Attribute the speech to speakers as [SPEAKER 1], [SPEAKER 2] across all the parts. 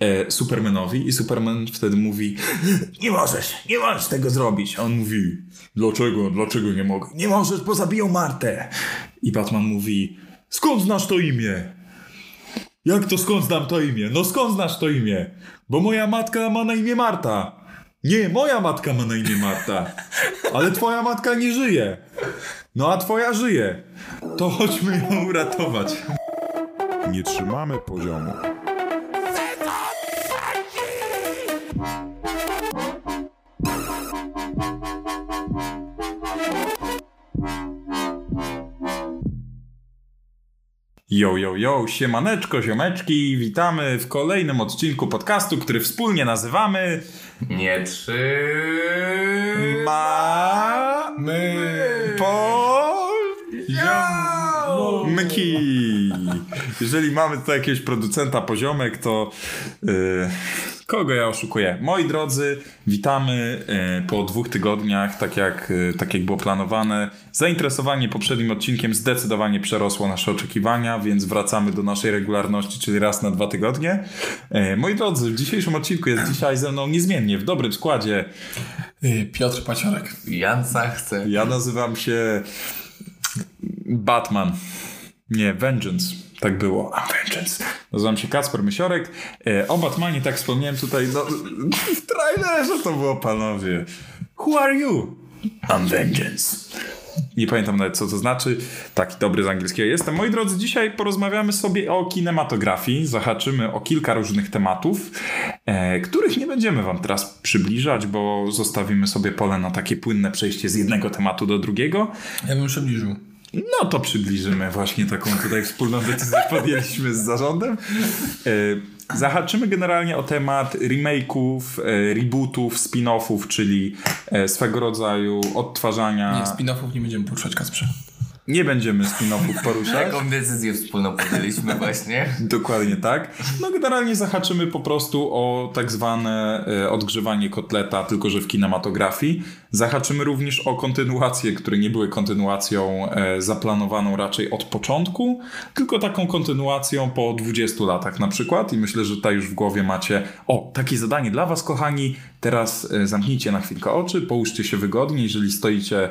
[SPEAKER 1] e, Supermanowi i Superman wtedy mówi nie możesz, nie możesz tego zrobić. A on mówi dlaczego, dlaczego nie mogę? Nie możesz, bo zabiją Martę. I Batman mówi skąd znasz to imię? Jak to skąd znam to imię? No skąd znasz to imię? Bo moja matka ma na imię Marta. Nie, moja matka ma na imię Marta. Ale twoja matka nie żyje. No a twoja żyje. To chodźmy ją uratować.
[SPEAKER 2] Nie trzymamy poziomu.
[SPEAKER 1] Yo, yo, yo, siemaneczko, ziomeczki, witamy w kolejnym odcinku podcastu, który wspólnie nazywamy
[SPEAKER 3] Nie trzy.
[SPEAKER 1] Ma...
[SPEAKER 3] My.
[SPEAKER 1] Po...
[SPEAKER 3] Yo!
[SPEAKER 1] Mki. Jeżeli mamy tutaj jakiegoś producenta poziomek, to yy, kogo ja oszukuję? Moi drodzy, witamy yy, po dwóch tygodniach, tak jak, yy, tak jak było planowane. Zainteresowanie poprzednim odcinkiem zdecydowanie przerosło nasze oczekiwania, więc wracamy do naszej regularności, czyli raz na dwa tygodnie. Yy, moi drodzy, w dzisiejszym odcinku jest dzisiaj ze mną niezmiennie, w dobrym składzie.
[SPEAKER 4] Piotr Paciorek.
[SPEAKER 3] Jansa chce.
[SPEAKER 1] Ja nazywam się Batman. Nie, Vengeance. Tak było. A, Vengeance. Nazywam się Kacper Mysiorek. E, o Batmanie tak wspomniałem tutaj no, w trailerze to było, panowie. Who are you? I'm Vengeance. Nie pamiętam nawet co to znaczy. Taki dobry z angielskiego jestem. Moi drodzy, dzisiaj porozmawiamy sobie o kinematografii. Zahaczymy o kilka różnych tematów, e, których nie będziemy Wam teraz przybliżać, bo zostawimy sobie pole na takie płynne przejście z jednego tematu do drugiego.
[SPEAKER 4] Ja bym przybliżył.
[SPEAKER 1] No to przybliżymy właśnie taką tutaj wspólną decyzję podjęliśmy z zarządem. E, Zahaczymy generalnie o temat remake'ów, e, rebootów, spin-offów, czyli e, swego rodzaju odtwarzania.
[SPEAKER 4] Nie, spin-offów nie będziemy poruszać, Kasprze.
[SPEAKER 1] Nie będziemy spin-offów poruszać.
[SPEAKER 3] Taką decyzję wspólną podjęliśmy właśnie.
[SPEAKER 1] Dokładnie tak. No generalnie zahaczymy po prostu o tak zwane e, odgrzewanie kotleta, tylko że w kinematografii. Zahaczymy również o kontynuacje, które nie były kontynuacją e, zaplanowaną raczej od początku, tylko taką kontynuacją po 20 latach na przykład. I myślę, że tutaj już w głowie macie o, takie zadanie dla was kochani. Teraz e, zamknijcie na chwilkę oczy, połóżcie się wygodnie. Jeżeli stoicie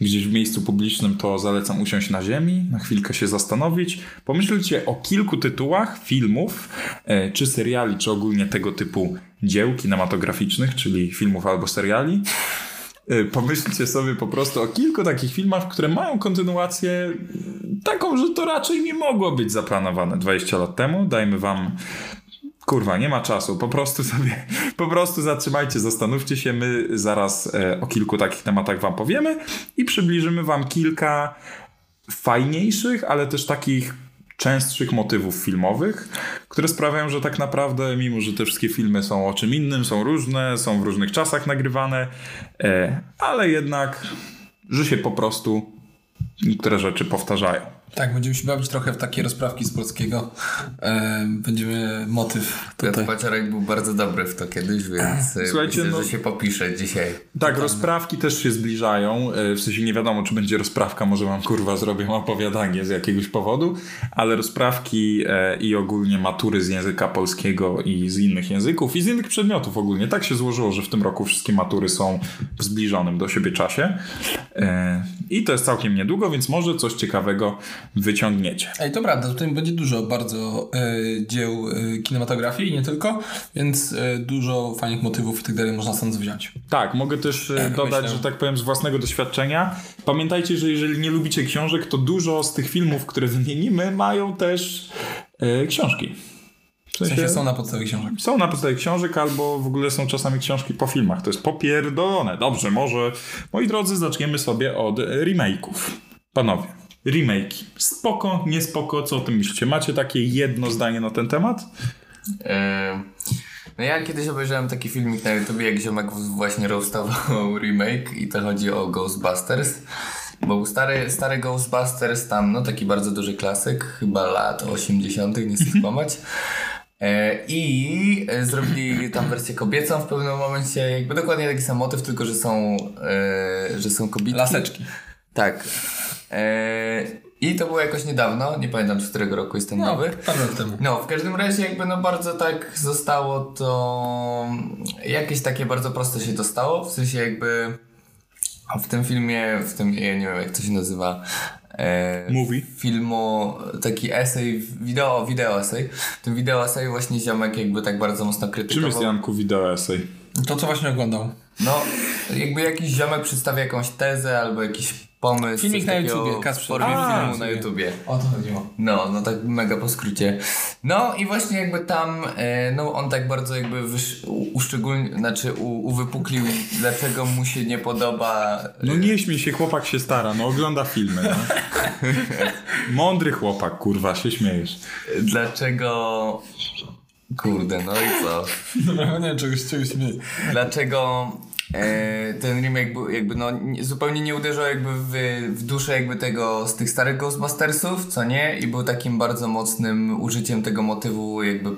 [SPEAKER 1] gdzieś w miejscu publicznym, to zalecam usiąść na ziemi, na chwilkę się zastanowić. Pomyślcie o kilku tytułach filmów, e, czy seriali, czy ogólnie tego typu dzieł kinematograficznych, czyli filmów albo seriali. E, Pomyślcie sobie po prostu o kilku takich filmach, które mają kontynuację taką, że to raczej nie mogło być zaplanowane 20 lat temu. Dajmy wam Kurwa, nie ma czasu. Po prostu sobie, po prostu zatrzymajcie, zastanówcie się. My zaraz e, o kilku takich tematach wam powiemy i przybliżymy wam kilka fajniejszych, ale też takich częstszych motywów filmowych, które sprawiają, że tak naprawdę, mimo że te wszystkie filmy są o czym innym, są różne, są w różnych czasach nagrywane, e, ale jednak, że się po prostu niektóre rzeczy powtarzają.
[SPEAKER 4] Tak, będziemy się bawić trochę w takie rozprawki z polskiego. E, będziemy motyw
[SPEAKER 3] Piotr
[SPEAKER 4] tutaj.
[SPEAKER 3] Paciorek był bardzo dobry w to kiedyś, więc e,
[SPEAKER 1] Słuchajcie,
[SPEAKER 3] myślę,
[SPEAKER 1] no-
[SPEAKER 3] że się popisze dzisiaj.
[SPEAKER 1] Tak, rozprawki też się zbliżają. e, W sensie nie wiadomo, czy będzie rozprawka, może wam kurwa zrobię opowiadanie z jakiegoś powodu, ale rozprawki e, i ogólnie matury z języka polskiego i z innych języków i z innych przedmiotów ogólnie. Tak się złożyło, że w tym roku wszystkie matury są w zbliżonym do siebie czasie. E, I to jest całkiem niedługo, więc może coś ciekawego wyciągniecie.
[SPEAKER 4] Ej, to prawda, tutaj będzie dużo bardzo e, dzieł e, kinematografii i nie tylko, więc e, dużo fajnych motywów i tak dalej można stąd wziąć.
[SPEAKER 1] Tak, mogę też e, dodać,
[SPEAKER 4] myślę.
[SPEAKER 1] że tak powiem, z własnego doświadczenia. Pamiętajcie, że jeżeli nie lubicie książek, to dużo z tych filmów, które wymienimy, mają też e, książki. W
[SPEAKER 4] W
[SPEAKER 1] sensie,
[SPEAKER 4] sensie są na podstawie książek.
[SPEAKER 1] są na podstawie książek, albo w ogóle są czasami książki po filmach. To jest popierdolone. Dobrze, może. Moi drodzy, zaczniemy sobie od e, remake'ów. Panowie, remake'i. Spoko, niespoko, co o tym myślicie? Macie takie jedno zdanie na ten temat?
[SPEAKER 3] E, No ja kiedyś obejrzałem taki filmik na YouTubie, jak ziomek właśnie roastował remake i to chodzi o Ghostbusters. Bo stary, stary Ghostbusters tam, no taki bardzo duży klasyk, chyba lat 80., nie chcę
[SPEAKER 4] Mhm.
[SPEAKER 3] skłamać. E, I e, zrobili tam wersję kobiecą w pewnym momencie, jakby dokładnie taki sam motyw, tylko że są, e, że są kobiety.
[SPEAKER 4] Laseczki.
[SPEAKER 3] Tak. E, I to było jakoś niedawno, nie pamiętam z którego roku jestem
[SPEAKER 4] No,
[SPEAKER 3] nowy.
[SPEAKER 4] parę lat temu.
[SPEAKER 3] No, w każdym razie jakby no bardzo tak zostało to... Jakieś takie bardzo proste się dostało, w sensie jakby w tym filmie, w tym, ja nie wiem jak to się nazywa... E,
[SPEAKER 1] Mówi.
[SPEAKER 3] filmu taki esej, wideo, wideo esej. W tym wideo esej właśnie ziomek jakby tak bardzo mocno
[SPEAKER 1] Czym jest
[SPEAKER 3] krytykował.
[SPEAKER 1] Janku wideo esej?
[SPEAKER 4] To, co właśnie oglądał.
[SPEAKER 3] No, jakby jakiś ziomek przedstawia jakąś tezę albo jakiś pomysł.
[SPEAKER 4] Filmik
[SPEAKER 3] coś
[SPEAKER 4] na
[SPEAKER 3] takiego
[SPEAKER 4] YouTubie, Kasprze.
[SPEAKER 3] W formie
[SPEAKER 4] A,
[SPEAKER 3] filmu na
[SPEAKER 4] rozumiem.
[SPEAKER 3] YouTubie.
[SPEAKER 4] O to chodziło.
[SPEAKER 3] No, no tak mega po skrócie. No i właśnie jakby tam, e, no on tak bardzo jakby wysz, u- uszczególnił, znaczy u, uwypuklił, dlaczego mu się nie podoba.
[SPEAKER 1] No nie śmiej się, chłopak się stara, no ogląda filmy. No. Mądry chłopak, kurwa, się śmiejesz.
[SPEAKER 3] e, Dlaczego. Kurde, no i co?
[SPEAKER 4] Dobra, No nie wiem, czegoś, czegoś nie...
[SPEAKER 3] Dlaczego e, ten remake był jakby no, nie, zupełnie nie uderzał jakby w, w duszę jakby tego z tych starych Ghostbustersów, co nie? I był takim bardzo mocnym użyciem tego motywu jakby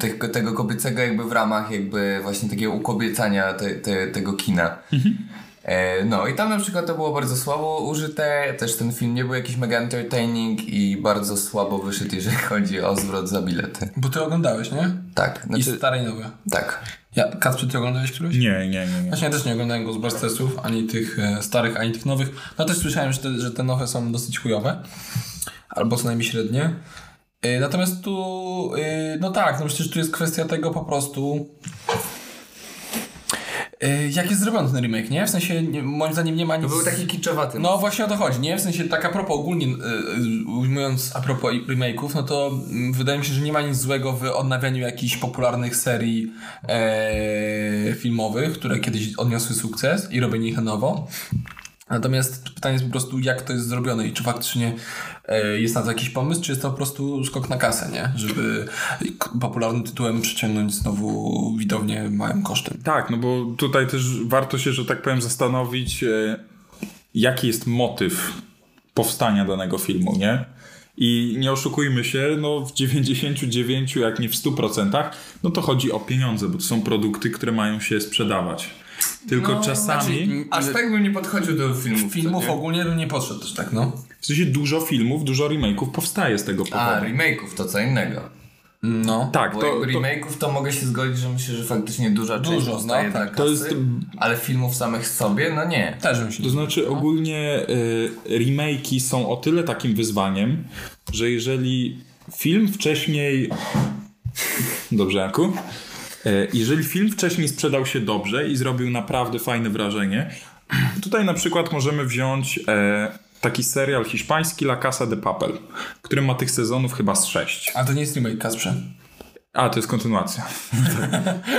[SPEAKER 3] tego, tego kobiecego jakby w ramach jakby właśnie takiego ukobiecania te, te, tego kina.
[SPEAKER 4] Mhm.
[SPEAKER 3] E, No i tam na przykład to było bardzo słabo użyte, też ten film nie był jakiś mega entertaining i bardzo słabo wyszedł, jeżeli chodzi o zwrot za bilety.
[SPEAKER 4] Bo ty oglądałeś, nie?
[SPEAKER 3] Tak,
[SPEAKER 4] I
[SPEAKER 3] znaczy,
[SPEAKER 4] stare i nowe.
[SPEAKER 3] tak.
[SPEAKER 4] Ja, Kacprze, ty oglądałeś któryś?
[SPEAKER 1] Nie, nie, nie. nie.
[SPEAKER 4] Właśnie ja też nie oglądałem Ghostbustersów, ani tych e, starych, ani tych nowych. No też słyszałem, że te, że te nowe są dosyć chujowe. Albo co najmniej średnie. E, Natomiast tu, e, no tak, no przecież tu jest kwestia tego po prostu... e, Jak jest zrobiony ten remake, nie? W sensie, nie- moim zdaniem nie ma nic...
[SPEAKER 3] To był taki kiczowaty.
[SPEAKER 4] No właśnie o to chodzi, nie? W sensie tak a propos ogólnie, y, y, ujmując a propos i- remake'ów, no to mm, wydaje mi się, że nie ma nic złego w odnawianiu jakichś popularnych serii e, filmowych, które kiedyś odniosły sukces i robienie ich na nowo. Natomiast pytanie jest po prostu, jak to jest zrobione i czy faktycznie e, jest na to jakiś pomysł, czy jest to po prostu skok na kasę, nie? Żeby k- popularnym tytułem przyciągnąć znowu widownię małym kosztem.
[SPEAKER 1] Tak, no bo tutaj też warto się, że tak powiem, zastanowić, e, jaki jest motyw powstania danego filmu, nie? I nie oszukujmy się, no w 99, jak nie w 100%, no to chodzi o pieniądze, bo to są produkty, które mają się sprzedawać. Tylko
[SPEAKER 3] No,
[SPEAKER 1] czasami,
[SPEAKER 3] Aż tak bym nie podchodził do filmów.
[SPEAKER 4] Mm, Filmów
[SPEAKER 3] co nie?
[SPEAKER 4] ogólnie bym nie podszedł też tak, no.
[SPEAKER 1] w sensie dużo filmów, dużo remake'ów powstaje z tego powodu.
[SPEAKER 3] A, remake'ów to co innego.
[SPEAKER 4] No.
[SPEAKER 1] tak,
[SPEAKER 3] Bo
[SPEAKER 1] to,
[SPEAKER 3] jakby
[SPEAKER 1] to,
[SPEAKER 3] remake'ów to mogę się zgodzić, że myślę, że faktycznie duża część
[SPEAKER 4] Dużo,
[SPEAKER 3] powstaje
[SPEAKER 4] no,
[SPEAKER 3] dla
[SPEAKER 4] tak.
[SPEAKER 3] kasy,
[SPEAKER 1] To jest-
[SPEAKER 3] ale filmów samych sobie, no nie.
[SPEAKER 4] Też bym się
[SPEAKER 1] To znaczy ogólnie y, remake'i są o tyle takim wyzwaniem, że jeżeli film wcześniej... Dobrze, Janku? Y, Jeżeli film wcześniej sprzedał się dobrze i zrobił naprawdę fajne wrażenie, tutaj na przykład możemy wziąć e, taki serial hiszpański La Casa de Papel, który ma tych sezonów chyba z sześć.
[SPEAKER 4] A to nie jest remake, Kasprze.
[SPEAKER 1] A, to jest kontynuacja.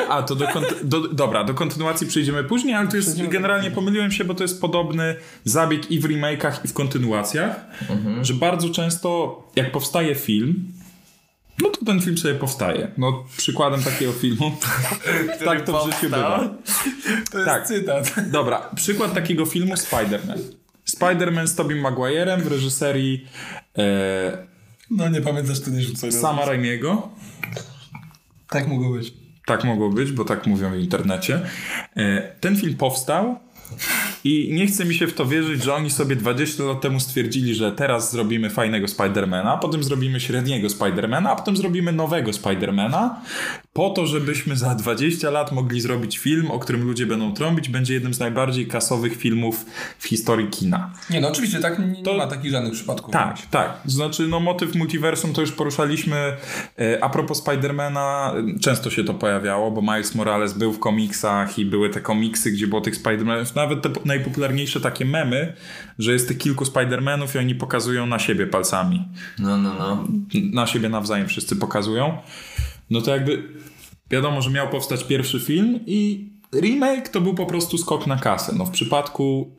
[SPEAKER 1] A, to do, kont- do Dobra, do kontynuacji przejdziemy później, ale to jest. Generalnie pomyliłem się, bo to jest podobny zabieg i w remake'ach, i w kontynuacjach,
[SPEAKER 4] Mhm.
[SPEAKER 1] że bardzo często jak powstaje film. No to ten film sobie powstaje. No przykładem takiego filmu. tak to w życiu bywa.
[SPEAKER 4] To jest
[SPEAKER 1] Tak.
[SPEAKER 4] cytat.
[SPEAKER 1] Dobra, przykład takiego filmu Spider-Man. Spider-Man z Tobey Maguirem w reżyserii e,
[SPEAKER 4] No nie pamiętasz, to nie rzucaj.
[SPEAKER 1] Sama Raimiego.
[SPEAKER 4] Tak mogło być.
[SPEAKER 1] Tak mogło być, bo tak mówią w internecie. E, Ten film powstał i nie chce mi się w to wierzyć, że oni sobie 20 lat temu stwierdzili, że teraz zrobimy fajnego Spidermana, potem zrobimy średniego Spidermana, a potem zrobimy nowego Spidermana, po to, żebyśmy za 20 lat mogli zrobić film, o którym ludzie będą trąbić, będzie jednym z najbardziej kasowych filmów w historii kina.
[SPEAKER 4] Nie, no oczywiście, tak nie,
[SPEAKER 1] To-
[SPEAKER 4] nie ma takich żadnych przypadków.
[SPEAKER 1] Tak, tak. Znaczy, no motyw multiversum to już poruszaliśmy. E, A propos Spidermana, e, często się to pojawiało, bo Miles Morales był w komiksach i były te komiksy, gdzie było tych Spidermanów, nawet te po- najpopularniejsze takie memy, że jest tych kilku Spidermanów i oni pokazują na siebie palcami.
[SPEAKER 3] No, no, no.
[SPEAKER 1] N- Na siebie nawzajem wszyscy pokazują. No to jakby wiadomo, że miał powstać pierwszy film i remake to był po prostu skok na kasę. No w przypadku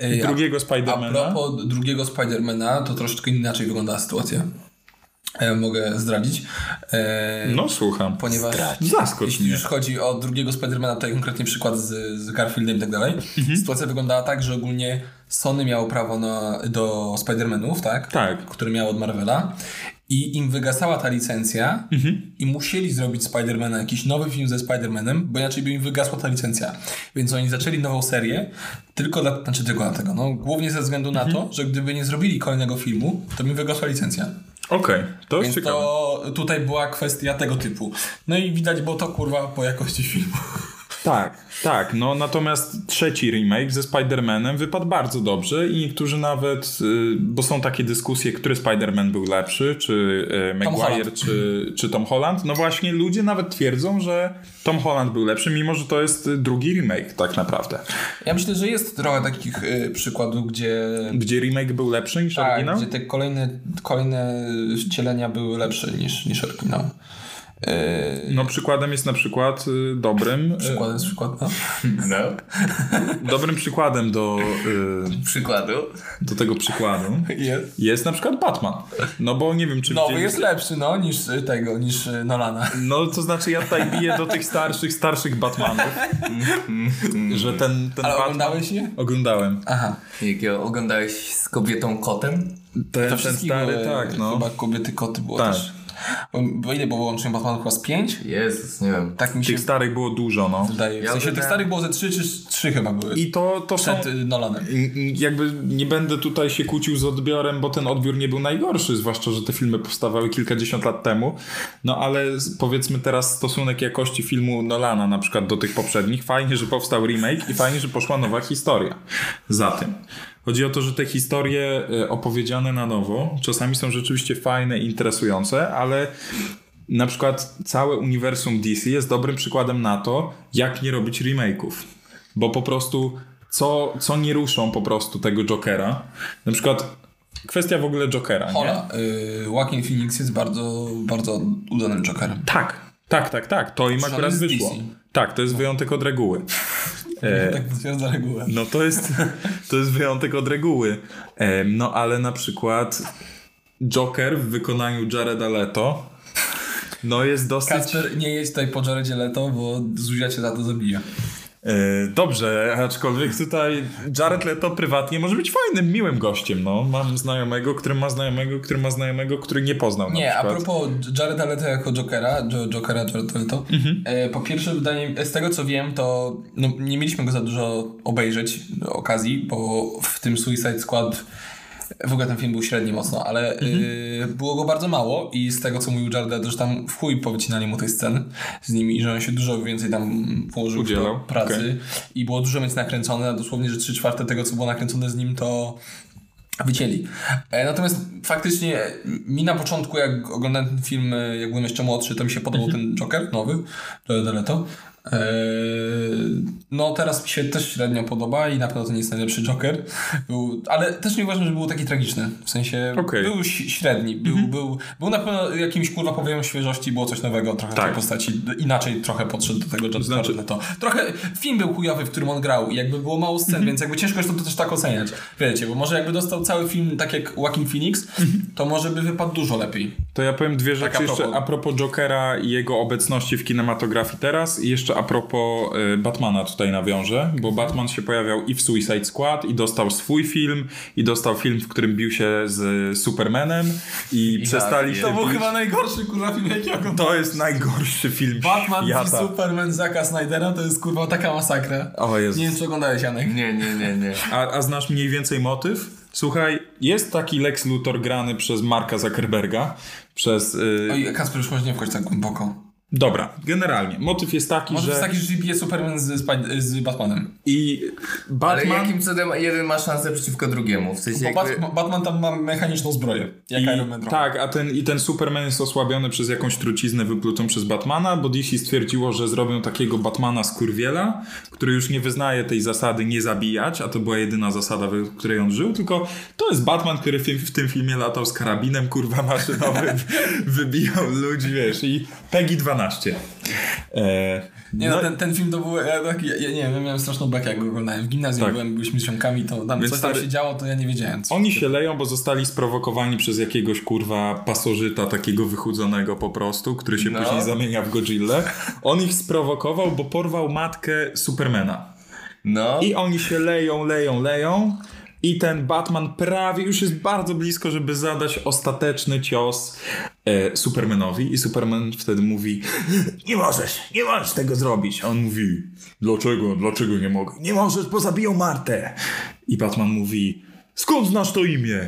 [SPEAKER 1] e,
[SPEAKER 4] Ej, a-
[SPEAKER 1] drugiego
[SPEAKER 4] A
[SPEAKER 1] Spidermana...
[SPEAKER 4] propos drugiego Spidermana, to troszeczkę inaczej wygląda sytuacja. E, mogę zdradzić. E,
[SPEAKER 1] No słucham.
[SPEAKER 4] Ponieważ
[SPEAKER 1] Zaskocz
[SPEAKER 4] jeśli
[SPEAKER 1] mnie.
[SPEAKER 4] już chodzi o drugiego Spidermana, to konkretnie przykład z, z Garfieldem i tak dalej. Sytuacja wyglądała tak, że ogólnie Sony miało prawo na, do Spidermanów, tak?
[SPEAKER 1] Tak.
[SPEAKER 4] Który miał od Marvela. i im wygasała ta licencja i musieli zrobić Spidermana, jakiś nowy film ze Spidermanem, bo inaczej by im wygasła ta licencja. Więc oni zaczęli nową serię tylko dla, znaczy tylko dlatego, no głównie ze względu na to, że gdyby nie zrobili kolejnego filmu, to by im wygasła licencja.
[SPEAKER 1] Okej, to jest
[SPEAKER 4] Więc
[SPEAKER 1] ciekawe.
[SPEAKER 4] to tutaj była kwestia tego typu. No i widać było to kurwa po jakości filmu.
[SPEAKER 1] Tak, tak. No natomiast trzeci remake ze Spider-Manem wypadł bardzo dobrze i niektórzy nawet, y, bo są takie dyskusje, który Spider-Man był lepszy, czy y, Maguire,
[SPEAKER 4] Holland.
[SPEAKER 1] czy, czy Tom Holland. No właśnie ludzie nawet twierdzą, że Tom Holland był lepszy, mimo że to jest y, drugi remake tak naprawdę.
[SPEAKER 4] Ja myślę, że jest trochę takich y, przykładów, gdzie
[SPEAKER 1] Gdzie remake był lepszy niż
[SPEAKER 4] Tak,
[SPEAKER 1] oryginał?
[SPEAKER 4] gdzie te kolejne, kolejne wcielenia były lepsze niż, niż oryginał. Yy,
[SPEAKER 1] No przykładem jest na przykład y, dobrym, y,
[SPEAKER 4] przykładem z przykład, no.
[SPEAKER 3] No,
[SPEAKER 1] dobrym przykładem do,
[SPEAKER 3] przykładu.
[SPEAKER 1] y, do tego przykładu
[SPEAKER 4] Jest.
[SPEAKER 1] jest na przykład Batman. No bo nie wiem, czy
[SPEAKER 4] Nowy
[SPEAKER 1] widzieli-
[SPEAKER 4] jest lepszy, no, niż y, tego, niż y, Nolana.
[SPEAKER 1] No to znaczy ja tutaj biję do tych starszych, starszych Batmanów. że ten, ten
[SPEAKER 4] Ale
[SPEAKER 1] Batman...
[SPEAKER 4] oglądałeś nie?
[SPEAKER 1] Oglądałem.
[SPEAKER 4] Aha.
[SPEAKER 3] Jakiego oglądałeś z kobietą kotem?
[SPEAKER 1] Ten,
[SPEAKER 4] To e,
[SPEAKER 1] ten
[SPEAKER 4] wszystkie
[SPEAKER 1] stary,
[SPEAKER 4] były,
[SPEAKER 1] tak, no.
[SPEAKER 4] y, Chyba kobiety koty było
[SPEAKER 1] Tak.
[SPEAKER 4] też. Bo, bo ile było łącznie Batmanów? Chyba z pięć?
[SPEAKER 3] Jezus, nie wiem.
[SPEAKER 4] Tak mi się
[SPEAKER 1] Tych starych było dużo, no.
[SPEAKER 4] wydaje. W
[SPEAKER 3] Ja
[SPEAKER 4] sensie tych
[SPEAKER 3] oglądałem-
[SPEAKER 4] starych było ze trzy, czy trzy chyba były.
[SPEAKER 1] I to, to są...
[SPEAKER 4] Przed y, Nolanem.
[SPEAKER 1] N- n- Jakby nie będę tutaj się kłócił z odbiorem, bo ten odbiór nie był najgorszy, zwłaszcza, że te filmy powstawały kilkadziesiąt lat temu. No ale z- powiedzmy teraz stosunek jakości filmu Nolana na przykład do tych poprzednich. Fajnie, że powstał remake i fajnie, że poszła nowa historia za tym. Chodzi o to, że te historie e, opowiedziane na nowo czasami są rzeczywiście fajne, interesujące, ale na przykład całe uniwersum DC jest dobrym przykładem na to, jak nie robić remake'ów. Bo po prostu co, co nie ruszą po prostu tego Jokera. Na przykład kwestia w ogóle Jokera, nie?
[SPEAKER 4] Ola, y, Joaquin Phoenix jest bardzo, bardzo udanym Jokerem.
[SPEAKER 1] Tak, tak, tak, tak. To im
[SPEAKER 4] Przynajmniej
[SPEAKER 1] akurat
[SPEAKER 4] z
[SPEAKER 1] wyszło.
[SPEAKER 4] DC.
[SPEAKER 1] Tak, to jest wyjątek od reguły. E,
[SPEAKER 4] Tak potwierdza regułę.
[SPEAKER 1] No to jest, to jest wyjątek od reguły. Em, No ale na przykład Joker w wykonaniu Jareda Leto no jest dosyć...
[SPEAKER 4] Kasper, nie jedź tutaj po Jaredzie Leto, bo Zuzia cię za to zabije.
[SPEAKER 1] E, Dobrze, aczkolwiek tutaj Jared Leto prywatnie może być fajnym, miłym gościem. No, mam znajomego, który ma znajomego, który ma znajomego, który nie poznał na
[SPEAKER 4] Nie, a
[SPEAKER 1] przykład.
[SPEAKER 4] propos Jareda Leto jako Jokera, jo, Jokera Jareda Leto,
[SPEAKER 1] Mhm.
[SPEAKER 4] e, po pierwsze wydaje z tego co wiem, to no, nie mieliśmy go za dużo obejrzeć e, okazji, bo w tym Suicide Squad w ogóle ten film był średni mocno, ale e,
[SPEAKER 1] Mhm.
[SPEAKER 4] było go bardzo mało i z tego co mówił Jared Leto, że tam w chuj powycinali mu tej sceny z nimi i że on się dużo więcej tam położył
[SPEAKER 1] Udzielał,
[SPEAKER 4] do pracy
[SPEAKER 1] okej.
[SPEAKER 4] i było dużo więcej nakręcone, a dosłownie, że 3 czwarte tego co było nakręcone z nim to wycięli. E, Natomiast faktycznie mi na początku, jak oglądałem ten film, e, jak byłem jeszcze młodszy, to mi się podobał
[SPEAKER 1] Mhm.
[SPEAKER 4] ten Joker nowy, Jared Leto. E, No teraz mi się też średnio podoba i na pewno to nie jest najlepszy Joker. Był, ale też nie uważam, że był taki tragiczny. W sensie
[SPEAKER 1] Okej. Mhm.
[SPEAKER 4] był ś- średni. Był, był, był na pewno jakimś kurwa powiem świeżości, było coś nowego trochę
[SPEAKER 1] Tak.
[SPEAKER 4] w tej postaci. Inaczej trochę podszedł do tego Jared
[SPEAKER 1] Znaczy-
[SPEAKER 4] Leto. Trochę film był chujowy, w którym on grał i jakby było mało scen, więc jakby ciężko jest to też tak oceniać. Wiecie, bo może jakby dostał cały film tak jak Joaquin Phoenix, to może by wypadł dużo lepiej.
[SPEAKER 1] To ja powiem dwie rzeczy
[SPEAKER 4] a propos-
[SPEAKER 1] jeszcze a propos Jokera i jego obecności w kinematografii teraz i jeszcze a propos y, Batmana tutaj nawiążę, bo Batman się pojawiał i w Suicide Squad i dostał swój film i dostał film, w którym bił się z Supermanem i,
[SPEAKER 3] I
[SPEAKER 1] przestali
[SPEAKER 3] tak,
[SPEAKER 1] się bić.
[SPEAKER 4] najgorszy kurwa film jakiego.
[SPEAKER 1] To jest najgorszy film
[SPEAKER 4] Batman i
[SPEAKER 1] świata.
[SPEAKER 4] Superman Zaka Snydera to jest kurwa taka masakra.
[SPEAKER 1] O Jezus.
[SPEAKER 4] Nie wiem czy oglądałeś Janek.
[SPEAKER 3] Nie, nie, nie, nie.
[SPEAKER 1] A, a znasz mniej więcej motyw? Słuchaj, jest taki Lex Luthor grany przez Marka Zuckerberga, przez... y,
[SPEAKER 4] Oj, No Kasper już może nie wchodź tak głęboko.
[SPEAKER 1] Dobra, generalnie. Motyw jest taki,
[SPEAKER 4] Może
[SPEAKER 1] że...
[SPEAKER 4] jest taki, że bije Superman z, Spid- z Batmanem.
[SPEAKER 1] I
[SPEAKER 3] Ale
[SPEAKER 1] Batman...
[SPEAKER 3] jakim cudem jeden ma szansę przeciwko drugiemu? W sensie
[SPEAKER 4] Bo
[SPEAKER 3] jakby...
[SPEAKER 4] Bat- Batman tam ma mechaniczną zbroję. Jak
[SPEAKER 1] I,
[SPEAKER 4] Iron Man trochę.
[SPEAKER 1] tak, a ten, i ten Superman jest osłabiony przez jakąś truciznę wyplutą przez Batmana, bo DC stwierdziło, że zrobią takiego Batmana skurwiela, który już nie wyznaje tej zasady nie zabijać, a to była jedyna zasada, w której on żył, tylko to jest Batman, który w, w tym filmie latał z karabinem, kurwa, maszynowym, wybijał ludzi, wiesz, i PEGI 12. E,
[SPEAKER 4] Nie no, ten, ten film to był, ja, taki, ja, ja nie wiem, ja miałem straszną bekę jak go oglądałem. W gimnazjum
[SPEAKER 1] Tak.
[SPEAKER 4] byłem, byliśmy z ziomkami, to tam
[SPEAKER 1] Więc
[SPEAKER 4] coś tam
[SPEAKER 1] stary-
[SPEAKER 4] się działo, to ja nie wiedziałem. Co.
[SPEAKER 1] Oni się leją, bo zostali sprowokowani przez jakiegoś kurwa pasożyta, takiego wychudzonego po prostu, który się
[SPEAKER 3] No.
[SPEAKER 1] później zamienia w Godzillę. On ich sprowokował, bo porwał matkę Supermana.
[SPEAKER 3] No,
[SPEAKER 1] I oni się leją, leją, leją. I ten Batman prawie już jest bardzo blisko, żeby zadać ostateczny cios e, Supermanowi. I Superman wtedy mówi: Nie możesz, nie możesz tego zrobić. A on mówi: Dlaczego, dlaczego nie mogę? Nie możesz, bo zabiją Martę. I Batman mówi: Skąd znasz to imię?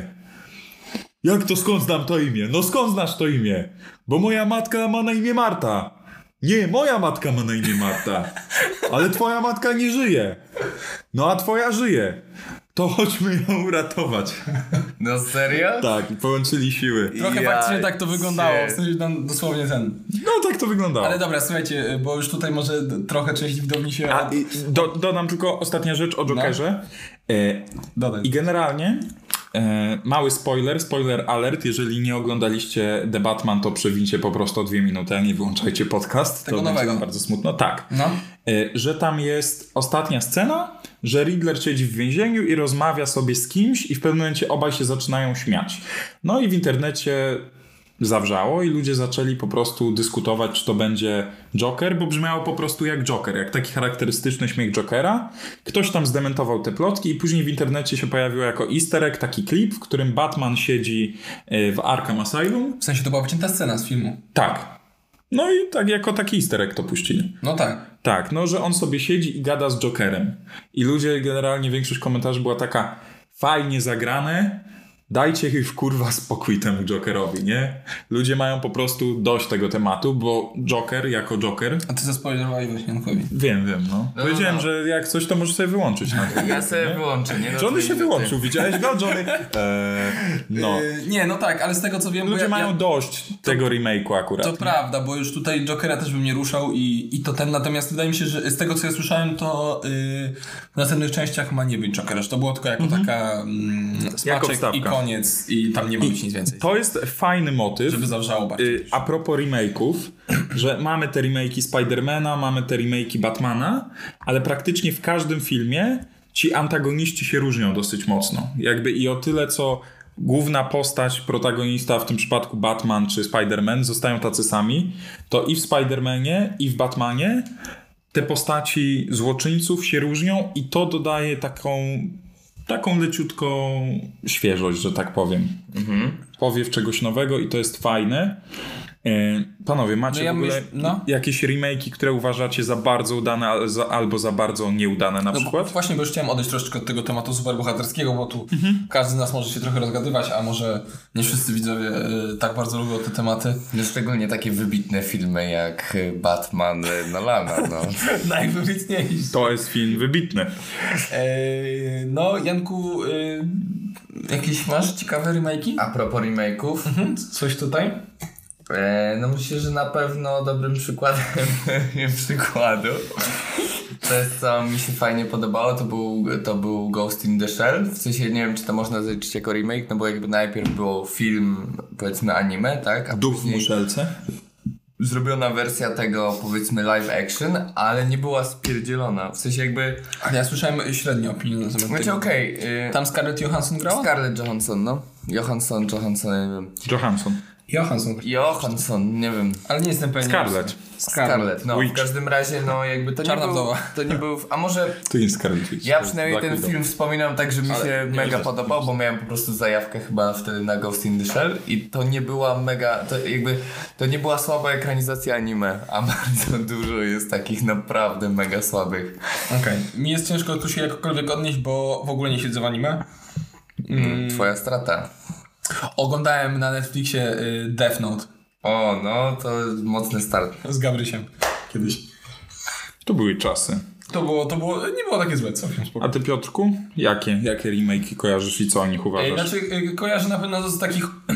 [SPEAKER 1] Jak to skąd znam to imię? No skąd znasz to imię? Bo moja matka ma na imię Marta. Nie, moja matka ma na imię Marta. Ale twoja matka nie żyje. No a twoja żyje. To chodźmy ją uratować.
[SPEAKER 3] No serio?
[SPEAKER 1] Tak, i połączyli siły.
[SPEAKER 4] Trochę
[SPEAKER 3] Ja
[SPEAKER 4] faktycznie tak to wyglądało, w
[SPEAKER 3] cię-
[SPEAKER 4] sensie tam dosłownie ten.
[SPEAKER 1] No tak to wyglądało.
[SPEAKER 4] Ale dobra, słuchajcie, bo już tutaj może d- trochę część widowni się...
[SPEAKER 1] A i, do, dodam tylko ostatnia rzecz
[SPEAKER 4] No.
[SPEAKER 1] o Jokerze. E,
[SPEAKER 4] Dodaj.
[SPEAKER 1] I generalnie e, mały spoiler, spoiler alert, jeżeli nie oglądaliście The Batman, to przewincie po prostu o dwie minuty, a nie wyłączajcie podcast.
[SPEAKER 4] Tego
[SPEAKER 1] to będzie
[SPEAKER 4] nowego.
[SPEAKER 1] bardzo smutno. Tak.
[SPEAKER 4] No.
[SPEAKER 1] E, że tam jest ostatnia scena, że Riddler siedzi w więzieniu i rozmawia sobie z kimś i w pewnym momencie obaj się zaczynają śmiać. No i w internecie zawrzało i ludzie zaczęli po prostu dyskutować, czy to będzie Joker, bo brzmiało po prostu jak Joker, jak taki charakterystyczny śmiech Jokera. Ktoś tam zdementował te plotki i później w internecie się pojawił jako easter egg taki klip, w którym Batman siedzi e, w Arkham Asylum.
[SPEAKER 4] W sensie to była wycięta scena z filmu.
[SPEAKER 1] Tak. No i tak jako taki easter egg to puścili.
[SPEAKER 4] No tak.
[SPEAKER 1] Tak, no, że on sobie siedzi i gada z Jokerem. I ludzie, generalnie większość komentarzy była taka fajnie zagrane, dajcie ich kurwa spokój temu Jokerowi, nie? Ludzie mają po prostu dość tego tematu, bo Joker jako Joker...
[SPEAKER 4] A ty zaspoilerowałeś właśnie Jankowi.
[SPEAKER 1] Wiem, wiem, no.
[SPEAKER 3] No,
[SPEAKER 1] Powiedziałem,
[SPEAKER 3] no.
[SPEAKER 1] że jak coś, to możesz sobie wyłączyć. Na to.
[SPEAKER 3] Ja sobie wyłączę, nie? No
[SPEAKER 1] Johnny
[SPEAKER 3] to
[SPEAKER 1] się
[SPEAKER 3] idę
[SPEAKER 1] wyłączył, widziałeś go, Johnny? Eee, no.
[SPEAKER 4] Yy, nie, no tak, ale z tego co wiem... bo
[SPEAKER 1] Ludzie
[SPEAKER 4] ja- ja-
[SPEAKER 1] mają dość tego remake'u akurat.
[SPEAKER 4] To prawda, bo już tutaj Jokera też bym nie ruszał i, i to ten, natomiast wydaje mi się, że z tego co ja słyszałem, to yy, w następnych częściach ma nie być Jokera, że to było tylko jako taka mm, smaczek
[SPEAKER 1] Mhm. wstawka.
[SPEAKER 4] i koniec i tam nie ma być nic więcej,
[SPEAKER 1] To jest fajny motyw.
[SPEAKER 4] żeby zawrzało bardziej.
[SPEAKER 1] Y, A propos remake'ów, że mamy te remake'i Spidermana, mamy te remake'i Batmana, ale praktycznie w każdym filmie ci antagoniści się różnią dosyć mocno. Jakby i o tyle, co główna postać, protagonista, w tym przypadku Batman czy Spiderman, zostają tacy sami, to i w Spidermanie, i w Batmanie te postaci złoczyńców się różnią i to dodaje taką taką leciutką świeżość, że tak powiem. Powiew czegoś nowego i to jest fajne. E, Panowie, macie
[SPEAKER 4] No ja
[SPEAKER 1] w ogóle
[SPEAKER 4] myśl- no.
[SPEAKER 1] jakieś remake'i, które uważacie za bardzo udane al- za, albo za bardzo nieudane na
[SPEAKER 4] No,
[SPEAKER 1] przykład?
[SPEAKER 4] Właśnie, bo już chciałem odejść troszeczkę od tego tematu superbohaterskiego, bo tu
[SPEAKER 1] Mhm.
[SPEAKER 4] każdy z nas może się trochę rozgadywać, a może nie wszyscy widzowie y, tak bardzo lubią te tematy.
[SPEAKER 3] No szczególnie takie wybitne filmy jak y, Batman y, Nolana, no.
[SPEAKER 4] Najwybitniejsi.
[SPEAKER 1] To jest film wybitny.
[SPEAKER 4] Eee, no, Janku, y, jakieś masz ciekawe remake'i?
[SPEAKER 3] A propos remake'ów,
[SPEAKER 4] Coś tutaj?
[SPEAKER 3] e, no myślę, że na pewno dobrym przykładem przykładu to jest co mi się fajnie podobało, to był, to był Ghost in the Shell. W sensie nie wiem, czy to można zaliczyć jako remake, no bo jakby najpierw było film, powiedzmy anime, tak? A
[SPEAKER 1] Duch w
[SPEAKER 3] później-
[SPEAKER 1] muszelce.
[SPEAKER 3] zrobiona wersja tego, powiedzmy, live action, ale nie była spierdzielona. W sensie jakby...
[SPEAKER 4] Ale ja słyszałem średnie opinie na temat
[SPEAKER 3] Znaczy
[SPEAKER 4] tego.
[SPEAKER 3] okej, y,
[SPEAKER 4] Tam Scarlett Johansson grała?
[SPEAKER 3] Scarlett Johansson, no. Johansson, Johansson, nie wiem.
[SPEAKER 1] Johansson.
[SPEAKER 4] Johansson.
[SPEAKER 3] Johansson, nie wiem.
[SPEAKER 4] Ale nie jestem pewien.
[SPEAKER 1] Scarlett.
[SPEAKER 3] Scarlett, no.
[SPEAKER 1] Witch.
[SPEAKER 3] W każdym razie, no jakby to nie
[SPEAKER 4] Czarna
[SPEAKER 3] był...
[SPEAKER 4] wdowa.
[SPEAKER 3] To nie był... A może...
[SPEAKER 1] To jest Scarlett Witch.
[SPEAKER 3] Ja przynajmniej
[SPEAKER 1] Black
[SPEAKER 3] ten
[SPEAKER 1] Widow.
[SPEAKER 3] film wspominam tak, że mi się mega podobał, bo miałem po prostu zajawkę chyba wtedy na Ghost in the Shell i to nie była mega, to jakby, to nie była słaba ekranizacja anime, a bardzo dużo jest takich naprawdę mega słabych.
[SPEAKER 4] Okej. Mi jest ciężko tu się jakkolwiek odnieść, bo w ogóle nie siedzę w anime.
[SPEAKER 3] Mm, Twoja strata.
[SPEAKER 4] Oglądałem na Netflixie y, Death Note
[SPEAKER 3] O, no to mocny start.
[SPEAKER 4] z Gabrysiem kiedyś.
[SPEAKER 1] To były czasy.
[SPEAKER 4] To było, to było, nie było takie złe, co wiem.
[SPEAKER 1] A ty Piotrku? Jakie? Jakie remake'i kojarzysz i co o nich
[SPEAKER 4] Ej,
[SPEAKER 1] uważasz?
[SPEAKER 4] Znaczy, y, kojarzę na pewno z takich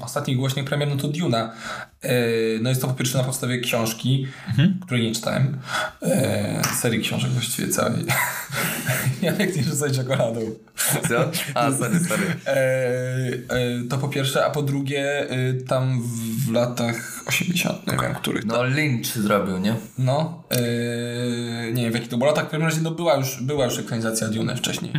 [SPEAKER 4] ostatnich głośnych premier, no to Duna. Y, No jest to po pierwsze na podstawie książki, której nie czytałem. E, Serii książek właściwie całej. Janek nie rzucaj czekoladą.
[SPEAKER 3] Co? A, sorry, sorry.
[SPEAKER 4] E, e, To po pierwsze, a po drugie y, tam w latach 80., nie wiem których.
[SPEAKER 3] No Lynch zrobił, nie?
[SPEAKER 4] No, yy, nie wiem w jakich to było latach, w każdym razie no, była, już, była już ekranizacja Dune wcześniej.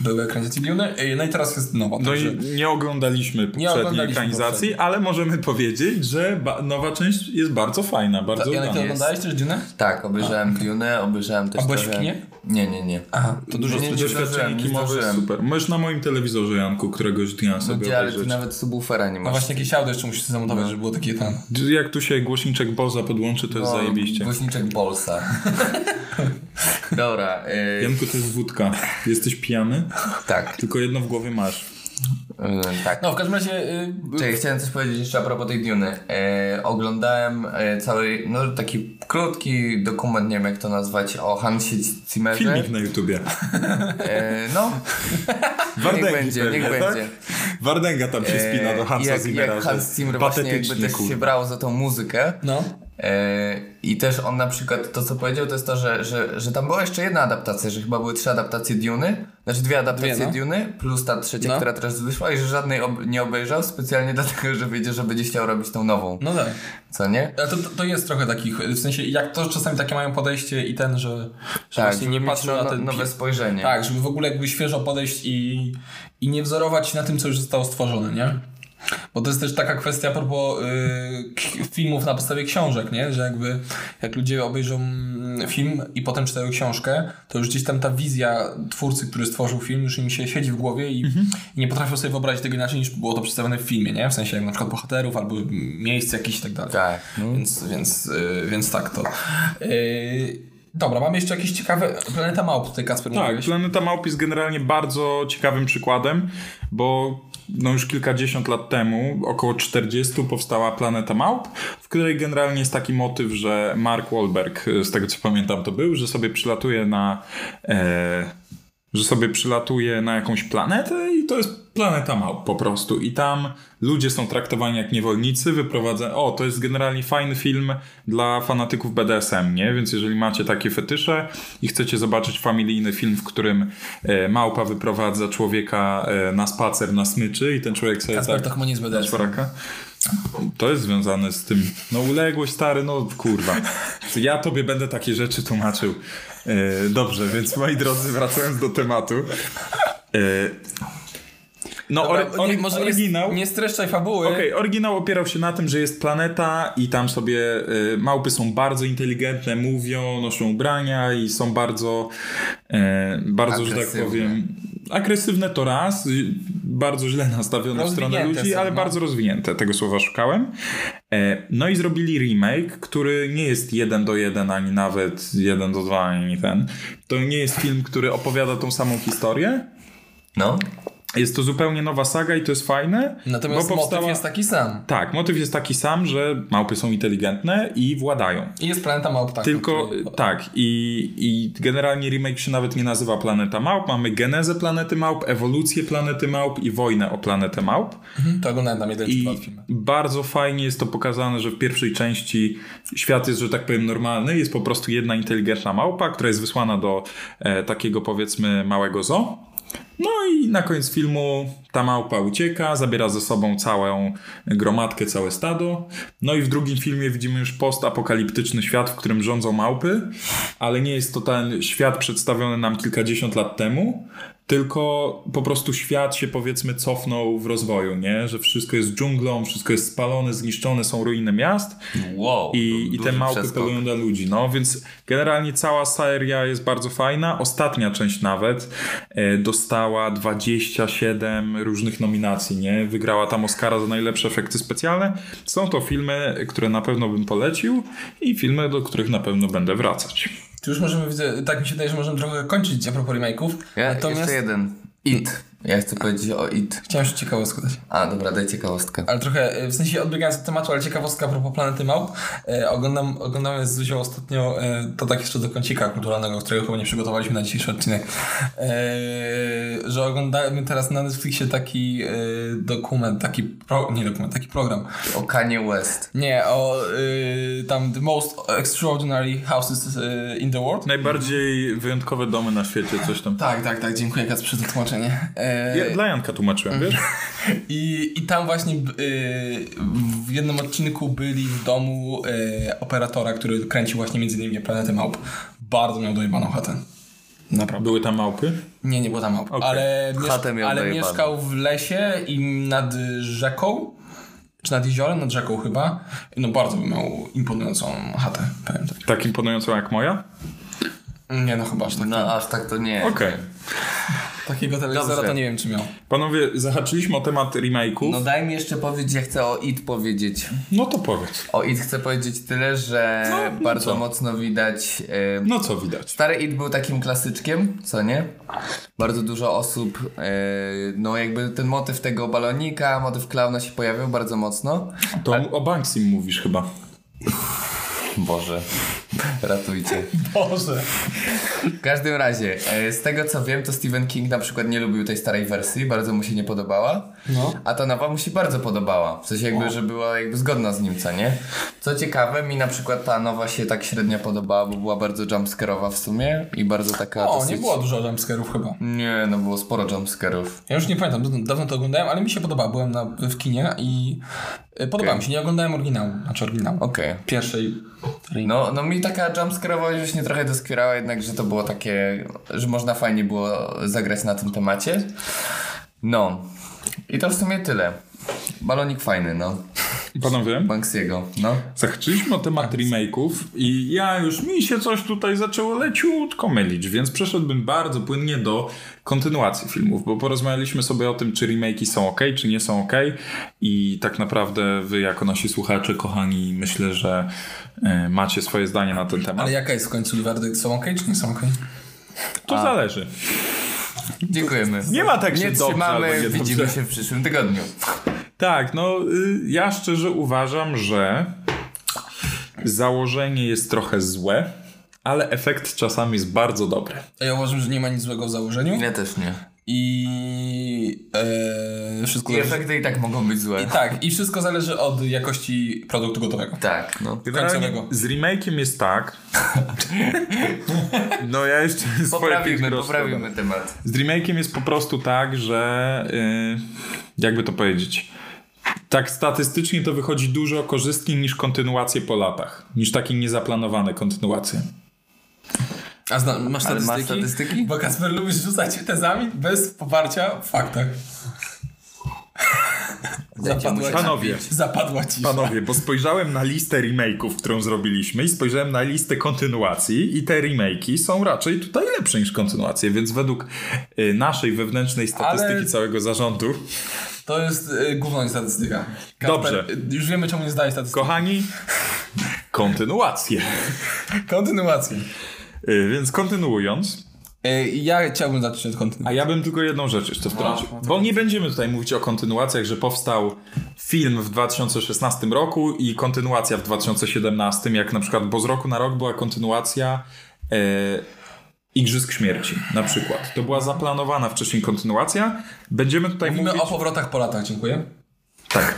[SPEAKER 4] Były ekranizacje Dune, yy, Mhm. no i teraz jest nowa.
[SPEAKER 1] No
[SPEAKER 4] także-
[SPEAKER 1] i nie oglądaliśmy poprzedniej
[SPEAKER 4] oglądaliśmy
[SPEAKER 1] ekranizacji,
[SPEAKER 4] poprzedniej.
[SPEAKER 1] ale możemy powiedzieć, że ba- nowa część jest bardzo fajna, bardzo
[SPEAKER 4] Janek, ty
[SPEAKER 1] udana.
[SPEAKER 4] oglądałeś też Dune?
[SPEAKER 3] Tak, obejrzałem Dune, obejrzałem też
[SPEAKER 4] A byłeś w
[SPEAKER 3] trochę-
[SPEAKER 4] kinie?
[SPEAKER 3] Nie, nie, nie.
[SPEAKER 4] Aha,
[SPEAKER 1] To dużo
[SPEAKER 3] nie, nie zdążyłem,
[SPEAKER 1] doświadczeń
[SPEAKER 3] nie
[SPEAKER 1] kimowe,
[SPEAKER 3] zdążyłem.
[SPEAKER 1] super. Możesz na moim telewizorze, Janku, któregoś dnia
[SPEAKER 3] No
[SPEAKER 1] sobie
[SPEAKER 3] gdzie, ale ty
[SPEAKER 1] obejrzeć.
[SPEAKER 3] nawet subwoofera nie masz.
[SPEAKER 4] No właśnie jakieś audio jeszcze musisz zamontować, żeby było takie ten.
[SPEAKER 1] Jak tu się głośniczek Boza podłączy, to jest
[SPEAKER 3] No,
[SPEAKER 1] zajebiście.
[SPEAKER 3] Głośniczek Bolsa. Dobra, yy,
[SPEAKER 1] Janku, to jest wódka. Jesteś pijany?
[SPEAKER 3] tak.
[SPEAKER 1] Tylko jedno w głowie masz.
[SPEAKER 3] Yy, tak.
[SPEAKER 4] No w każdym razie y,
[SPEAKER 3] Czyli chciałem coś powiedzieć jeszcze a propos tej Duny. E, oglądałem e, cały, no taki krótki dokument, nie wiem jak to nazwać, o Hansie Zimmerze.
[SPEAKER 1] Filmik na YouTubie.
[SPEAKER 3] E, no,
[SPEAKER 1] Wardęgi
[SPEAKER 3] niech będzie,
[SPEAKER 1] pewnie,
[SPEAKER 3] niech
[SPEAKER 1] tak?
[SPEAKER 3] będzie.
[SPEAKER 1] Wardęga tam się spina do
[SPEAKER 3] E,
[SPEAKER 1] Hansa
[SPEAKER 3] jak,
[SPEAKER 1] Zimmera,
[SPEAKER 3] jak
[SPEAKER 1] że
[SPEAKER 3] Hans Zimmer właśnie jakby
[SPEAKER 1] patetycznie,
[SPEAKER 3] też
[SPEAKER 1] kurwa.
[SPEAKER 3] się brał za tą muzykę.
[SPEAKER 4] no.
[SPEAKER 3] E, I też on na przykład to, co powiedział, to jest to, że, że, że tam była jeszcze jedna adaptacja, że chyba były trzy adaptacje Duny, znaczy dwie adaptacje
[SPEAKER 4] Dwie, no.
[SPEAKER 3] Duny, plus ta trzecia,
[SPEAKER 4] No.
[SPEAKER 3] która teraz wyszła, i że żadnej ob- nie obejrzał specjalnie dlatego, że wiedział, że będzie chciał robić tą nową.
[SPEAKER 4] No tak.
[SPEAKER 3] Co nie?
[SPEAKER 4] Ale to, to jest trochę takich, w sensie jak to czasami takie mają podejście i ten, że, że
[SPEAKER 3] Tak,
[SPEAKER 4] właśnie
[SPEAKER 3] żeby
[SPEAKER 4] nie
[SPEAKER 3] mieć
[SPEAKER 4] patrzą
[SPEAKER 3] no,
[SPEAKER 4] na
[SPEAKER 3] no,
[SPEAKER 4] ten...
[SPEAKER 3] nowe spojrzenie.
[SPEAKER 4] tak, żeby w ogóle jakby świeżo podejść i, i nie wzorować się na tym, co już zostało stworzone, nie? Bo to jest też taka kwestia a propos y, k- filmów na podstawie książek, nie? Że jakby jak ludzie obejrzą mm, film i potem czytają książkę, to już gdzieś tam ta wizja twórcy, który stworzył film, już im się siedzi w głowie i,
[SPEAKER 3] Mhm.
[SPEAKER 4] i nie potrafią sobie wyobrazić tego inaczej niż było to przedstawione w filmie, nie? W sensie jak na przykład bohaterów albo miejsc jakichś i tak dalej.
[SPEAKER 3] Tak, no.
[SPEAKER 4] Więc, więc, y, więc tak to. Y, dobra, mam jeszcze jakieś ciekawe... Planeta Małp tutaj Kasper
[SPEAKER 1] Tak,
[SPEAKER 4] mówiłeś.
[SPEAKER 1] Planeta Małp jest generalnie bardzo ciekawym przykładem, bo no już kilkadziesiąt lat temu, około 40, powstała Planeta Małp, w której generalnie jest taki motyw, że Mark Wahlberg, z tego co pamiętam to był, że sobie przylatuje na... E, że sobie przylatuje na jakąś planetę i to jest planeta małp po prostu. I tam ludzie są traktowani jak niewolnicy, wyprowadza... O, to jest generalnie fajny film dla fanatyków BDSM, nie? Więc jeżeli macie takie fetysze i chcecie zobaczyć familijny film, w którym e, małpa wyprowadza człowieka e, na spacer na smyczy i ten człowiek sobie tak-
[SPEAKER 4] Kasper to chyba nie jest BDS.
[SPEAKER 1] czworaka. To jest związane z tym. No uległość, stary, no kurwa. Ja tobie będę takie rzeczy tłumaczył. E, dobrze, więc moi drodzy, wracając do tematu. E, no,
[SPEAKER 4] Dobra,
[SPEAKER 1] or, or,
[SPEAKER 4] nie, może
[SPEAKER 1] oryginał.
[SPEAKER 4] Nie, nie streszczaj fabuły.
[SPEAKER 1] Okej, oryginał opierał się na tym, że jest planeta i tam sobie y, małpy są bardzo inteligentne, mówią, noszą ubrania i są bardzo, y, bardzo że tak
[SPEAKER 3] Agresywne.
[SPEAKER 1] powiem, agresywne to raz, y, bardzo źle nastawione w stronę
[SPEAKER 4] Rozwinięte
[SPEAKER 1] ludzi,
[SPEAKER 4] są,
[SPEAKER 1] ale
[SPEAKER 4] no.
[SPEAKER 1] bardzo rozwinięte, tego słowa szukałem. E, no i zrobili remake, który nie jest jeden do jeden, ani nawet jeden do dwa, ani ten. To nie jest film, który opowiada tą samą historię.
[SPEAKER 3] No,
[SPEAKER 1] Jest to zupełnie nowa saga i to jest fajne.
[SPEAKER 4] Natomiast
[SPEAKER 1] bo powstała...
[SPEAKER 4] motyw jest taki sam.
[SPEAKER 1] Tak, motyw jest taki sam, że małpy są inteligentne i władają.
[SPEAKER 4] I jest planeta Małp, tak.
[SPEAKER 1] Tylko
[SPEAKER 4] który-
[SPEAKER 1] tak, i, i generalnie remake się nawet nie nazywa Planeta Małp. Mamy genezę planety małp, ewolucję planety małp i wojnę o planetę małp.
[SPEAKER 4] Mhm, To oglądałem tam jeden czy
[SPEAKER 1] I
[SPEAKER 4] dwa filmy.
[SPEAKER 1] bardzo fajnie jest to pokazane, że w pierwszej części świat jest, że tak powiem, normalny. Jest po prostu jedna inteligentna małpa, która jest wysłana do e, takiego powiedzmy małego zoo. No i na koniec filmu ta małpa ucieka, zabiera ze sobą całą gromadkę, całe stado. No i w drugim filmie widzimy już postapokaliptyczny świat, w którym rządzą małpy, ale nie jest to ten świat przedstawiony nam kilkadziesiąt lat temu, tylko po prostu świat się powiedzmy cofnął w rozwoju, nie? Że wszystko jest dżunglą, wszystko jest spalone, zniszczone, są ruiny miast
[SPEAKER 3] wow.
[SPEAKER 1] i,
[SPEAKER 3] du-
[SPEAKER 1] i te
[SPEAKER 3] duży
[SPEAKER 1] małpy
[SPEAKER 3] przeskok.
[SPEAKER 1] pełnią dla ludzi. No więc generalnie cała seria jest bardzo fajna. Ostatnia część nawet e, dostała 27 różnych nominacji, nie? Wygrała tam Oscara za najlepsze efekty specjalne. Są to filmy, które na pewno bym polecił i filmy, do których na pewno będę wracać.
[SPEAKER 4] Tu już możemy, widzę, tak mi się wydaje, że możemy trochę kończyć a propos remake'ów.
[SPEAKER 3] Ja,
[SPEAKER 4] Natomiast
[SPEAKER 3] Jeszcze jeden. It. Ja chcę powiedzieć o It.
[SPEAKER 4] chciałem się ciekawostkę dać.
[SPEAKER 3] A, dobra, daj ciekawostkę.
[SPEAKER 4] Ale trochę, e, w sensie odbiegając od tematu, ale ciekawostka a propos Planety Małp. E, oglądam, oglądamy z Zuzią ostatnio, e, to tak jeszcze do kącika kulturalnego, którego chyba nie przygotowaliśmy na dzisiejszy odcinek, e, że oglądamy teraz na Netflixie taki e, dokument, taki, pro, nie dokument, taki program,
[SPEAKER 3] O Kanye West.
[SPEAKER 4] Nie, o y, tam The Most Extraordinary Houses y, in the World.
[SPEAKER 3] No
[SPEAKER 1] Najbardziej wyjątkowe domy na świecie, coś tam.
[SPEAKER 4] Tak, tak, tak, dziękuję Kacprze za tłumaczenie. E,
[SPEAKER 1] Ja, dla Janka tłumaczyłem, wiesz?
[SPEAKER 4] i, I tam właśnie b- y, w jednym odcinku byli w domu y, operatora, który kręcił właśnie między innymi Planetę Małp. Bardzo miał dojebaną chatę. Naprawdę.
[SPEAKER 1] Były tam małpy.
[SPEAKER 4] Nie, nie było tam małp, ale,
[SPEAKER 3] Chatę
[SPEAKER 4] miesz-
[SPEAKER 3] miał
[SPEAKER 4] ale
[SPEAKER 3] dojebaną.
[SPEAKER 4] mieszkał w lesie i nad rzeką, czy nad jeziorem, nad rzeką chyba. No bardzo miał imponującą chatę, powiem tak.
[SPEAKER 1] Tak imponująco jak moja.
[SPEAKER 4] Nie no, chyba aż tak.
[SPEAKER 3] No aż tak to nie.
[SPEAKER 1] Okej.
[SPEAKER 4] Takiego telewizora
[SPEAKER 3] Dobrze.
[SPEAKER 4] to nie wiem, czy miał.
[SPEAKER 1] Panowie, zahaczyliśmy o temat remake'ów.
[SPEAKER 3] No
[SPEAKER 1] No,
[SPEAKER 3] daj mi jeszcze powiedzieć, ja chcę o IT powiedzieć.
[SPEAKER 1] to powiedz.
[SPEAKER 3] O IT chcę powiedzieć tyle, że
[SPEAKER 1] No, no
[SPEAKER 3] bardzo
[SPEAKER 1] co?
[SPEAKER 3] mocno widać e,
[SPEAKER 1] No co widać?
[SPEAKER 3] Stary It był takim klasyczkiem, co nie? Bardzo dużo osób, e, no jakby ten motyw tego balonika, motyw klauna się pojawiał bardzo mocno.
[SPEAKER 1] To o Banksim mówisz chyba.
[SPEAKER 3] Boże, ratujcie.
[SPEAKER 4] Boże.
[SPEAKER 3] W każdym razie, e, z tego co wiem, to Stephen King na przykład nie lubił tej starej wersji, bardzo mu się nie podobała.
[SPEAKER 4] No.
[SPEAKER 3] A ta nowa mu się bardzo podobała. W sensie jakby, że była jakby zgodna z nim, co nie? Co ciekawe, mi na przykład ta nowa się tak średnio podobała, bo była bardzo jumpscare'owa w sumie i bardzo taka
[SPEAKER 4] O,
[SPEAKER 3] dosyć...
[SPEAKER 4] No, nie było dużo jumpscarów chyba.
[SPEAKER 3] Nie, no było sporo jumpscare'ów.
[SPEAKER 4] Ja już nie pamiętam, dawno- dawno to oglądałem, ale mi się podobało. Byłem na, w kinie i y, podobało
[SPEAKER 3] Okej.
[SPEAKER 4] mi się. Nie oglądałem oryginału, znaczy oryginału.
[SPEAKER 3] Okej.
[SPEAKER 4] Pierwszej.
[SPEAKER 3] No, no mi taka jumpscare'owość już nie trochę doskwierała, jednak, że to było takie, że można fajnie było zagrać na tym temacie. No. I to w sumie tyle. Balonik fajny, no.
[SPEAKER 1] Panowie,
[SPEAKER 3] Banksiego, no.
[SPEAKER 1] zahaczyliśmy o temat remake'ów i ja już mi się coś tutaj zaczęło leciutko mylić, więc przeszedłbym bardzo płynnie do kontynuacji filmów, bo porozmawialiśmy sobie o tym, czy remake'i są ok, czy nie są ok i tak naprawdę wy jako nasi słuchacze, kochani, myślę, że e, macie swoje zdanie na ten temat.
[SPEAKER 4] Ale jaka jest w końcu werdykt? Są okej czy nie są okej?
[SPEAKER 1] To zależy.
[SPEAKER 3] Dziękujemy.
[SPEAKER 1] Nie ma tak, że
[SPEAKER 3] Nie
[SPEAKER 1] dobrze albo
[SPEAKER 3] trzymamy,
[SPEAKER 1] nie
[SPEAKER 3] widzimy
[SPEAKER 1] dobrze.
[SPEAKER 3] się w przyszłym tygodniu.
[SPEAKER 1] Tak, no y, ja szczerze uważam, że założenie jest trochę złe, ale efekt czasami jest bardzo dobry.
[SPEAKER 4] Ja uważam, że nie ma nic złego w założeniu.
[SPEAKER 3] Ja też nie.
[SPEAKER 4] I e, wszystko
[SPEAKER 3] I
[SPEAKER 4] zależy...
[SPEAKER 3] efekty i tak mogą być złe.
[SPEAKER 4] I tak, i wszystko zależy od jakości produktu gotowego.
[SPEAKER 3] Tak, no.
[SPEAKER 1] Generalnie
[SPEAKER 4] Końcowego.
[SPEAKER 1] z remake'iem jest tak. No ja jeszcze swoje
[SPEAKER 3] Poprawimy,
[SPEAKER 1] pięć groszy dodam.
[SPEAKER 3] poprawimy temat.
[SPEAKER 1] Z remake'iem jest po prostu tak, że y, jakby to powiedzieć. Tak statystycznie to wychodzi dużo korzystniej niż kontynuacje po latach, niż takie niezaplanowane kontynuacje.
[SPEAKER 4] A zna, masz
[SPEAKER 3] Ale masz
[SPEAKER 4] statystyki?
[SPEAKER 3] statystyki?
[SPEAKER 4] Bo Kasper lubisz rzucać tezami bez poparcia w faktach.
[SPEAKER 3] Dajcie mu się
[SPEAKER 4] Zapadła,
[SPEAKER 1] Panowie,
[SPEAKER 4] zapadła cisza.
[SPEAKER 1] Panowie, bo spojrzałem na listę remake'ów, którą zrobiliśmy i spojrzałem na listę kontynuacji i te remake'i są raczej tutaj lepsze niż kontynuacje, więc według y, naszej wewnętrznej statystyki
[SPEAKER 4] Ale-
[SPEAKER 1] całego zarządu,
[SPEAKER 4] To jest y, główna statystyka. Kasper,
[SPEAKER 1] Dobrze.
[SPEAKER 4] y, Już wiemy, czemu nie zdałeś statystyki.
[SPEAKER 1] kochani, kontynuacje.
[SPEAKER 4] Kontynuację.
[SPEAKER 1] Y, Więc kontynuując,
[SPEAKER 4] Y, ja chciałbym zacząć od kontynuacji.
[SPEAKER 1] a ja bym tylko jedną rzecz jeszcze wtrącił,
[SPEAKER 4] No,
[SPEAKER 1] bo
[SPEAKER 4] tak.
[SPEAKER 1] nie będziemy tutaj mówić o kontynuacjach, że powstał film w 2016 roku i kontynuacja w 2017, jak na przykład, bo z roku na rok była kontynuacja y, Igrzysk Śmierci na przykład. To była zaplanowana wcześniej kontynuacja. Będziemy tutaj
[SPEAKER 4] Mówimy
[SPEAKER 1] mówić...
[SPEAKER 4] o powrotach po latach, dziękuję.
[SPEAKER 1] Tak.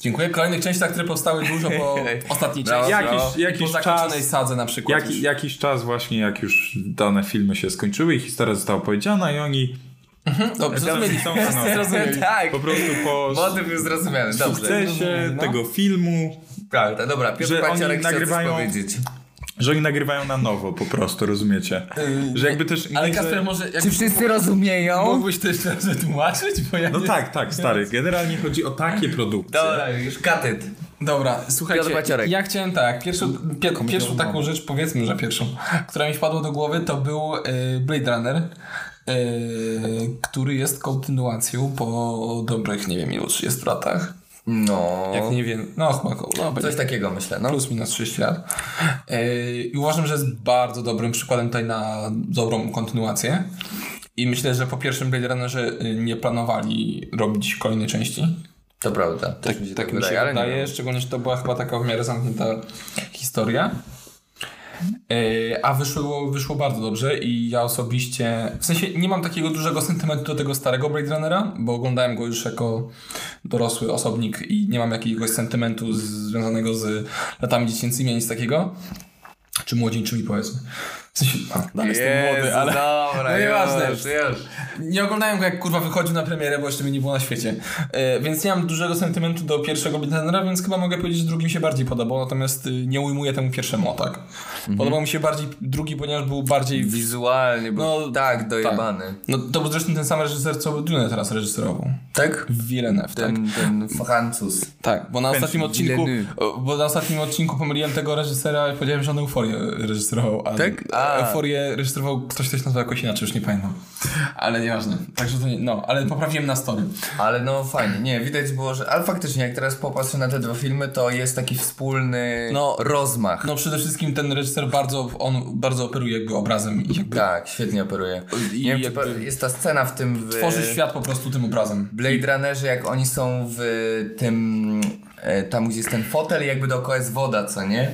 [SPEAKER 4] Dziękuję. Kolejnych częściach, które powstały dużo po ostatniej
[SPEAKER 3] Brawo,
[SPEAKER 4] części.
[SPEAKER 1] brawo.
[SPEAKER 4] i
[SPEAKER 1] No, Jakiś
[SPEAKER 4] po zakończonej
[SPEAKER 1] czas-
[SPEAKER 4] sadze na przykład.
[SPEAKER 1] Jak,
[SPEAKER 4] już.
[SPEAKER 1] jakiś czas właśnie, jak już dane filmy się skończyły i historia została powiedziana i oni
[SPEAKER 4] Dobrze, zrozumieliśmy.
[SPEAKER 1] Teraz są-
[SPEAKER 4] Zrozumieli. Tak.
[SPEAKER 3] tak.
[SPEAKER 1] po prostu po
[SPEAKER 3] Motyw już zrozumiany, dobrze.
[SPEAKER 1] sukcesie
[SPEAKER 4] no.
[SPEAKER 1] tego filmu,
[SPEAKER 3] Prawda, dobra, Piotr
[SPEAKER 1] tak- Że oni
[SPEAKER 3] Paciorek chce
[SPEAKER 1] nagrywają-
[SPEAKER 3] coś powiedzieć.
[SPEAKER 1] że oni nagrywają na nowo po prostu, rozumiecie? Że jakby też...
[SPEAKER 4] Yy, Ale
[SPEAKER 1] nie,
[SPEAKER 4] Kasper
[SPEAKER 1] że...
[SPEAKER 4] może... Jak...
[SPEAKER 3] Czy wszyscy rozumieją?
[SPEAKER 4] Mógłbyś to jeszcze raz wytłumaczyć? Bo ja
[SPEAKER 1] No
[SPEAKER 4] nie-
[SPEAKER 1] tak, tak, stary. Generalnie chodzi o takie produkcje.
[SPEAKER 3] Dobra, już katyt.
[SPEAKER 4] Dobra, słuchajcie,
[SPEAKER 3] Piotr Paciorek.
[SPEAKER 4] ja chciałem tak, pierwszą, pie, pierwszą taką rzecz, powiedzmy, że pierwszą, która mi wpadła do głowy, to był y, Blade Runner, y, który jest kontynuacją po dobrych, nie wiem, ilu 30 latach.
[SPEAKER 3] No.
[SPEAKER 4] Jak nie wiem, no chyba koło, no, będzie
[SPEAKER 3] Coś takiego myślę, no.
[SPEAKER 4] plus minus 30 lat. Yy, I uważam, że jest bardzo dobrym przykładem tutaj na dobrą kontynuację. I myślę, że po pierwszym Blade Runnerze y, nie planowali robić kolejnej części.
[SPEAKER 3] To prawda. Też
[SPEAKER 4] Tak mi się, tak mi się
[SPEAKER 3] ale nie
[SPEAKER 4] wydaje,
[SPEAKER 3] wiem.
[SPEAKER 4] szczególnie, że to była chyba taka w miarę zamknięta historia. Yy, A wyszło, wyszło bardzo dobrze i ja osobiście, w sensie nie mam takiego dużego sentymentu do tego starego Blade Runnera, bo oglądałem go już jako dorosły osobnik i nie mam jakiegoś sentymentu z, związanego z latami dziecięcymi, ani nic takiego. Czy młodzieńczymi powiedzmy. W sensie, a, dalej jestem młody,
[SPEAKER 3] Jezu,
[SPEAKER 4] ale...
[SPEAKER 3] Dobra,
[SPEAKER 4] No nieważne.
[SPEAKER 3] już, już.
[SPEAKER 4] Nie oglądałem go jak kurwa wychodził na premierę, bo jeszcze mnie nie było na świecie. E, więc nie mam dużego sentymentu do pierwszego Blitnera, więc chyba mogę powiedzieć, że drugi mi się bardziej podobał, natomiast y, nie ujmuję temu pierwszemu, o tak.
[SPEAKER 3] Mhm.
[SPEAKER 4] Podobał mi się bardziej drugi, ponieważ był bardziej... W...
[SPEAKER 3] Wizualnie był
[SPEAKER 4] No,
[SPEAKER 3] tak dojebany.
[SPEAKER 4] No to był zresztą ten sam reżyser, co Dune teraz reżyserował.
[SPEAKER 3] Tak?
[SPEAKER 4] Villeneuve, tak.
[SPEAKER 3] Ten, ten Francuz.
[SPEAKER 4] Tak, bo na ostatnim odcinku,
[SPEAKER 3] Villeneuve.
[SPEAKER 4] o, bo na ostatnim odcinku pomyliłem tego reżysera i powiedziałem, że on euforię e, reżyserował. A,
[SPEAKER 3] Tak?
[SPEAKER 4] A,
[SPEAKER 3] A.
[SPEAKER 4] euforię rejestrował ktoś, ktoś nazwał jakoś inaczej, już nie pamiętam. Ale nieważne. Także to nie, no, ale poprawiłem na story.
[SPEAKER 3] Ale no fajnie, nie, widać było, że... Ale faktycznie, jak teraz popatrzę na te dwa filmy, to jest taki wspólny
[SPEAKER 4] No.
[SPEAKER 3] rozmach.
[SPEAKER 4] No przede wszystkim ten reżyser bardzo, on bardzo operuje jakby obrazem i jakby
[SPEAKER 3] Tak, świetnie operuje.
[SPEAKER 4] I
[SPEAKER 3] nie wiem,
[SPEAKER 4] jakby-
[SPEAKER 3] czy pa- jest ta scena w tym... W...
[SPEAKER 4] tworzy świat po prostu tym obrazem.
[SPEAKER 3] Blade Runnerze, jak oni są w tym, e, tam gdzie jest ten fotel i jakby dookoła jest woda, co nie?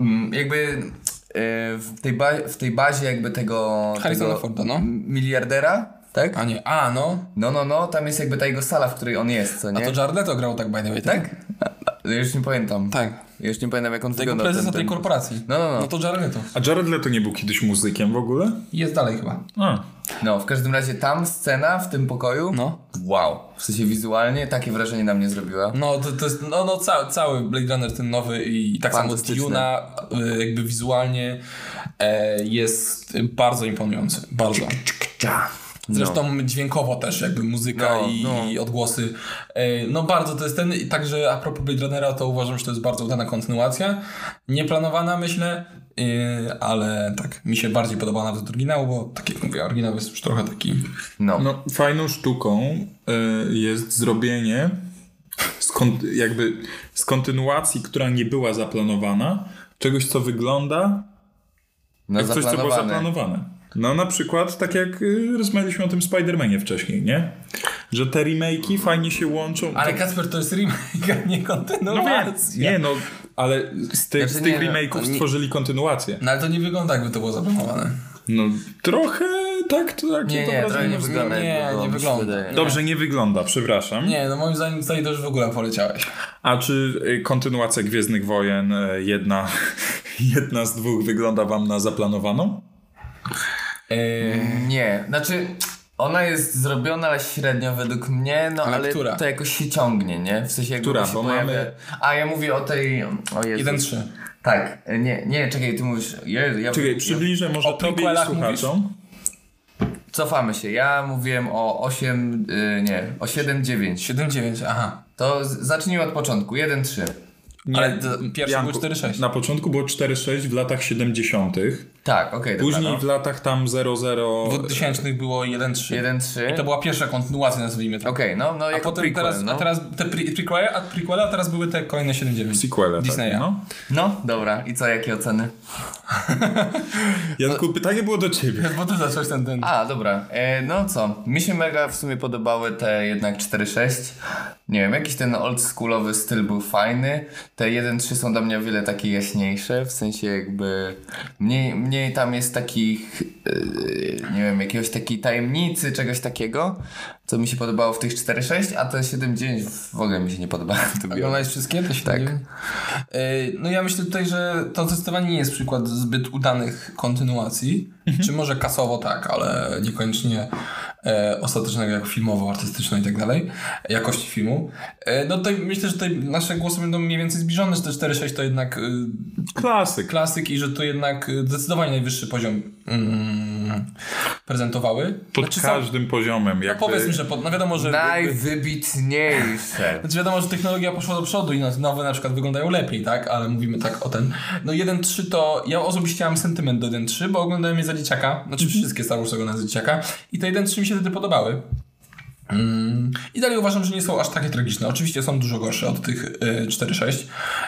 [SPEAKER 3] Mm, Jakby e, w tej, ba- w tej bazie jakby tego...
[SPEAKER 4] Harrisona
[SPEAKER 3] tego
[SPEAKER 4] Forda, no.
[SPEAKER 3] Miliardera, tak?
[SPEAKER 4] A nie, a no,
[SPEAKER 3] No, no, no, tam jest jakby ta jego sala, w której on jest, co
[SPEAKER 4] a
[SPEAKER 3] nie?
[SPEAKER 4] to Jared Leto grał tak by the way, tak?
[SPEAKER 3] Tak? Ja Już nie pamiętam.
[SPEAKER 4] Tak.
[SPEAKER 3] Ja Już nie pamiętam jak on
[SPEAKER 4] Tego
[SPEAKER 3] wyglądał.
[SPEAKER 4] prezesa
[SPEAKER 3] ten-
[SPEAKER 4] tej
[SPEAKER 3] ten-
[SPEAKER 4] korporacji.
[SPEAKER 3] No, no, no.
[SPEAKER 4] No to Jared Leto.
[SPEAKER 1] A Jared Leto nie był kiedyś muzykiem w ogóle?
[SPEAKER 4] Jest dalej chyba.
[SPEAKER 1] A.
[SPEAKER 3] No, w każdym razie tam scena w tym pokoju.
[SPEAKER 4] No.
[SPEAKER 3] Wow. W sensie wizualnie takie wrażenie na mnie zrobiła.
[SPEAKER 4] No, to, to jest, no, no cały, cały Blade Runner ten nowy i tak samo
[SPEAKER 3] Fantastyczny.
[SPEAKER 4] Duna y, jakby wizualnie e, jest bardzo imponujący, bardzo. Zresztą dźwiękowo też jakby muzyka
[SPEAKER 3] No,
[SPEAKER 4] i,
[SPEAKER 3] no.
[SPEAKER 4] i odgłosy. E, no bardzo to jest ten, i także a propos Blade Runnera to uważam, że to jest bardzo udana kontynuacja, nieplanowana myślę, y, ale tak, mi się bardziej podoba nawet od oryginału, bo tak jak mówię, oryginał jest już trochę taki...
[SPEAKER 3] No.
[SPEAKER 1] No, fajną sztuką y, jest zrobienie skont, jakby z kontynuacji, która nie była zaplanowana, czegoś, co wygląda
[SPEAKER 3] no
[SPEAKER 1] jak coś, co było zaplanowane. No na przykład, tak jak y, rozmawialiśmy o tym Spider-Manie wcześniej, nie? Że te remake'i fajnie się łączą.
[SPEAKER 4] Ale Kacper to jest remake, a nie
[SPEAKER 1] no
[SPEAKER 4] kontynuacja.
[SPEAKER 1] wiem, nie no, ale z tych,
[SPEAKER 3] Znaczy
[SPEAKER 1] z tych
[SPEAKER 3] nie, no,
[SPEAKER 1] remake'ów
[SPEAKER 3] to nie-
[SPEAKER 1] stworzyli kontynuację.
[SPEAKER 4] No ale to nie wygląda jakby to było zaplanowane.
[SPEAKER 1] No trochę tak, to tak.
[SPEAKER 3] Nie,
[SPEAKER 1] to
[SPEAKER 3] nie,
[SPEAKER 1] wrażenie
[SPEAKER 3] trochę nie
[SPEAKER 1] względu-
[SPEAKER 3] wygląda.
[SPEAKER 4] nie,
[SPEAKER 3] jak było,
[SPEAKER 4] nie
[SPEAKER 3] mi się
[SPEAKER 4] wygląda.
[SPEAKER 3] wydaje.
[SPEAKER 1] Dobrze nie wygląda, przepraszam.
[SPEAKER 4] Nie, no moim zdaniem tutaj to już w ogóle poleciałeś.
[SPEAKER 1] A czy y, kontynuacja Gwiezdnych Wojen, y, jedna, jedna z dwóch wygląda wam na zaplanowaną?
[SPEAKER 4] Eee,
[SPEAKER 3] Nie, znaczy ona jest zrobiona ale średnio według mnie, no ale,
[SPEAKER 4] Ale która?
[SPEAKER 3] to jakoś się ciągnie, nie? W sensie jakby
[SPEAKER 1] Która?
[SPEAKER 3] się
[SPEAKER 1] Bo
[SPEAKER 3] pojawia...
[SPEAKER 1] mamy-
[SPEAKER 3] A ja mówię o tej... O Jezu.
[SPEAKER 4] 1-3.
[SPEAKER 3] Tak, nie, nie, czekaj, ty mówisz... Jezu, ja...
[SPEAKER 1] Czekaj, przybliżę
[SPEAKER 4] O
[SPEAKER 1] może tobie i
[SPEAKER 4] prequelach
[SPEAKER 1] słuchaczom.
[SPEAKER 3] Cofamy się, ja mówiłem o 8... y, nie, o 7-9.
[SPEAKER 4] 7-9, aha.
[SPEAKER 3] To z- zacznijmy od początku, 1-3.
[SPEAKER 1] Nie,
[SPEAKER 4] Ale to pierwszy
[SPEAKER 1] Janku,
[SPEAKER 4] był 4-6.
[SPEAKER 1] Na początku było 4-6 w latach 70.
[SPEAKER 3] Tak, okej, dobra,
[SPEAKER 1] Później
[SPEAKER 3] no.
[SPEAKER 1] w latach tam 00.
[SPEAKER 4] W 2000 było 1-3.
[SPEAKER 3] 1-3.
[SPEAKER 4] I to była pierwsza kontynuacja, nazwijmy to.
[SPEAKER 3] Okej, no, no
[SPEAKER 4] A
[SPEAKER 3] jako
[SPEAKER 4] potem
[SPEAKER 3] prequel,
[SPEAKER 4] teraz,
[SPEAKER 3] no.
[SPEAKER 4] a teraz te pre- prequele, a prequele, a teraz były te kolejne 7-9.
[SPEAKER 1] Sequele,
[SPEAKER 4] Disneya.
[SPEAKER 1] Tak, no.
[SPEAKER 3] No, dobra, i co, jakie oceny?
[SPEAKER 1] Janku, pytanie było do ciebie.
[SPEAKER 4] Bo ty zacząłeś ten, ten.
[SPEAKER 3] A, dobra. E, no co? Mi się mega w sumie podobały te jednak 4.6. Nie wiem, jakiś ten oldschoolowy styl był fajny. Te 1.3 są dla mnie o wiele takie jaśniejsze, w sensie jakby mniej, mniej tam jest takich, e, nie wiem, jakiegoś takiej tajemnicy, czegoś takiego, co mi się podobało w tych 4.6, a te 7.9 w ogóle mi się nie podobało. to biorę.
[SPEAKER 4] Oglądałeś wszystkie? To się tak. No ja myślę tutaj, że to zdecydowanie nie jest przykład zbyt udanych kontynuacji. Czy może kasowo tak, ale niekoniecznie e, ostatecznego jak filmowo, artystyczne i tak dalej, jakości filmu. E, no tutaj myślę, że tutaj nasze głosy będą mniej więcej zbliżone, że te 4-6 to jednak y,
[SPEAKER 1] Klasyk.
[SPEAKER 4] klasyk i że to jednak y, zdecydowanie najwyższy poziom mm, prezentowały.
[SPEAKER 1] Pod
[SPEAKER 4] Znaczy, sam-
[SPEAKER 1] każdym poziomem. Jakby...
[SPEAKER 4] Powiedzmy, że pod, no wiadomo, że...
[SPEAKER 3] Najwybitniejsze.
[SPEAKER 4] Znaczy wiadomo, że technologia poszła do przodu i no- nowe na przykład wyglądają lepiej, tak? Ale mówimy tak o ten. No 1.3 to... Ja osobiście mam sentyment do 1.3, bo oglądałem je za dzieciaka. Znaczy wszystkie Star Wars oglądałem za dzieciaka. I te 1.3 mi się wtedy podobały. Mm. I dalej uważam, że nie są aż takie tragiczne. Oczywiście są dużo gorsze od tych e, 4-6.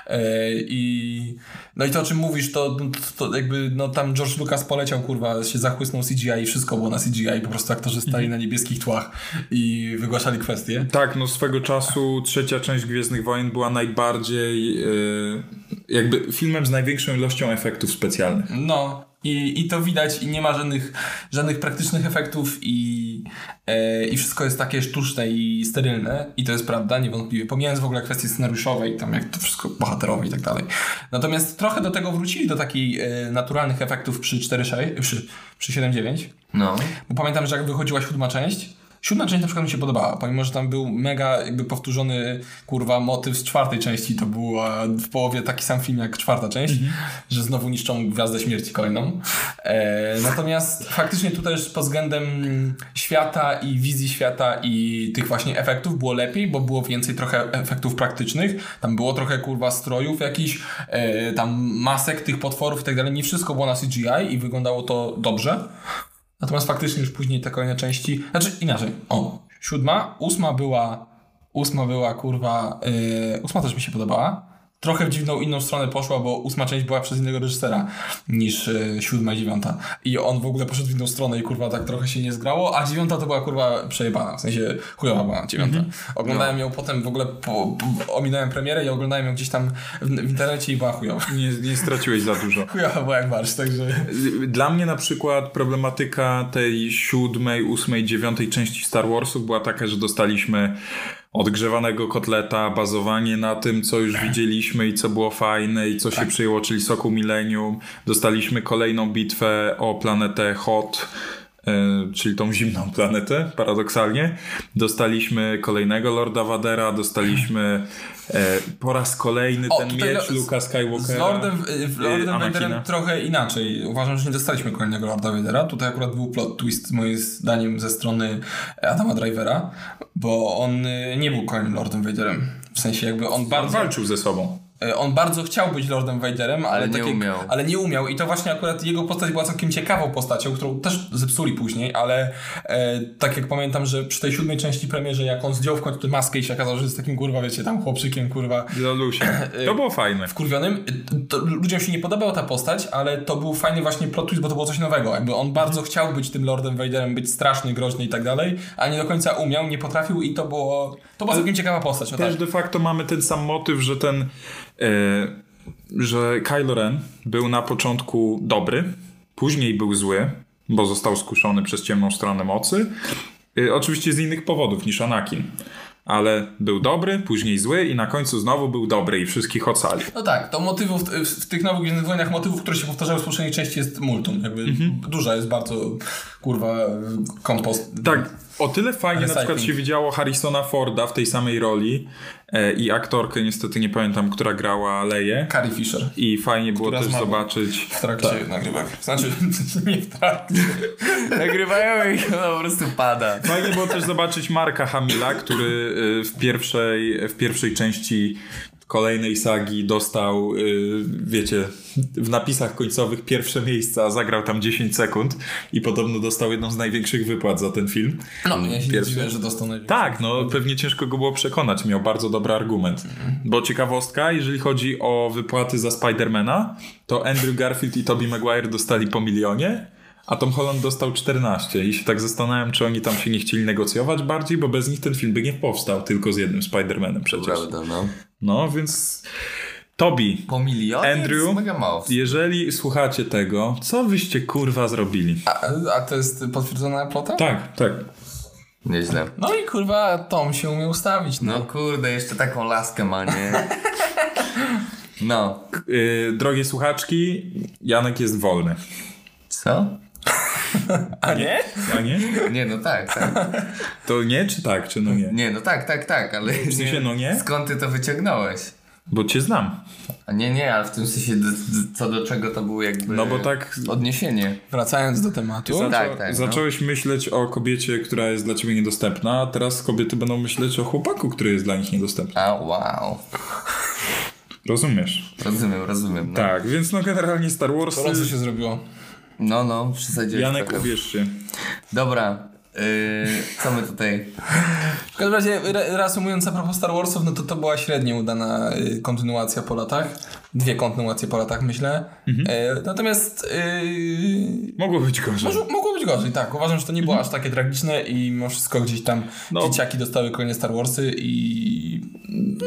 [SPEAKER 4] E, I no i to, o czym mówisz, to, to, to jakby no tam George Lucas poleciał, kurwa, się zachłysnął CGI i wszystko było na CGI. Po prostu aktorzy stali na niebieskich tłach i wygłaszali kwestie.
[SPEAKER 1] Tak, no swego czasu trzecia część Gwiezdnych Wojen była najbardziej y, jakby filmem z największą ilością efektów specjalnych.
[SPEAKER 4] No. I, I to widać i nie ma żadnych, żadnych praktycznych efektów i, e, i wszystko jest takie sztuczne i sterylne i to jest prawda, niewątpliwie. Pomijając w ogóle kwestie scenariuszowe i tam jak to wszystko bohaterowe i tak dalej. Natomiast trochę do tego wrócili, do takich e, naturalnych efektów przy 4.6, przy, przy 7.9.
[SPEAKER 3] No.
[SPEAKER 4] Bo pamiętam, że jak wychodziła siódma część, Siódma część na przykład mi się podobała, pomimo, że tam był mega jakby powtórzony, kurwa, motyw z czwartej części, to był e, w połowie taki sam film jak czwarta część, że znowu niszczą Gwiazdę Śmierci kolejną. E, natomiast faktycznie tutaj już pod względem mm, świata i wizji świata i tych właśnie efektów było lepiej, bo było więcej trochę efektów praktycznych, tam było trochę, kurwa, strojów jakichś, e, tam masek tych potworów i tak dalej, nie wszystko było na CGI i wyglądało to dobrze. Natomiast faktycznie już później te kolejne części, znaczy inaczej, o, siódma, ósma była, ósma była kurwa, yy, ósma też mi się podobała. Trochę w dziwną inną stronę poszła, bo ósma część była przez innego reżysera niż yy, siódma i dziewiąta. I on w ogóle poszedł w inną stronę i kurwa tak trochę się nie zgrało, a dziewiąta to była kurwa przejebana, w sensie chujowa była dziewiąta. Oglądałem ją potem w ogóle, po, po, ominąłem premierę i oglądałem ją gdzieś tam w, w internecie i była chujowa.
[SPEAKER 1] Nie, nie straciłeś za dużo.
[SPEAKER 4] Chujowa była jak marsz, także...
[SPEAKER 1] Dla mnie na przykład problematyka tej siódmej, ósmej, dziewiątej części Star Warsów była taka, że dostaliśmy odgrzewanego kotleta, bazowanie na tym, co już
[SPEAKER 4] Tak.
[SPEAKER 1] widzieliśmy i co było fajne i co się przyjęło, czyli soku milenium. Dostaliśmy kolejną bitwę o planetę Hot. e, Czyli tą zimną planetę, paradoksalnie. Dostaliśmy kolejnego Lorda Vadera, dostaliśmy e, po raz kolejny
[SPEAKER 4] O,
[SPEAKER 1] ten
[SPEAKER 4] tutaj
[SPEAKER 1] miecz
[SPEAKER 4] lo- z-
[SPEAKER 1] Luka Skywalkera.
[SPEAKER 4] Z Lordem, y, w
[SPEAKER 1] y,
[SPEAKER 4] Lordem
[SPEAKER 1] Anakina.
[SPEAKER 4] Vaderem trochę inaczej. Uważam, że nie dostaliśmy kolejnego Lorda Vadera. Tutaj akurat był plot twist, moim zdaniem, ze strony Adama Drivera, bo on y, nie był kolejnym Lordem Vaderem. W sensie jakby on bardzo,
[SPEAKER 1] walczył ze sobą.
[SPEAKER 4] y, on bardzo chciał być Lordem Vaderem, ale,
[SPEAKER 3] nie
[SPEAKER 4] takie,
[SPEAKER 3] umiał.
[SPEAKER 4] ale nie umiał. I to właśnie akurat jego postać była całkiem ciekawą postacią, którą też zepsuli później, ale e, tak jak pamiętam, że przy tej siódmej części premierze, jak on zdjął w końcu tę maskę i się okazało, że jest takim kurwa, wiecie, tam chłopczykiem, kurwa,
[SPEAKER 1] Lolusia. To było fajne.
[SPEAKER 4] wkurwionym. To ludziom się nie podobała ta postać, ale to był fajny właśnie plot twist, bo to było coś nowego. Jakby on bardzo chciał być tym Lordem Vaderem, być straszny, groźny i tak dalej, a nie do końca umiał, nie potrafił i to było... To była całkiem ciekawa postać, no tak.
[SPEAKER 1] Też de facto mamy ten sam motyw, że ten, e, że Kylo Ren był na początku dobry, później był zły, bo został skuszony przez ciemną stronę mocy. E, oczywiście z innych powodów niż Anakin. Ale był dobry, później zły i na końcu znowu był dobry i wszystkich ocalił.
[SPEAKER 4] No tak, to motywów w, w tych nowych Gwiezdnych Wojnach, motywów, które się powtarzały z poprzedniej części jest multum. Jakby duża jest bardzo, kurwa, kompost.
[SPEAKER 1] Tak, o tyle fajnie na
[SPEAKER 4] Recycling.
[SPEAKER 1] przykład się widziało Harrisona Forda w tej samej roli e, i aktorkę, niestety nie pamiętam, która grała Leję.
[SPEAKER 4] Carrie Fisher.
[SPEAKER 1] I fajnie było
[SPEAKER 4] Która
[SPEAKER 1] też
[SPEAKER 4] zmarła.
[SPEAKER 1] zobaczyć.
[SPEAKER 4] W trakcie nagrywek. Znaczy, nie w trakcie.
[SPEAKER 3] Nagrywają i ona po prostu pada.
[SPEAKER 1] Fajnie było też zobaczyć Marka Hamila, który y, w pierwszej, w pierwszej części kolejnej sagi dostał, y, wiecie, w napisach końcowych pierwsze miejsce, a zagrał tam 10 sekund i podobno dostał jedną z największych wypłat za ten film.
[SPEAKER 4] No, ja się nie
[SPEAKER 1] Pierwszy.
[SPEAKER 4] dziwię, że dostał najwięcej.
[SPEAKER 1] Tak, no pewnie ciężko go było przekonać, miał bardzo dobry argument. Bo ciekawostka, jeżeli chodzi o wypłaty za Spidermana, to Andrew Garfield i Tobey Maguire dostali po milionie, a Tom Holland dostał 14 i się tak zastanawiam, czy oni tam się nie chcieli negocjować bardziej, bo bez nich ten film by nie powstał, tylko z jednym Spidermanem przecież.
[SPEAKER 3] Prawda, no.
[SPEAKER 1] No, więc Tobi,
[SPEAKER 3] Po milionie?
[SPEAKER 1] Andrew?
[SPEAKER 3] To jest mega mało.
[SPEAKER 1] jeżeli słuchacie tego, co wyście kurwa zrobili?
[SPEAKER 4] A, a to jest potwierdzona plota?
[SPEAKER 1] Tak, tak.
[SPEAKER 3] Nieźle.
[SPEAKER 4] No i kurwa, Tom się umie ustawić. No.
[SPEAKER 3] No kurde, jeszcze taką laskę ma, nie? No.
[SPEAKER 1] Yy, drogie słuchaczki, Janek jest wolny.
[SPEAKER 3] Co?
[SPEAKER 4] A nie?
[SPEAKER 1] A nie?
[SPEAKER 3] Nie, no tak, tak.
[SPEAKER 1] To nie, czy tak, czy no nie?
[SPEAKER 3] Nie, no tak, tak, tak, ale... W
[SPEAKER 1] sensie, no nie?
[SPEAKER 3] Skąd ty to wyciągnąłeś?
[SPEAKER 1] Bo cię znam.
[SPEAKER 3] A nie, nie, ale w tym sensie d- d- co do czego to było jakby...
[SPEAKER 1] No bo tak-
[SPEAKER 3] Odniesienie.
[SPEAKER 4] Wracając do tematu.
[SPEAKER 1] Zaczą,
[SPEAKER 3] Tak, tak, no.
[SPEAKER 1] zacząłeś myśleć o kobiecie, która jest dla ciebie niedostępna, a teraz kobiety będą myśleć o chłopaku, który jest dla nich niedostępny.
[SPEAKER 3] A, wow.
[SPEAKER 1] Rozumiesz?
[SPEAKER 3] Rozumiem, rozumiem. No,
[SPEAKER 1] Tak, więc no generalnie Star Wars.
[SPEAKER 4] Gorąco się zrobiło.
[SPEAKER 3] no, no przesadziłeś
[SPEAKER 1] Janek,
[SPEAKER 3] trochę.
[SPEAKER 1] uwierz się.
[SPEAKER 3] Dobra. Yy, co my tutaj?
[SPEAKER 4] W każdym razie, re, reasumując a propos Star Warsów, no to to była średnio udana y, kontynuacja po latach. Dwie kontynuacje po latach, myślę.
[SPEAKER 1] Mhm.
[SPEAKER 4] Y, natomiast y,
[SPEAKER 1] Mogło być gorzej.
[SPEAKER 4] może, mogło być gorzej, tak. Uważam, że to nie było aż takie tragiczne i mimo wszystko gdzieś tam
[SPEAKER 1] Mhm. No.
[SPEAKER 4] dzieciaki dostały kolejne Star Warsy i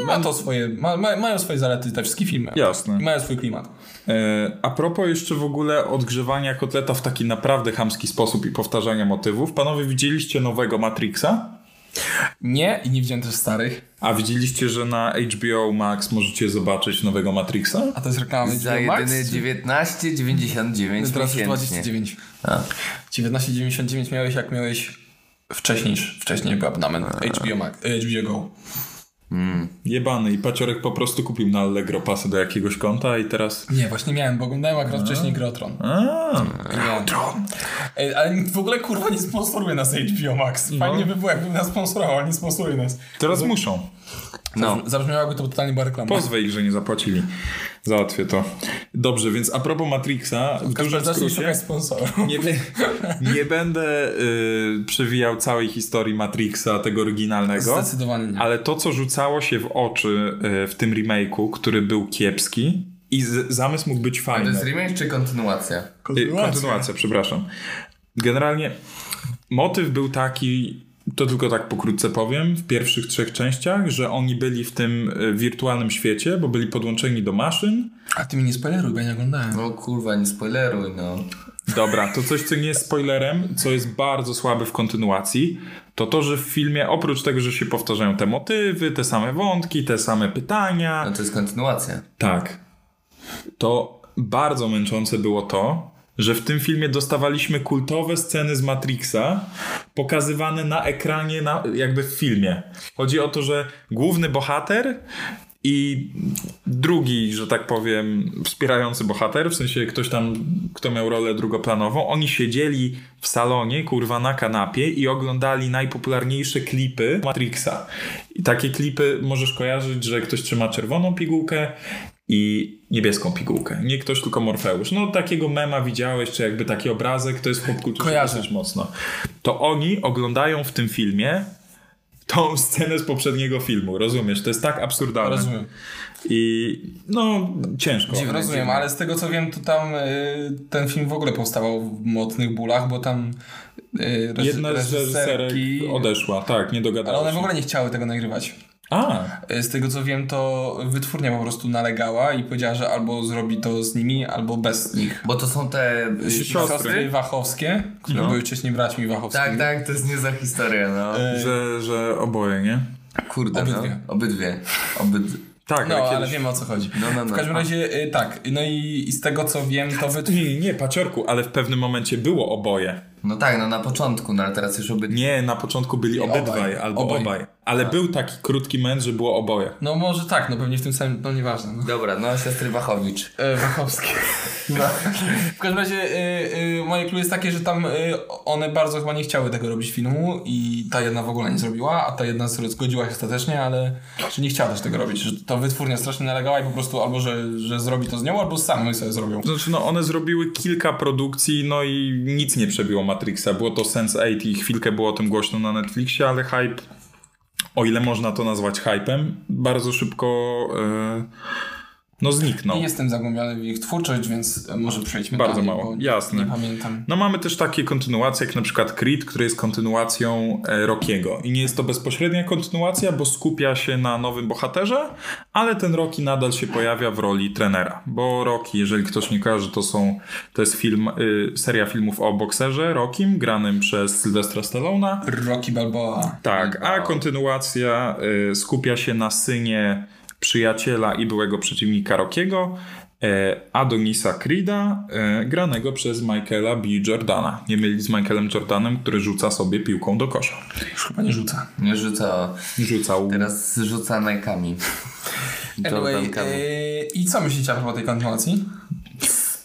[SPEAKER 4] ma to swoje, ma, ma, mają swoje zalety te wszystkie filmy.
[SPEAKER 1] No. Jasne.
[SPEAKER 4] I mają swój klimat.
[SPEAKER 1] E, A propos jeszcze w ogóle odgrzewania kotleta w taki naprawdę chamski sposób i powtarzania motywów. Panowie widzieliście nowego Matrixa?
[SPEAKER 4] Nie i nie widziałem też starych.
[SPEAKER 1] A widzieliście, że na HBO Max możecie zobaczyć nowego Matrixa?
[SPEAKER 4] A to jest reklama
[SPEAKER 3] Za
[SPEAKER 4] HBO Max?
[SPEAKER 3] jedyne 19,99
[SPEAKER 4] Teraz
[SPEAKER 3] miesięcznie.
[SPEAKER 4] już 29.
[SPEAKER 3] A.
[SPEAKER 4] 19,99 miałeś, jak miałeś Wcześniej, wcześniej był abonament HBO, Max, e, HBO Go.
[SPEAKER 1] Jebany i Paciorek po prostu kupił na Allegro pasy do jakiegoś konta i teraz...
[SPEAKER 4] Nie, właśnie miałem, bo oglądałem akurat wcześniej Grotron.
[SPEAKER 1] A,
[SPEAKER 4] Grotron! E, Ale w ogóle kurwa nie sponsoruje nas HBO Max.
[SPEAKER 3] No.
[SPEAKER 4] Fajnie by było, jakby nas sponsorował, ale nie sponsoruje nas.
[SPEAKER 1] teraz muszą.
[SPEAKER 3] No,
[SPEAKER 4] Zabrzmiałaby to totalnie była reklama.
[SPEAKER 1] Pozwę ich, że nie zapłacili. Załatwię to. Dobrze, więc a propos Matrixa, w
[SPEAKER 4] Kasper,
[SPEAKER 1] dużym
[SPEAKER 4] zacznij
[SPEAKER 1] skrócie...
[SPEAKER 4] szukać sponsorów.
[SPEAKER 1] Nie, be- nie będę y, przewijał całej historii Matrixa, tego oryginalnego.
[SPEAKER 4] Zdecydowanie nie.
[SPEAKER 1] Ale to, co rzucało się w oczy y, w tym remake'u, który był kiepski i z- zamysł mógł być
[SPEAKER 3] to
[SPEAKER 1] fajny.
[SPEAKER 3] jest remake czy
[SPEAKER 1] Y,
[SPEAKER 3] kontynuacja?
[SPEAKER 1] Kontynuacja, przepraszam. Generalnie motyw był taki, to tylko tak pokrótce powiem, w pierwszych trzech częściach, że oni byli w tym y, wirtualnym świecie, bo byli podłączeni do maszyn.
[SPEAKER 4] A ty mi nie spoileruj, bo ja nie oglądałem.
[SPEAKER 3] No kurwa, nie spoileruj, no.
[SPEAKER 1] Dobra, to coś, co nie jest spoilerem, co jest bardzo słabe w kontynuacji, to to, że w filmie oprócz tego, że się powtarzają te motywy, te same wątki, te same pytania,
[SPEAKER 3] No to jest kontynuacja.
[SPEAKER 1] Tak. To bardzo męczące było to, że w tym filmie dostawaliśmy kultowe sceny z Matrixa, pokazywane na ekranie, na, jakby w filmie. Chodzi o to, że główny bohater i drugi, że tak powiem, wspierający bohater, w sensie ktoś tam, kto miał rolę drugoplanową, oni siedzieli w salonie, kurwa, na kanapie i oglądali najpopularniejsze klipy Matrixa. I takie klipy możesz kojarzyć, że ktoś trzyma czerwoną pigułkę i niebieską pigułkę. Nie ktoś, tylko Morfeusz. No takiego mema widziałeś, czy jakby taki obrazek, to jest w popkulturze
[SPEAKER 4] Kojarzę.
[SPEAKER 1] dosyć mocno. To oni oglądają w tym filmie tą scenę z poprzedniego filmu, rozumiesz? To jest tak absurdalne.
[SPEAKER 4] Rozumiem.
[SPEAKER 1] I no, ciężko.
[SPEAKER 4] Dziwne, Rozumiem,
[SPEAKER 3] dziwne.
[SPEAKER 4] ale z tego co wiem, to tam y, ten film w ogóle powstawał w mocnych bólach, bo tam y, reż-
[SPEAKER 1] Jedna z reżyserek odeszła, tak, nie
[SPEAKER 4] ale
[SPEAKER 1] dogadała
[SPEAKER 4] one
[SPEAKER 1] się.
[SPEAKER 4] w ogóle nie chciały tego nagrywać.
[SPEAKER 1] A,
[SPEAKER 4] Y, Z tego co wiem, to wytwórnia po prostu nalegała i powiedziała, że albo zrobi to z nimi, albo bez nich.
[SPEAKER 3] Bo to są te... y,
[SPEAKER 1] Siostry.
[SPEAKER 4] Siostry Wachowskie, które były wcześniej braćmi
[SPEAKER 3] Tak,
[SPEAKER 4] Wachowskimi.
[SPEAKER 3] tak, to jest niezła historia, no.
[SPEAKER 1] Yy,
[SPEAKER 4] E.
[SPEAKER 1] że, że oboje, nie?
[SPEAKER 3] Kurde,
[SPEAKER 4] Obydwie.
[SPEAKER 3] no. Obydwie. Obyd...
[SPEAKER 1] Tak,
[SPEAKER 4] No,
[SPEAKER 1] ale
[SPEAKER 4] ale
[SPEAKER 1] kiedyś...
[SPEAKER 4] wiemy o co chodzi.
[SPEAKER 3] No, no, no.
[SPEAKER 4] W każdym
[SPEAKER 3] A.
[SPEAKER 4] razie y, tak, no i, i z tego co wiem, to wytwórnia...
[SPEAKER 1] Nie, nie, nie, paciorku, ale w pewnym momencie było oboje.
[SPEAKER 3] No tak, no na początku, no ale teraz już obydwie.
[SPEAKER 1] Nie, na początku byli obydwaj
[SPEAKER 4] obaj.
[SPEAKER 1] albo
[SPEAKER 4] Obaj. Tak.
[SPEAKER 1] obaj. Ale był taki krótki męż, że było oboje.
[SPEAKER 4] No może tak, no pewnie w tym samym, no nieważne. No.
[SPEAKER 3] Dobra, no siostry Wachowicz.
[SPEAKER 4] E, Wachowskie.
[SPEAKER 1] No.
[SPEAKER 4] W każdym razie y, y, moje clue jest takie, że tam y, one bardzo chyba nie chciały tego robić filmu i ta jedna w ogóle nie zrobiła, a ta jedna zgodziła się ostatecznie, ale że nie chciała też tego robić, że to wytwórnia strasznie nalegała i po prostu albo, że, że zrobi to z nią, albo sami sobie zrobią.
[SPEAKER 1] Znaczy, no one zrobiły kilka produkcji, no i nic nie przebiło Matrixa. Było to Sense8 i chwilkę było o tym głośno na Netflixie, ale hype, o ile można to nazwać hypem, bardzo szybko e, no zniknął.
[SPEAKER 4] Nie jestem zagłębiony w ich twórczość, więc e, może przejdźmy
[SPEAKER 1] Bardzo
[SPEAKER 4] dalej,
[SPEAKER 1] mało.
[SPEAKER 4] bo
[SPEAKER 1] Jasne.
[SPEAKER 4] Nie pamiętam.
[SPEAKER 1] No mamy też takie kontynuacje, jak na przykład Creed, który jest kontynuacją e, Rockiego. I nie jest to bezpośrednia kontynuacja, bo skupia się na nowym bohaterze, ale ten Rocky nadal się pojawia w roli trenera. Bo Rocky, jeżeli ktoś nie kojarzy, to są to jest film, y, seria filmów o bokserze Rockim, granym przez Sylwestra Stallone'a.
[SPEAKER 4] Rocky Balboa.
[SPEAKER 1] Tak, a kontynuacja y, skupia się na synie przyjaciela i byłego przeciwnika Rockiego, e, Adonisa Creeda, e, granego przez Michaela B. Jordana. Nie mylić z Michaelem Jordanem, który rzuca sobie piłką do kosza.
[SPEAKER 4] Już chyba nie rzuca.
[SPEAKER 3] Nie rzuca.
[SPEAKER 1] Rzucał.
[SPEAKER 3] Teraz rzuca najkami.
[SPEAKER 4] Anyway, e, i co myślicie a propos tej kontynuacji?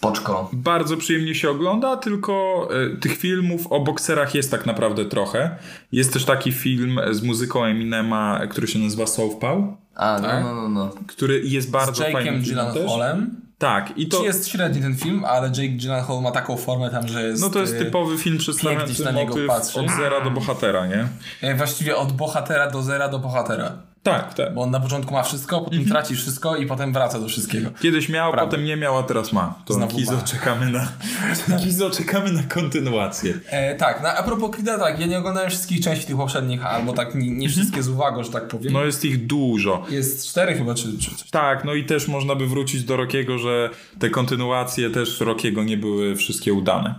[SPEAKER 3] Poczko.
[SPEAKER 1] Bardzo przyjemnie się ogląda, tylko e, tych filmów o bokserach jest tak naprawdę trochę. Jest też taki film z muzyką Eminema, który się nazywa Southpaw,
[SPEAKER 3] A, no,
[SPEAKER 4] Tak?
[SPEAKER 3] no, no, no.
[SPEAKER 1] który jest bardzo
[SPEAKER 4] Z
[SPEAKER 1] fajny.
[SPEAKER 4] Jake'em
[SPEAKER 1] film też.
[SPEAKER 4] Gyllenhaalem.
[SPEAKER 1] Tak, i to
[SPEAKER 4] Czy jest średni ten film, ale Jake Gyllenhaal ma taką formę tam, że jest...
[SPEAKER 1] No to jest
[SPEAKER 4] e,
[SPEAKER 1] typowy film przedstawiający
[SPEAKER 4] pięknie się na niego
[SPEAKER 1] motyw
[SPEAKER 4] patrzy.
[SPEAKER 1] od zera do bohatera, nie?
[SPEAKER 4] e, Właściwie od bohatera do zera do bohatera.
[SPEAKER 1] Tak, tak.
[SPEAKER 4] Bo on na początku ma wszystko, potem
[SPEAKER 1] Mhm.
[SPEAKER 4] traci wszystko i potem wraca do wszystkiego.
[SPEAKER 1] Kiedyś miał,
[SPEAKER 4] Prawda.
[SPEAKER 1] potem nie miał, a teraz ma. To
[SPEAKER 4] Znowu
[SPEAKER 1] Kizo
[SPEAKER 4] ma.
[SPEAKER 1] czekamy na Kizo czekamy na kontynuację.
[SPEAKER 4] E, tak, no, a propos Creed'a, tak, ja nie oglądałem wszystkich części tych poprzednich, albo tak nie, nie wszystkie z uwagą, że tak powiem.
[SPEAKER 1] Mhm. No jest ich dużo.
[SPEAKER 4] Jest cztery chyba, czy, czy coś.
[SPEAKER 1] Tak, no i też można by wrócić do Rokiego, że
[SPEAKER 4] Mhm.
[SPEAKER 1] te kontynuacje też Rokiego nie były wszystkie udane.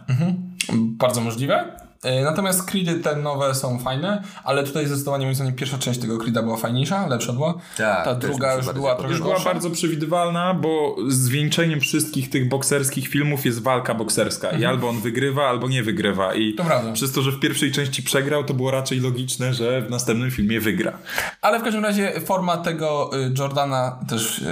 [SPEAKER 4] Bardzo możliwe. E, Natomiast Creedy te nowe są fajne, ale tutaj zdecydowanie moim zdaniem pierwsza część tego Creeda była fajniejsza, lepsza była.
[SPEAKER 3] Tak, też
[SPEAKER 4] Ta
[SPEAKER 3] mi
[SPEAKER 4] druga
[SPEAKER 3] się
[SPEAKER 4] już
[SPEAKER 3] bardziej
[SPEAKER 4] była
[SPEAKER 3] podoba.
[SPEAKER 4] trochę
[SPEAKER 1] Już była
[SPEAKER 4] gorsza.
[SPEAKER 1] bardzo przewidywalna, bo zwieńczeniem wszystkich tych bokserskich filmów jest walka bokserska i albo on wygrywa, albo nie wygrywa i
[SPEAKER 4] Mhm. To prawda.
[SPEAKER 1] przez to, że w pierwszej części przegrał, to było raczej logiczne, że w następnym filmie wygra.
[SPEAKER 4] Ale w każdym razie forma tego y, Jordana też y,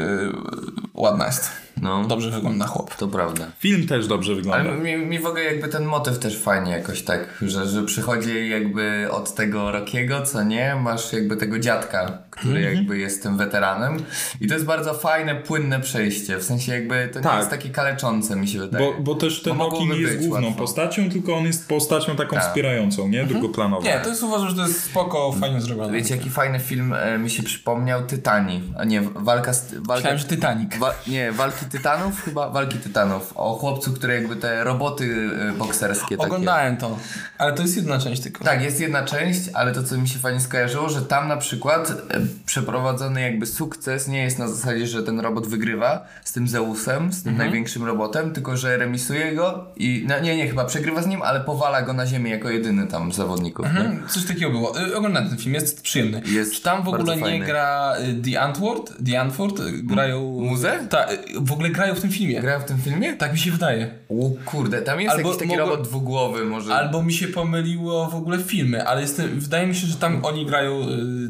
[SPEAKER 4] ładna jest.
[SPEAKER 3] No,
[SPEAKER 4] Dobrze wygląda chłop.
[SPEAKER 3] to prawda.
[SPEAKER 1] Film też dobrze wygląda.
[SPEAKER 3] Ale mi, mi w ogóle jakby ten motyw też fajnie jakoś tak, że, że przychodzi jakby od tego Rokiego, co nie, masz jakby tego dziadka, który
[SPEAKER 4] Mhm.
[SPEAKER 3] jakby jest tym weteranem i to jest bardzo fajne, płynne przejście, w sensie jakby to
[SPEAKER 1] Tak.
[SPEAKER 3] nie jest takie kaleczące mi się wydaje.
[SPEAKER 1] Bo, bo też ten
[SPEAKER 4] No
[SPEAKER 3] Bo
[SPEAKER 1] Rocky
[SPEAKER 3] mogłoby
[SPEAKER 1] nie jest
[SPEAKER 3] być
[SPEAKER 1] główną
[SPEAKER 3] łatwo.
[SPEAKER 1] postacią, tylko on jest postacią taką
[SPEAKER 3] Tak.
[SPEAKER 1] wspierającą, nie? Drugoplanową.
[SPEAKER 4] Mhm. Nie, to jest uważam, że to jest spoko, fajnie zrobione.
[SPEAKER 3] Wiecie, jaki fajny film e, mi się przypomniał? Tytani. A nie, walka z... Walka,
[SPEAKER 4] Myślałem, że Titanic.
[SPEAKER 3] wa, nie, walki tytanów? Chyba walki tytanów. O chłopcu, który jakby te roboty e, bokserskie takie...
[SPEAKER 4] Oglądałem to, ale to jest jedna część tylko.
[SPEAKER 3] Tak, jest jedna część, ale to co mi się fajnie skojarzyło, że tam na przykład e, przeprowadzony jakby sukces nie jest na zasadzie, że ten robot wygrywa z tym Zeusem, z tym
[SPEAKER 4] Mhm.
[SPEAKER 3] największym robotem, tylko że remisuje go i no, nie, nie, chyba przegrywa z nim, ale powala go na ziemię jako jedyny tam z zawodników. Nie?
[SPEAKER 4] Mm, Coś takiego było. Y, Oglądałem ten film, jest przyjemny.
[SPEAKER 3] Jest
[SPEAKER 4] Czy tam w
[SPEAKER 3] bardzo
[SPEAKER 4] ogóle nie
[SPEAKER 3] fajny.
[SPEAKER 4] gra y, The Antwoord? The Antwoord? Y, Grają... Muzę? Tak, w ogóle grają w tym filmie.
[SPEAKER 3] Grałem w tym filmie?
[SPEAKER 4] Tak mi się wydaje.
[SPEAKER 3] O kurde, tam jest
[SPEAKER 4] Albo
[SPEAKER 3] jakiś taki
[SPEAKER 4] mogą-
[SPEAKER 3] robot dwugłowy może.
[SPEAKER 4] Albo mi się pomyliło w ogóle filmy, ale jestem, wydaje mi się, że tam oni grają y,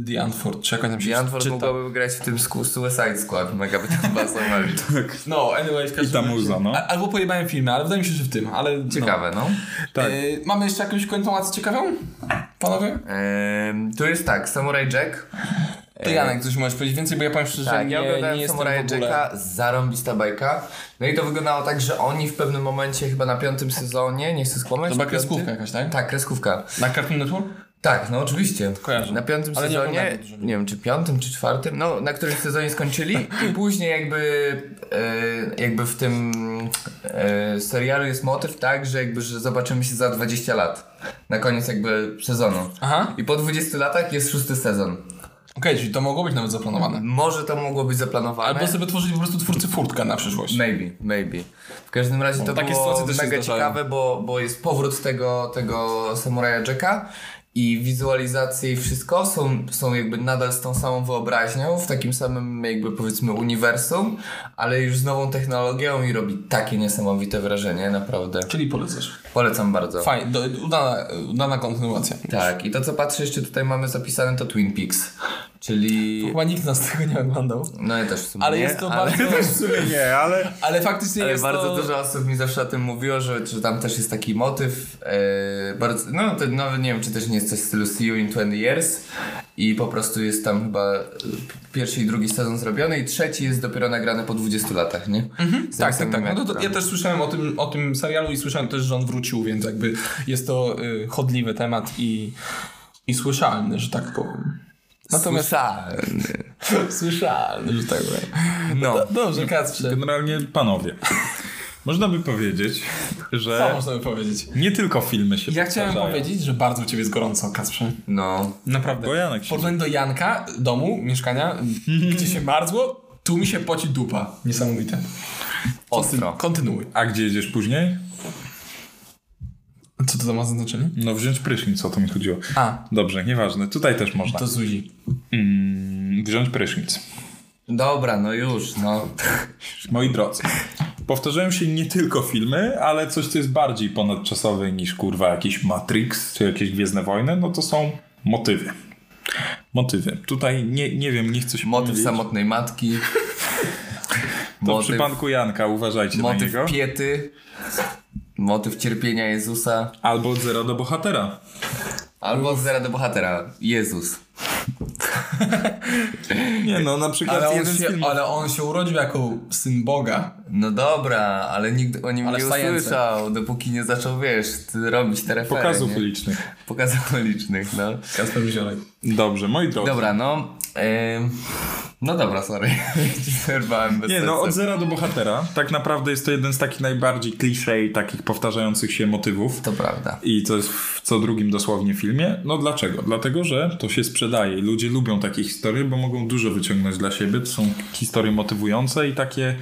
[SPEAKER 4] The Antwoord, czy jak oni tam się
[SPEAKER 3] Janford
[SPEAKER 4] czyta.
[SPEAKER 3] mogłaby grać w tym sku- Suicide Squad, mega by tam pasowali.
[SPEAKER 1] Tak.
[SPEAKER 4] No, anyway, w każdym
[SPEAKER 1] I ta
[SPEAKER 4] razie-
[SPEAKER 1] muza, no.
[SPEAKER 4] A, albo pojebałem filmy, ale wydaje mi się, że w tym, ale...
[SPEAKER 3] Ciekawe, no.
[SPEAKER 4] No.
[SPEAKER 1] Tak.
[SPEAKER 4] Y, mamy jeszcze jakąś kontynuację ciekawą? Panowie?
[SPEAKER 3] Ehm, tu jest tak, Samurai Jack.
[SPEAKER 4] To Janek coś możesz powiedzieć więcej, bo ja powiem szczerze, że
[SPEAKER 3] E, Tak,
[SPEAKER 4] nie,
[SPEAKER 3] ja
[SPEAKER 4] nie
[SPEAKER 3] oglądałem
[SPEAKER 4] jestem w ogóle...
[SPEAKER 3] Samuraja Jacka, zarąbista bajka. No i to wyglądało tak, że oni w pewnym momencie, chyba na piątym sezonie, nie chcę skłamać.
[SPEAKER 4] To była
[SPEAKER 3] piąty?
[SPEAKER 4] kreskówka jakaś, tak?
[SPEAKER 3] Tak, kreskówka.
[SPEAKER 4] Na Cartoon Network?
[SPEAKER 3] Tak, no oczywiście.
[SPEAKER 4] Kojarzę.
[SPEAKER 3] Na piątym
[SPEAKER 4] Ale nie
[SPEAKER 3] sezonie,
[SPEAKER 4] oglądałem dużo.
[SPEAKER 3] nie, wiem czy piątym, czy czwartym, no na którymś sezonie skończyli i później jakby, e, jakby w tym e, serialu jest motyw tak, że jakby, że zobaczymy się za 20 lat. Na koniec jakby sezonu.
[SPEAKER 4] Aha.
[SPEAKER 3] I po 20 latach jest szósty sezon.
[SPEAKER 4] Okej, czyli to mogło być nawet zaplanowane.
[SPEAKER 3] Może to mogło być zaplanowane.
[SPEAKER 4] Albo sobie tworzyli po prostu twórcy furtka na przyszłość.
[SPEAKER 3] Maybe, maybe. W każdym razie to
[SPEAKER 4] No, takie
[SPEAKER 3] było
[SPEAKER 4] sytuacje też się
[SPEAKER 3] mega
[SPEAKER 4] zdarzają.
[SPEAKER 3] ciekawe, bo, bo jest powrót tego, tego Samuraja Jacka i wizualizacje i wszystko są, są jakby nadal z tą samą wyobraźnią, w takim samym jakby powiedzmy uniwersum, ale już z nową technologią i robi takie niesamowite wrażenie, naprawdę.
[SPEAKER 4] Czyli polecasz.
[SPEAKER 3] Polecam bardzo.
[SPEAKER 4] Fajnie, do- udana, udana kontynuacja.
[SPEAKER 3] Tak, i to co patrzę jeszcze tutaj mamy zapisane to Twin Peaks, czyli...
[SPEAKER 4] Chyba nikt z nas tego nie oglądał.
[SPEAKER 3] No ja też w sumie
[SPEAKER 4] Ale
[SPEAKER 3] nie,
[SPEAKER 4] jest to
[SPEAKER 3] ale...
[SPEAKER 4] bardzo...
[SPEAKER 1] W sumie nie, ale
[SPEAKER 4] Ale faktycznie
[SPEAKER 3] Ale
[SPEAKER 4] jest
[SPEAKER 3] E, bardzo
[SPEAKER 4] to...
[SPEAKER 3] dużo osób mi zawsze o tym mówiło, że, że tam też jest taki motyw. E, bardzo, no, to, no, nie wiem, czy też nie jest coś w stylu See You in 20 Years. I po prostu jest tam chyba e, pierwszy i drugi sezon zrobiony, i trzeci jest dopiero nagrany po 20 latach, nie? Mhm,
[SPEAKER 4] Tak, tak, tak. No to, to, ja też słyszałem o tym, o tym serialu i słyszałem też, że on wrócił, więc jakby jest to y, chodliwy temat i, i słyszalny, że tak powiem. Natomiast słyszalny, że tak powiem.
[SPEAKER 3] No.
[SPEAKER 4] Dobrze, Kacprze.
[SPEAKER 1] generalnie panowie. Można by powiedzieć,
[SPEAKER 4] Co
[SPEAKER 1] że
[SPEAKER 4] można by powiedzieć?
[SPEAKER 1] nie tylko filmy się
[SPEAKER 4] E, Ja chciałem
[SPEAKER 1] powtarzają.
[SPEAKER 4] powiedzieć, że bardzo u ciebie jest gorąco, Kacprze.
[SPEAKER 3] No.
[SPEAKER 4] Naprawdę.
[SPEAKER 1] Bo Janek
[SPEAKER 4] W
[SPEAKER 1] się...
[SPEAKER 4] porównaniu do Janka, domu, mieszkania, gdzie się marzło, tu mi się poci dupa. Niesamowite.
[SPEAKER 3] Ostro.
[SPEAKER 4] Kontynuuj.
[SPEAKER 1] A gdzie jedziesz później?
[SPEAKER 4] Co to ma znaczenie?
[SPEAKER 1] No wziąć prysznic, o to mi chodziło.
[SPEAKER 4] A.
[SPEAKER 1] Dobrze, nieważne. Tutaj też można.
[SPEAKER 4] To Zuzi.
[SPEAKER 1] Mm, wziąć prysznic.
[SPEAKER 3] Dobra, no już, no.
[SPEAKER 1] Moi drodzy, powtarzają się nie tylko filmy, ale coś, co jest bardziej ponadczasowe niż kurwa jakiś Matrix czy jakieś Gwiezdne Wojny, no to są motywy. Motywy. Tutaj nie, nie wiem, nie chcę się
[SPEAKER 3] Motyw
[SPEAKER 1] pomylić.
[SPEAKER 3] samotnej matki.
[SPEAKER 1] To
[SPEAKER 3] motyw-
[SPEAKER 1] przy panku Janka, uważajcie na
[SPEAKER 3] Motyw
[SPEAKER 1] niego.
[SPEAKER 3] piety. Motyw cierpienia Jezusa.
[SPEAKER 1] Albo od zera do bohatera.
[SPEAKER 3] Albo od zera do bohatera. Jezus.
[SPEAKER 1] Nie no, na przykład
[SPEAKER 4] Ale on,
[SPEAKER 1] jeden z
[SPEAKER 4] się,
[SPEAKER 1] filmów.
[SPEAKER 4] ale on się urodził jako syn Boga.
[SPEAKER 3] No dobra, ale nikt o nim
[SPEAKER 4] Ale
[SPEAKER 3] nie
[SPEAKER 4] wstające.
[SPEAKER 3] usłyszał, dopóki nie zaczął, wiesz, ty robić te refery,
[SPEAKER 1] Pokazów
[SPEAKER 3] nie?
[SPEAKER 1] ulicznych.
[SPEAKER 3] Pokazów licznych, no.
[SPEAKER 4] Kasper Ziolek.
[SPEAKER 1] Dobrze, moi drodzy.
[SPEAKER 3] Dobra, no... em, no dobra, sorry. Ci przerwałem bez
[SPEAKER 1] Nie, no od
[SPEAKER 3] sensu.
[SPEAKER 1] zera do bohatera. Tak naprawdę jest to jeden z takich najbardziej klisze i takich powtarzających się motywów.
[SPEAKER 3] To prawda.
[SPEAKER 1] I to jest w co drugim dosłownie filmie. No dlaczego? Dlatego, że to się sprzedaje. i Ludzie lubią takie historie, bo mogą dużo wyciągnąć dla siebie. To są historie motywujące i takie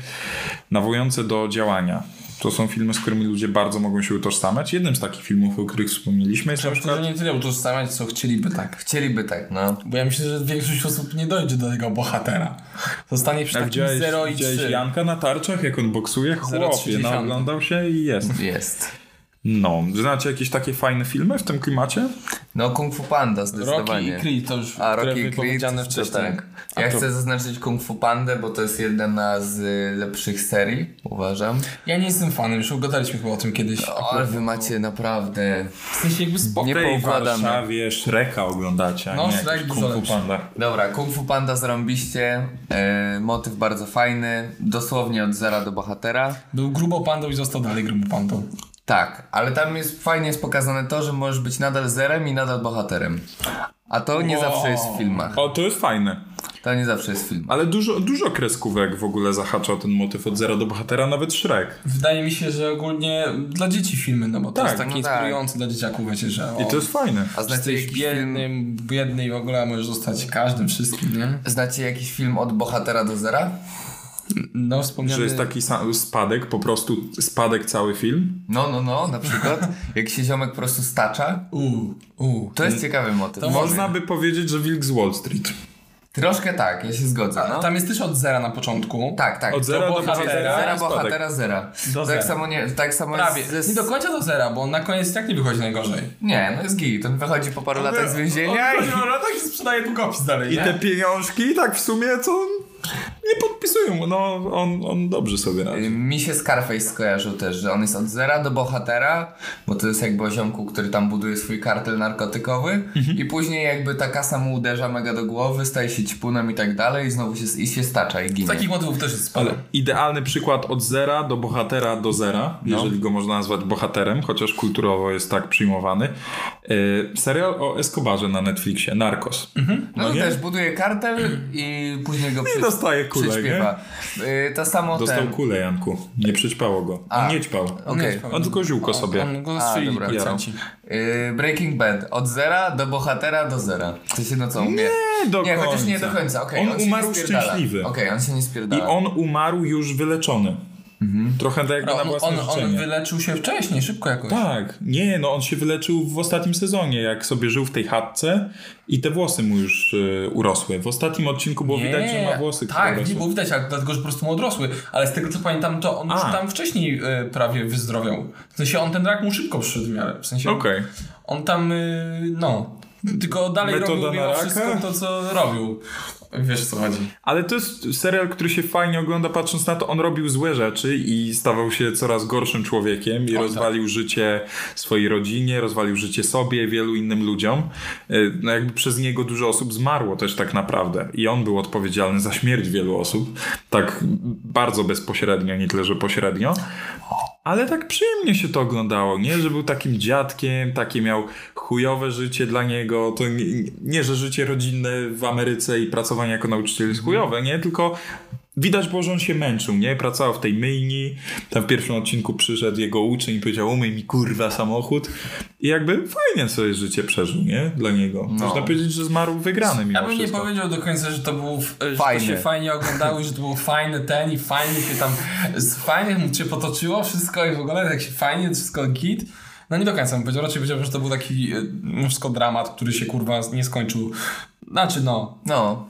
[SPEAKER 1] nawołujące do działania. To są filmy, z którymi ludzie bardzo mogą się utożsamiać. Jednym z takich filmów, o których wspomnieliśmy, jest na
[SPEAKER 4] Myślę,
[SPEAKER 1] przykład
[SPEAKER 4] że nie tyle utożsamiać, co chcieliby tak.
[SPEAKER 3] Chcieliby tak, no.
[SPEAKER 4] Bo ja myślę, że większość osób nie dojdzie do tego bohatera. Zostanie przy
[SPEAKER 1] A
[SPEAKER 4] takim
[SPEAKER 1] widziałeś,
[SPEAKER 4] 0 i
[SPEAKER 1] widziałeś
[SPEAKER 4] 3.
[SPEAKER 1] Janka na tarczach, jak on boksuje? Chłopie,
[SPEAKER 4] 0,3.
[SPEAKER 1] no, oglądał się i jest.
[SPEAKER 3] Jest.
[SPEAKER 1] No, znacie jakieś takie fajne filmy w tym klimacie?
[SPEAKER 3] No Kung Fu Panda
[SPEAKER 4] Rocky
[SPEAKER 3] zdecydowanie.
[SPEAKER 4] i Creed to już
[SPEAKER 3] A
[SPEAKER 4] które
[SPEAKER 3] Rocky
[SPEAKER 4] wypowiedziane
[SPEAKER 3] Creed, to
[SPEAKER 4] wcześniej.
[SPEAKER 3] tak. Ja chcę zaznaczyć Kung Fu Pandę, bo to jest jedna z y, lepszych serii, uważam.
[SPEAKER 4] Ja nie jestem fanem, już gadaliśmy chyba o tym kiedyś.
[SPEAKER 3] O, No, ale wy macie naprawdę...
[SPEAKER 4] W sensie jakby spoko.
[SPEAKER 3] Nie
[SPEAKER 1] W tej
[SPEAKER 3] poukładamy.
[SPEAKER 1] Warszawie Shreka oglądacie, a
[SPEAKER 4] No,
[SPEAKER 1] nie
[SPEAKER 4] Shrek
[SPEAKER 1] jakiś
[SPEAKER 4] dużo
[SPEAKER 1] Kung Fu
[SPEAKER 4] lepszy.
[SPEAKER 1] Panda.
[SPEAKER 3] Dobra, Kung Fu Panda zarąbiście, y, motyw bardzo fajny, dosłownie od zera do bohatera.
[SPEAKER 4] Był grubo pandą i został dalej grubo pandą.
[SPEAKER 3] Tak, ale tam jest fajnie jest pokazane to, że możesz być nadal zerem i nadal bohaterem. A to nie
[SPEAKER 4] Wow.
[SPEAKER 3] zawsze jest w filmach.
[SPEAKER 1] O, to jest fajne.
[SPEAKER 3] To nie zawsze jest w filmach.
[SPEAKER 1] Ale dużo, dużo kreskówek w ogóle zahacza o ten motyw od zera do bohatera, nawet Shrek.
[SPEAKER 4] Wydaje mi się, że ogólnie dla dzieci filmy, no bo to
[SPEAKER 1] Tak,
[SPEAKER 4] jest takie
[SPEAKER 3] no tak.
[SPEAKER 4] inspirujące dla dzieciaków, wiecie, że o,
[SPEAKER 1] I to jest fajne.
[SPEAKER 3] No. A znacie
[SPEAKER 4] jesteś
[SPEAKER 3] jakiś, film,
[SPEAKER 4] biednym, biedny i w ogóle możesz zostać każdym wszystkim, nie?
[SPEAKER 3] znacie jakiś film od bohatera do zera?
[SPEAKER 4] No
[SPEAKER 1] Że
[SPEAKER 4] wspomniany...
[SPEAKER 3] tak-
[SPEAKER 1] jest taki sam spadek, po prostu spadek cały film.
[SPEAKER 3] No, no, no, na przykład. jak się ziomek po prostu stacza.
[SPEAKER 4] U, u.
[SPEAKER 3] To jest ciekawy motyw.
[SPEAKER 4] To
[SPEAKER 1] Mm. Można by powiedzieć, że Wilk z Wall Street.
[SPEAKER 3] Troszkę tak, ja się zgodzę. No.
[SPEAKER 4] Tam jest też od zera na początku.
[SPEAKER 3] Tak, tak.
[SPEAKER 1] Od zera do
[SPEAKER 3] bohatera,
[SPEAKER 1] bohatera,
[SPEAKER 3] zera,
[SPEAKER 1] spadek.
[SPEAKER 3] bohatera, zera.
[SPEAKER 1] Do
[SPEAKER 3] tak,
[SPEAKER 1] zera.
[SPEAKER 3] Samo nie, tak samo
[SPEAKER 4] Prawie.
[SPEAKER 3] jest...
[SPEAKER 4] Nie do końca do zera, bo on na koniec tak nie wychodzi najgorzej.
[SPEAKER 3] Nie, no jest gig. On wychodzi po paru latach Tak z więzienia i...
[SPEAKER 1] No,
[SPEAKER 4] latach i sprzedaje długopis dalej,
[SPEAKER 1] I te pieniążki, tak w sumie, co nie podpisują. mu. No, on, on dobrze sobie radzi.
[SPEAKER 3] Mi się Scarface skojarzył też, że on jest od zera do bohatera, bo to jest jakby o ziomku, który tam buduje swój kartel narkotykowy
[SPEAKER 1] Mhm.
[SPEAKER 3] i później jakby ta kasa mu uderza mega do głowy, staje się cipunem i tak dalej i znowu się, i się stacza i ginie.
[SPEAKER 4] Takich motywów też jest sporo.
[SPEAKER 1] Ale idealny przykład od zera do bohatera do zera,
[SPEAKER 3] No.
[SPEAKER 1] jeżeli go można nazwać bohaterem, chociaż kulturowo jest tak przyjmowany. Yy, serial o Escobarze na Netflixie, Narcos.
[SPEAKER 3] No, to
[SPEAKER 1] nie?
[SPEAKER 3] też buduje kartel i później go przy...
[SPEAKER 1] dostaje kulę,
[SPEAKER 3] przyćpiewa. Y, to samo
[SPEAKER 1] Dostał
[SPEAKER 3] ten...
[SPEAKER 1] kulę, Janku. Nie przyćpało go.
[SPEAKER 3] A.
[SPEAKER 1] Nie ćpał.
[SPEAKER 3] Okej.
[SPEAKER 4] Nie,
[SPEAKER 1] On tylko ziółko sobie.
[SPEAKER 4] On go
[SPEAKER 3] A,
[SPEAKER 4] strzelili
[SPEAKER 3] dobra.
[SPEAKER 4] policjanci.
[SPEAKER 3] Y, Breaking Bad. Od zera do bohatera do zera. To się no co umie.
[SPEAKER 1] Nie, do
[SPEAKER 3] Nie,
[SPEAKER 1] końca.
[SPEAKER 3] chociaż nie do końca. Okej,
[SPEAKER 1] On
[SPEAKER 3] on, się
[SPEAKER 1] umarł
[SPEAKER 3] nie spierdala.
[SPEAKER 1] szczęśliwy.
[SPEAKER 3] Okej, Tak. on się nie
[SPEAKER 1] I
[SPEAKER 3] spierdala.
[SPEAKER 1] on umarł już wyleczony. Trochę tak jak na
[SPEAKER 4] On,
[SPEAKER 1] własne
[SPEAKER 4] on, on
[SPEAKER 1] życzenie.
[SPEAKER 4] wyleczył się wcześniej, szybko jakoś.
[SPEAKER 1] Tak, nie, no on się wyleczył w ostatnim sezonie, jak sobie żył w tej chatce i te włosy mu już e, urosły. W ostatnim odcinku było widać, że ma włosy, które
[SPEAKER 4] Tak, nie
[SPEAKER 1] rosły.
[SPEAKER 4] było widać, ale dlatego, że po prostu mu odrosły. Ale z tego co pamiętam, to on już
[SPEAKER 1] A.
[SPEAKER 4] tam wcześniej e, prawie wyzdrowiał. W sensie on ten rak mu szybko przyszedł w miarę. W sensie
[SPEAKER 1] Okej.
[SPEAKER 4] on tam, e, no, tylko dalej
[SPEAKER 1] Metoda
[SPEAKER 4] robił
[SPEAKER 1] na
[SPEAKER 4] mimo
[SPEAKER 1] raka?
[SPEAKER 4] wszystko to, co robił. Wiesz o co chodzi.
[SPEAKER 1] Ale to jest serial, który się fajnie ogląda, patrząc na to, on robił złe rzeczy i stawał się coraz gorszym człowiekiem i rozwalił życie swojej rodzinie, rozwalił życie sobie, wielu innym ludziom. E, No jakby przez niego dużo osób zmarło też tak naprawdę i on był odpowiedzialny za śmierć wielu osób, tak bardzo bezpośrednio, nie tyle, że pośrednio. Ale tak przyjemnie się to oglądało, nie? Że był takim dziadkiem, takie miał chujowe życie dla niego. To nie, nie że życie rodzinne w Ameryce i pracowanie jako nauczyciel jest chujowe, nie? Tylko widać było, że on się męczył, nie? Pracował w tej myjni. Tam w pierwszym odcinku przyszedł jego uczeń i powiedział, umyj mi kurwa samochód. I jakby fajnie sobie życie przeżył, nie? Dla niego. Można powiedzieć, że zmarł wygrany mimo
[SPEAKER 4] No. Ja bym nie
[SPEAKER 1] wszystko.
[SPEAKER 4] powiedział do końca, że to był w- że
[SPEAKER 3] Fajny.
[SPEAKER 4] To się fajnie oglądało, i że to był fajny ten i fajnie się tam z- fajnie mu się potoczyło wszystko i w ogóle tak się fajnie wszystko git. No nie do końca bym powiedział, raczej powiedziałbym, że to był taki e, mimo wszystko dramat, który się kurwa nie skończył. Znaczy no,
[SPEAKER 3] No.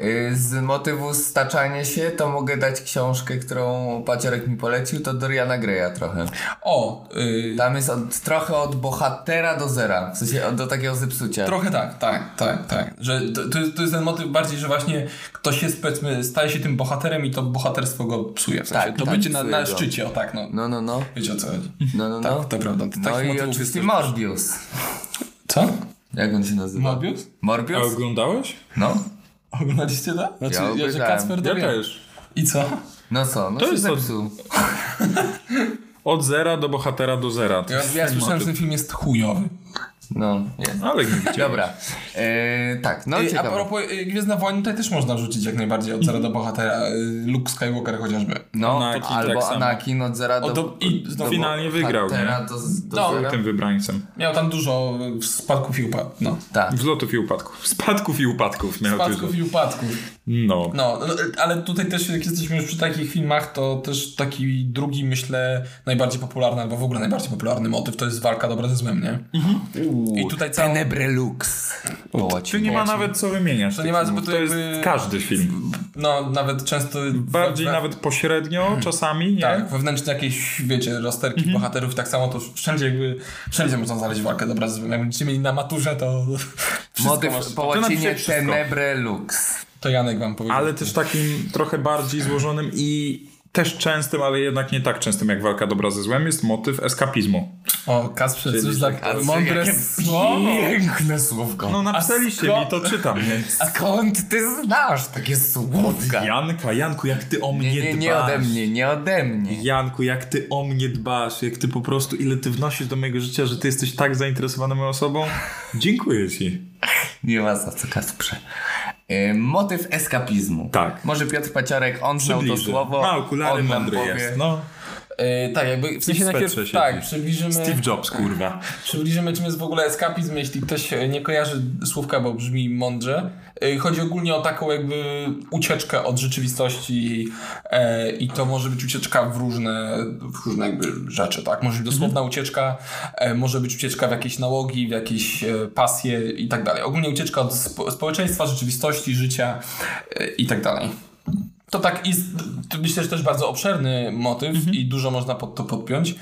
[SPEAKER 3] Y, Z motywu staczania się to mogę dać książkę, którą Paciorek mi polecił, to Doriana Greya trochę.
[SPEAKER 4] o, y,
[SPEAKER 3] Tam jest od, trochę od bohatera do zera, w sensie od, do takiego zepsucia.
[SPEAKER 4] trochę tak, tak, tak, tak. Że to, to, jest, to jest ten motyw bardziej, że właśnie ktoś jest powiedzmy, staje się tym bohaterem i to bohaterstwo go psuje. W sensie
[SPEAKER 3] Tak,
[SPEAKER 4] to
[SPEAKER 3] tak,
[SPEAKER 4] bycie na,
[SPEAKER 3] psuje
[SPEAKER 4] na
[SPEAKER 3] go.
[SPEAKER 4] szczycie, o tak, no.
[SPEAKER 3] No, no, no.
[SPEAKER 4] Wiecie o co chodzi.
[SPEAKER 3] No, no, no.
[SPEAKER 4] Tak, to prawda. To
[SPEAKER 3] no
[SPEAKER 4] takich
[SPEAKER 3] i
[SPEAKER 4] motywów jest
[SPEAKER 3] oczywiście
[SPEAKER 4] też-
[SPEAKER 3] Morbius.
[SPEAKER 4] Co?
[SPEAKER 3] Jak on się nazywa?
[SPEAKER 4] Mobius?
[SPEAKER 1] A
[SPEAKER 3] Morbius?
[SPEAKER 1] oglądałeś?
[SPEAKER 3] No.
[SPEAKER 4] Oglądaliście to? Znaczy,
[SPEAKER 3] Ja
[SPEAKER 4] ja, że
[SPEAKER 3] obejrzałem.
[SPEAKER 4] Kacper
[SPEAKER 1] Ja
[SPEAKER 4] dowie.
[SPEAKER 1] też.
[SPEAKER 4] I co?
[SPEAKER 3] No co, no
[SPEAKER 1] To
[SPEAKER 3] się
[SPEAKER 1] jest od-
[SPEAKER 3] zepsuł.
[SPEAKER 1] Od zera do bohatera do zera. To
[SPEAKER 4] Ja,
[SPEAKER 1] jest
[SPEAKER 4] ja
[SPEAKER 1] ten
[SPEAKER 4] słyszałem,
[SPEAKER 1] motyw.
[SPEAKER 4] że ten film jest chujowy.
[SPEAKER 3] No, jest.
[SPEAKER 1] Ale nie widziałem.
[SPEAKER 3] Dobra. E, tak, no
[SPEAKER 4] Ej, a
[SPEAKER 3] ciekawe.
[SPEAKER 4] propos y, Gwiezdna Wojny, tutaj też można rzucić jak najbardziej od zera do bohatera. y, Luke Skywalker chociażby.
[SPEAKER 3] No,
[SPEAKER 1] Anakin tak
[SPEAKER 3] albo
[SPEAKER 1] samo.
[SPEAKER 3] Anakin od zera do,
[SPEAKER 1] O, do- i
[SPEAKER 3] do
[SPEAKER 1] finalnie wygrał,
[SPEAKER 3] bohatera
[SPEAKER 1] nie?
[SPEAKER 3] Do, z- do
[SPEAKER 4] No,
[SPEAKER 1] Był
[SPEAKER 3] zera.
[SPEAKER 1] tym wybrańcem.
[SPEAKER 4] Miał tam dużo y, spadków i upadków. No.
[SPEAKER 3] Tak.
[SPEAKER 1] Wzlotów i upadków. Spadków i upadków miał
[SPEAKER 4] Spadków
[SPEAKER 1] dużo.
[SPEAKER 4] i upadków.
[SPEAKER 1] No.
[SPEAKER 4] No, no, ale tutaj też jak jesteśmy już przy takich filmach, to też taki drugi, myślę, najbardziej popularny, albo w ogóle najbardziej popularny motyw to jest walka dobra ze złem, nie? I tutaj całą...
[SPEAKER 3] Nebrelux.
[SPEAKER 1] Tu nie ma nawet co wymieniać.
[SPEAKER 4] To
[SPEAKER 1] tych
[SPEAKER 4] nie ma,
[SPEAKER 1] filmów.
[SPEAKER 4] bo to
[SPEAKER 1] to jest
[SPEAKER 4] jakby-
[SPEAKER 1] każdy film.
[SPEAKER 4] No, nawet często...
[SPEAKER 1] Bardziej
[SPEAKER 4] we-
[SPEAKER 1] nawet pośrednio czasami, nie?
[SPEAKER 4] Tak, wewnętrzne jakieś, wiecie, rozterki bohaterów, tak samo to wszędzie jakby... Wszędzie można znaleźć walkę dobra ze złem. Jak będziecie mieli na maturze, to... wszystko masz.
[SPEAKER 3] Motyw po
[SPEAKER 1] To
[SPEAKER 3] łacinie
[SPEAKER 1] napisać wszystko.
[SPEAKER 3] Tenebrelux.
[SPEAKER 4] To Janek wam powiedział.
[SPEAKER 1] Ale też takim trochę bardziej złożonym i też częstym, ale jednak nie tak częstym jak walka dobra ze złem, jest motyw eskapizmu.
[SPEAKER 4] O, Kasprze, cóż za
[SPEAKER 3] Kacper,
[SPEAKER 4] mądre no.
[SPEAKER 3] jakie
[SPEAKER 4] słowo.
[SPEAKER 3] Piękne słówko.
[SPEAKER 1] No napisaliście
[SPEAKER 4] sko-
[SPEAKER 1] mi, to czytam. nie?
[SPEAKER 3] A skąd ty znasz takie słówka?
[SPEAKER 1] Janka, Janku, jak ty o mnie
[SPEAKER 3] nie, nie, nie
[SPEAKER 1] dbasz.
[SPEAKER 3] ode mnie, nie ode mnie.
[SPEAKER 1] Janku, jak ty o mnie dbasz, jak ty po prostu, ile ty wnosisz do mojego życia, że ty jesteś tak zainteresowany moją osobą. Dziękuję ci.
[SPEAKER 3] Nie ma za co, Kasprze. E, Motyw eskapizmu.
[SPEAKER 1] Tak.
[SPEAKER 3] Może Piotr Paciorek, on znał to
[SPEAKER 1] Przybliżę.
[SPEAKER 3] słowo.
[SPEAKER 1] Ma okulary,
[SPEAKER 3] on nam
[SPEAKER 1] mądry
[SPEAKER 3] powie.
[SPEAKER 1] jest. No.
[SPEAKER 4] E, tak, jakby w sensie
[SPEAKER 1] Steve
[SPEAKER 4] najpierw,
[SPEAKER 1] Spetrze
[SPEAKER 4] tak,
[SPEAKER 1] siedzi.
[SPEAKER 4] przybliżymy,
[SPEAKER 1] Steve Jobs, kurwa.
[SPEAKER 4] przybliżymy czym jest w ogóle eskapizm, jeśli ktoś e, nie kojarzy słówka, bo brzmi mądrze. E, Chodzi ogólnie o taką jakby ucieczkę od rzeczywistości e, i to może być ucieczka w różne, w różne jakby rzeczy, tak? Może być dosłowna ucieczka, e, może być ucieczka w jakieś nałogi, w jakieś e, pasje i tak dalej. Ogólnie ucieczka od spo, społeczeństwa, rzeczywistości, życia e, i tak dalej. To tak i z- to myślę, że też bardzo obszerny motyw i dużo można pod to podpiąć.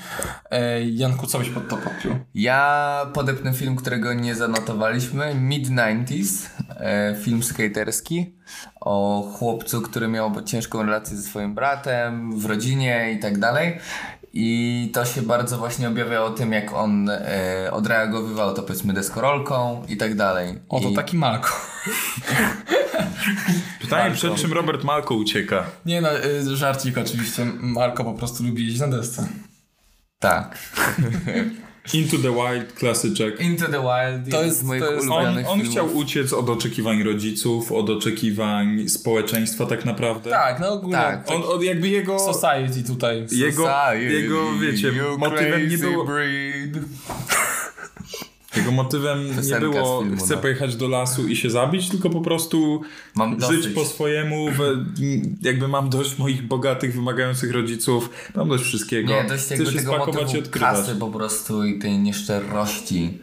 [SPEAKER 4] E, Janku, co byś pod to podpiął?
[SPEAKER 3] Ja podepnę film, którego nie zanotowaliśmy. Mid-90s, e, film skaterski o chłopcu, który miał ciężką relację ze swoim bratem, w rodzinie i tak dalej. I to się bardzo właśnie objawia o tym, jak on e, odreagowywał to powiedzmy deskorolką i tak dalej.
[SPEAKER 4] O, to
[SPEAKER 3] I,
[SPEAKER 4] taki Malko.
[SPEAKER 1] Pytanie, przed
[SPEAKER 3] Malko.
[SPEAKER 1] czym Robert Malko ucieka?
[SPEAKER 4] Nie no, y, żarcik oczywiście. Malko po prostu lubi jeździć na desce.
[SPEAKER 3] Tak.
[SPEAKER 1] Into the Wild, klasyczek.
[SPEAKER 3] Into the Wild to jest
[SPEAKER 4] jest-
[SPEAKER 3] z moich
[SPEAKER 4] to jest-
[SPEAKER 1] On,
[SPEAKER 3] ulubionych
[SPEAKER 1] on
[SPEAKER 3] filmów.
[SPEAKER 1] chciał uciec od oczekiwań rodziców, od oczekiwań społeczeństwa tak naprawdę.
[SPEAKER 4] Tak, no ogólnie.
[SPEAKER 3] Tak.
[SPEAKER 4] On,
[SPEAKER 1] On, on jakby jego...
[SPEAKER 4] society tutaj.
[SPEAKER 1] Jego,
[SPEAKER 3] Society,
[SPEAKER 1] jego, wiecie,
[SPEAKER 3] you
[SPEAKER 1] motywem nie
[SPEAKER 3] crazy
[SPEAKER 1] było...
[SPEAKER 3] breed.
[SPEAKER 1] Jego motywem nie
[SPEAKER 3] Piosenka
[SPEAKER 1] było
[SPEAKER 3] z filmu,
[SPEAKER 1] chcę
[SPEAKER 3] no.
[SPEAKER 1] pojechać do lasu i się zabić, tylko po prostu
[SPEAKER 3] Mam
[SPEAKER 1] żyć
[SPEAKER 3] dosyć.
[SPEAKER 1] po swojemu, w, jakby mam dość moich bogatych, wymagających rodziców, mam dość wszystkiego.
[SPEAKER 3] Nie, dość jakby
[SPEAKER 1] Chcę się
[SPEAKER 3] tego
[SPEAKER 1] spakować i
[SPEAKER 3] motywu
[SPEAKER 1] odkrywać.
[SPEAKER 3] kasy po prostu i tej nieszczerości.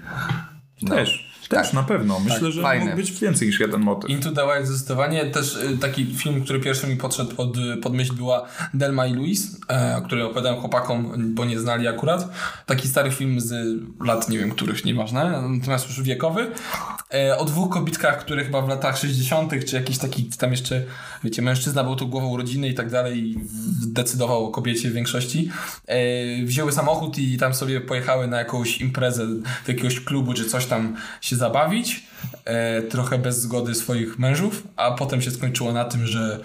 [SPEAKER 3] No.
[SPEAKER 1] Też, też na pewno. Myślę, że
[SPEAKER 3] Tak, fajne.
[SPEAKER 1] mógł być więcej niż jeden motyw.
[SPEAKER 4] Into the Wild zdecydowanie. Też y, taki film, który pierwszy mi podszedł pod, y, pod myśl była Delma i Louis, e, o której opowiadałem chłopakom, bo nie znali akurat. Taki stary film z lat nie wiem których, nieważne, natomiast już wiekowy. E, o dwóch kobitkach, które chyba w latach 60. czy jakiś taki tam jeszcze, wiecie, mężczyzna był tu głową rodziny i tak dalej i w- decydował o kobiecie w większości. E, wzięły samochód i tam sobie pojechały na jakąś imprezę do jakiegoś klubu czy coś tam się zabawić e, trochę bez zgody swoich mężów, a potem się skończyło na tym, że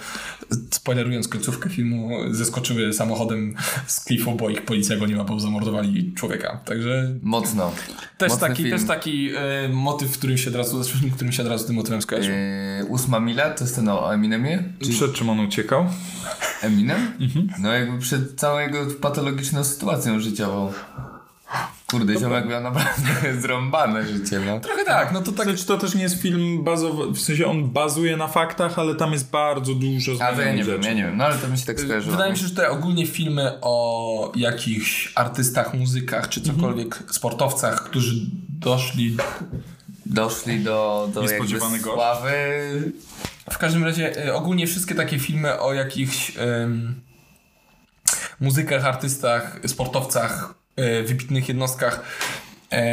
[SPEAKER 4] spoilerując końcówkę filmu, zeskoczyły samochodem z klifu, bo ich policja go nie ma, bo zamordowali człowieka. Także
[SPEAKER 3] Mocno.
[SPEAKER 4] też
[SPEAKER 3] Mocny
[SPEAKER 4] taki,
[SPEAKER 3] film.
[SPEAKER 4] też taki e, motyw, którym się od razu, z którym się od razu z tym motywem skojarzył.
[SPEAKER 3] Yy, ósma mila, to jest ten o Eminemie? Czy
[SPEAKER 1] Przed czym on uciekał?
[SPEAKER 3] Eminem?
[SPEAKER 1] Mhm.
[SPEAKER 3] No jakby przed całą jego patologiczną sytuacją życiową. Kurde, ziomek miał naprawdę zrąbane życie, no.
[SPEAKER 4] Trochę tak, no to tak
[SPEAKER 1] Znaczy, to też nie jest film bazowy, w sensie on bazuje na faktach, ale tam jest bardzo dużo
[SPEAKER 3] A to ja nie
[SPEAKER 1] zmienionych
[SPEAKER 3] wiem,
[SPEAKER 1] rzeczy. Y,
[SPEAKER 3] ja nie wiem, no ale to mi się tak skojarzyło.
[SPEAKER 4] Wydaje mi się, że tutaj ogólnie filmy o jakichś artystach, muzykach czy cokolwiek sportowcach, którzy doszli
[SPEAKER 3] Doszli do, do jakby
[SPEAKER 1] Niespodziewanego.
[SPEAKER 3] sławy.
[SPEAKER 4] W każdym razie y, ogólnie wszystkie takie filmy o jakichś ym, muzykach, artystach, sportowcach, y, wybitnych jednostkach,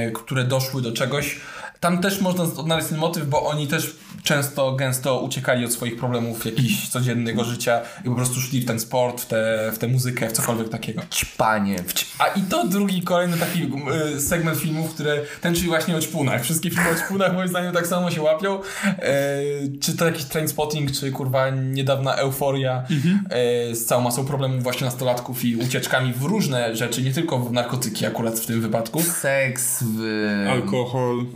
[SPEAKER 4] y, które doszły do czegoś, Tam też można odnaleźć ten motyw, bo oni też często, gęsto uciekali od swoich problemów jakichś codziennego życia i po prostu szli w ten sport, w tę w tę muzykę, w cokolwiek takiego.
[SPEAKER 3] Ćpanie.
[SPEAKER 4] A i to drugi, kolejny taki y, segment filmów, które ten czyli właśnie o ćpunach. Wszystkie filmy o ćpunach moim zdaniem tak samo się łapią. E, czy to jakiś Trainspotting, czy kurwa niedawna Euforia
[SPEAKER 3] Mhm.
[SPEAKER 4] e, z całą masą problemów właśnie nastolatków i ucieczkami w różne rzeczy, nie tylko w narkotyki akurat w tym wypadku.
[SPEAKER 3] Seks w...
[SPEAKER 1] Alkohol.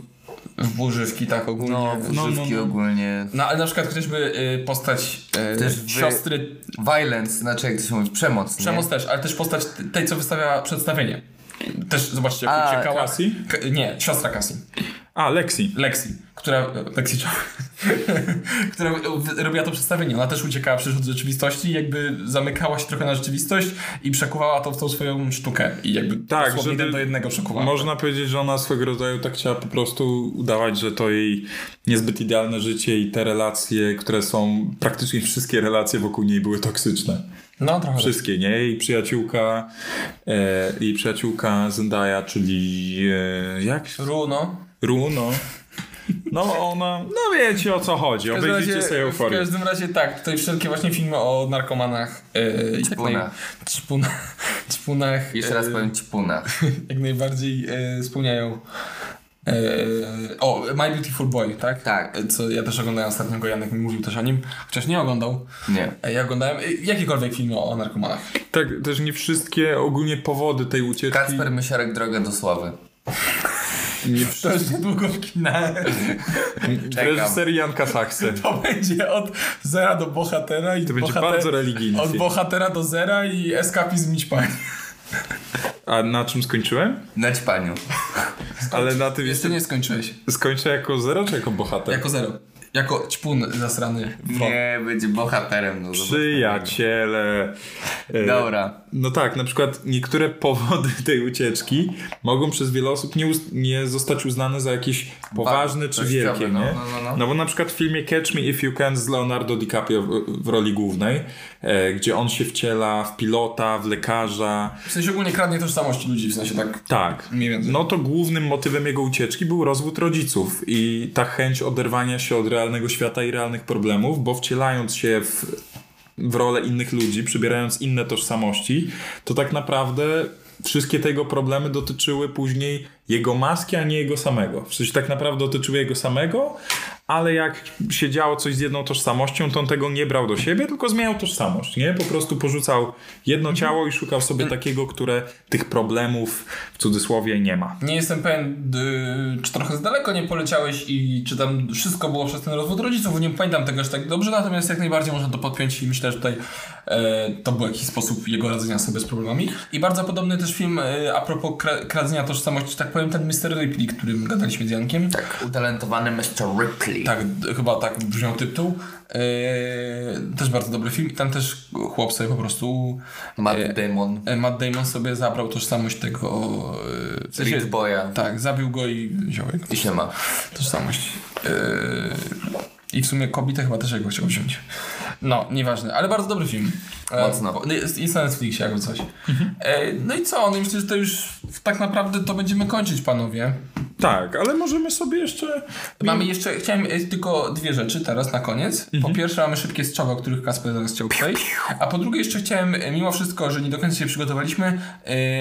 [SPEAKER 4] W burzy, w kitach ogólnie.
[SPEAKER 3] No,
[SPEAKER 4] No,
[SPEAKER 1] no,
[SPEAKER 3] używki
[SPEAKER 1] no.
[SPEAKER 3] ogólnie.
[SPEAKER 4] ale na przykład chociażby y, postać y,
[SPEAKER 3] Też wy-
[SPEAKER 4] siostry,
[SPEAKER 3] Violence, znaczy jak to się mówi, przemoc,
[SPEAKER 4] przemoc
[SPEAKER 3] nie?
[SPEAKER 4] też, ale też postać t- tej, co wystawia przedstawienie. Też zobaczcie,
[SPEAKER 3] A,
[SPEAKER 4] jak uciekała.
[SPEAKER 1] Cassie?
[SPEAKER 4] K- nie, siostra Kasi.
[SPEAKER 1] A, Lexi.
[SPEAKER 4] Lexi, która. Lexi Chow, która w- robiła to przedstawienie. Ona też uciekała przecież od rzeczywistości, i jakby zamykała się trochę na rzeczywistość i przekuwała to w tą swoją sztukę. I jakby
[SPEAKER 1] Tak,
[SPEAKER 4] dosłownie
[SPEAKER 1] żeby-
[SPEAKER 4] jeden do jednego przekuwała.
[SPEAKER 1] Można powiedzieć, że ona swego rodzaju tak chciała po prostu udawać, że to jej niezbyt idealne życie i te relacje, które są, praktycznie wszystkie relacje wokół niej były toksyczne.
[SPEAKER 4] No trochę. tak.
[SPEAKER 1] Wszystkie, nie? Jej przyjaciółka, e, jej przyjaciółka Zendaya, czyli e, jak?
[SPEAKER 4] Ru, no.
[SPEAKER 1] Ru, no. No ona, no wiecie o co chodzi,
[SPEAKER 4] W każdym
[SPEAKER 1] obejrzyjcie
[SPEAKER 4] razie-
[SPEAKER 1] sobie
[SPEAKER 4] W
[SPEAKER 1] euforię.
[SPEAKER 4] każdym razie tak, tutaj wszelkie właśnie filmy o narkomanach. Yy, jak
[SPEAKER 3] Ćpunach.
[SPEAKER 4] naj- Ćpunach. Ćpunach.
[SPEAKER 3] Jeszcze raz
[SPEAKER 4] e,
[SPEAKER 3] powiem ćpuna.
[SPEAKER 4] Jak najbardziej yy, spełniają. e, o, My Beautiful Boy, tak?
[SPEAKER 3] Tak.
[SPEAKER 4] Co ja też oglądałem ostatnio, go Janek mi mówił też o nim, chociaż nie oglądał.
[SPEAKER 3] Nie.
[SPEAKER 4] E, Ja oglądałem e, jakiekolwiek filmy o, o narkomanach.
[SPEAKER 1] Tak, też nie wszystkie ogólnie powody tej ucieczki.
[SPEAKER 3] Kacper Mysiarek, Droga do Sławy.
[SPEAKER 1] Nie
[SPEAKER 4] To już niedługo w kinach.
[SPEAKER 3] Czekam.
[SPEAKER 1] Reżyser Jan Kasaksy.
[SPEAKER 4] To będzie od zera do bohatera i
[SPEAKER 1] To będzie
[SPEAKER 4] bohater-
[SPEAKER 1] bardzo religijny
[SPEAKER 4] Od
[SPEAKER 1] film.
[SPEAKER 4] bohatera do zera i eskapizm mić pani.
[SPEAKER 1] A na czym skończyłem?
[SPEAKER 3] Na ćpaniu.
[SPEAKER 1] Ale na tym
[SPEAKER 4] Jeszcze
[SPEAKER 1] jeszcze
[SPEAKER 4] nie skończyłeś.
[SPEAKER 1] skończę jako zero czy jako bohater?
[SPEAKER 4] Jako zero. Jako ćpun zasrany. w lot.
[SPEAKER 3] Nie, będzie bohaterem. No,
[SPEAKER 1] Przyjaciele. E,
[SPEAKER 3] Dobra.
[SPEAKER 1] No tak, na przykład niektóre powody tej ucieczki mogą przez wiele osób nie, uz- nie zostać uznane za jakieś poważne czy
[SPEAKER 3] wartościowe,
[SPEAKER 1] wielkie,
[SPEAKER 3] no,
[SPEAKER 1] nie?
[SPEAKER 3] no, no, no.
[SPEAKER 1] bo na przykład w filmie Catch Me If You Can z Leonardo DiCaprio w, w roli głównej, e, gdzie on się wciela w pilota, w lekarza.
[SPEAKER 4] W sensie ogólnie kradnie tożsamości ludzi, w sensie tak.
[SPEAKER 1] Tak.
[SPEAKER 4] Mniej więcej.
[SPEAKER 1] No to głównym motywem jego ucieczki był rozwód rodziców i ta chęć oderwania się od realnego świata i realnych problemów, bo wcielając się w, w rolę innych ludzi, przybierając inne tożsamości, to tak naprawdę wszystkie te jego problemy dotyczyły później jego maski, a nie jego samego. W sensie tak naprawdę dotyczyły jego samego, ale jak się działo coś z jedną tożsamością, to on tego nie brał do siebie, tylko zmieniał tożsamość, nie? Po prostu porzucał jedno ciało i szukał sobie takiego, które tych problemów w cudzysłowie nie ma.
[SPEAKER 4] Nie jestem pewien, y, czy trochę z daleko nie poleciałeś i czy tam wszystko było przez ten rozwód rodziców, nie pamiętam tego aż tak dobrze, natomiast jak najbardziej można to podpiąć i myślę, że tutaj e, to był jakiś sposób jego radzenia sobie z problemami. I bardzo podobny też film e, a propos kra- kradzenia tożsamości, że tak powiem, ten Mr. Ripley, którym gadaliśmy z Jankiem.
[SPEAKER 3] Utalentowany Mr. Ripley.
[SPEAKER 4] Tak, d- chyba tak brzmiał tytuł. E, też bardzo dobry film i tam też chłop sobie po prostu...
[SPEAKER 3] Matt Damon.
[SPEAKER 4] E, Matt Damon sobie zabrał tożsamość tego... E, w sensie-
[SPEAKER 3] Reed Boya.
[SPEAKER 4] Tak, zabił go i wziął jego
[SPEAKER 3] I się ma.
[SPEAKER 4] tożsamość. Yy, I w sumie kobietę chyba też jego chciał wziąć. No, nieważne, ale bardzo dobry film. E,
[SPEAKER 3] Mocno.
[SPEAKER 4] bo- Jest, jest na Netflixie albo coś. E, no i co? No i myślę, że to już tak naprawdę to będziemy kończyć, panowie.
[SPEAKER 1] Tak, ale możemy sobie jeszcze...
[SPEAKER 4] Mamy jeszcze, chciałem e, tylko dwie rzeczy teraz na koniec. Po pierwsze mamy szybkie strzały, o których Kasper zaraz chciał przejść. A po drugie jeszcze chciałem, e, mimo wszystko, że nie do końca się przygotowaliśmy,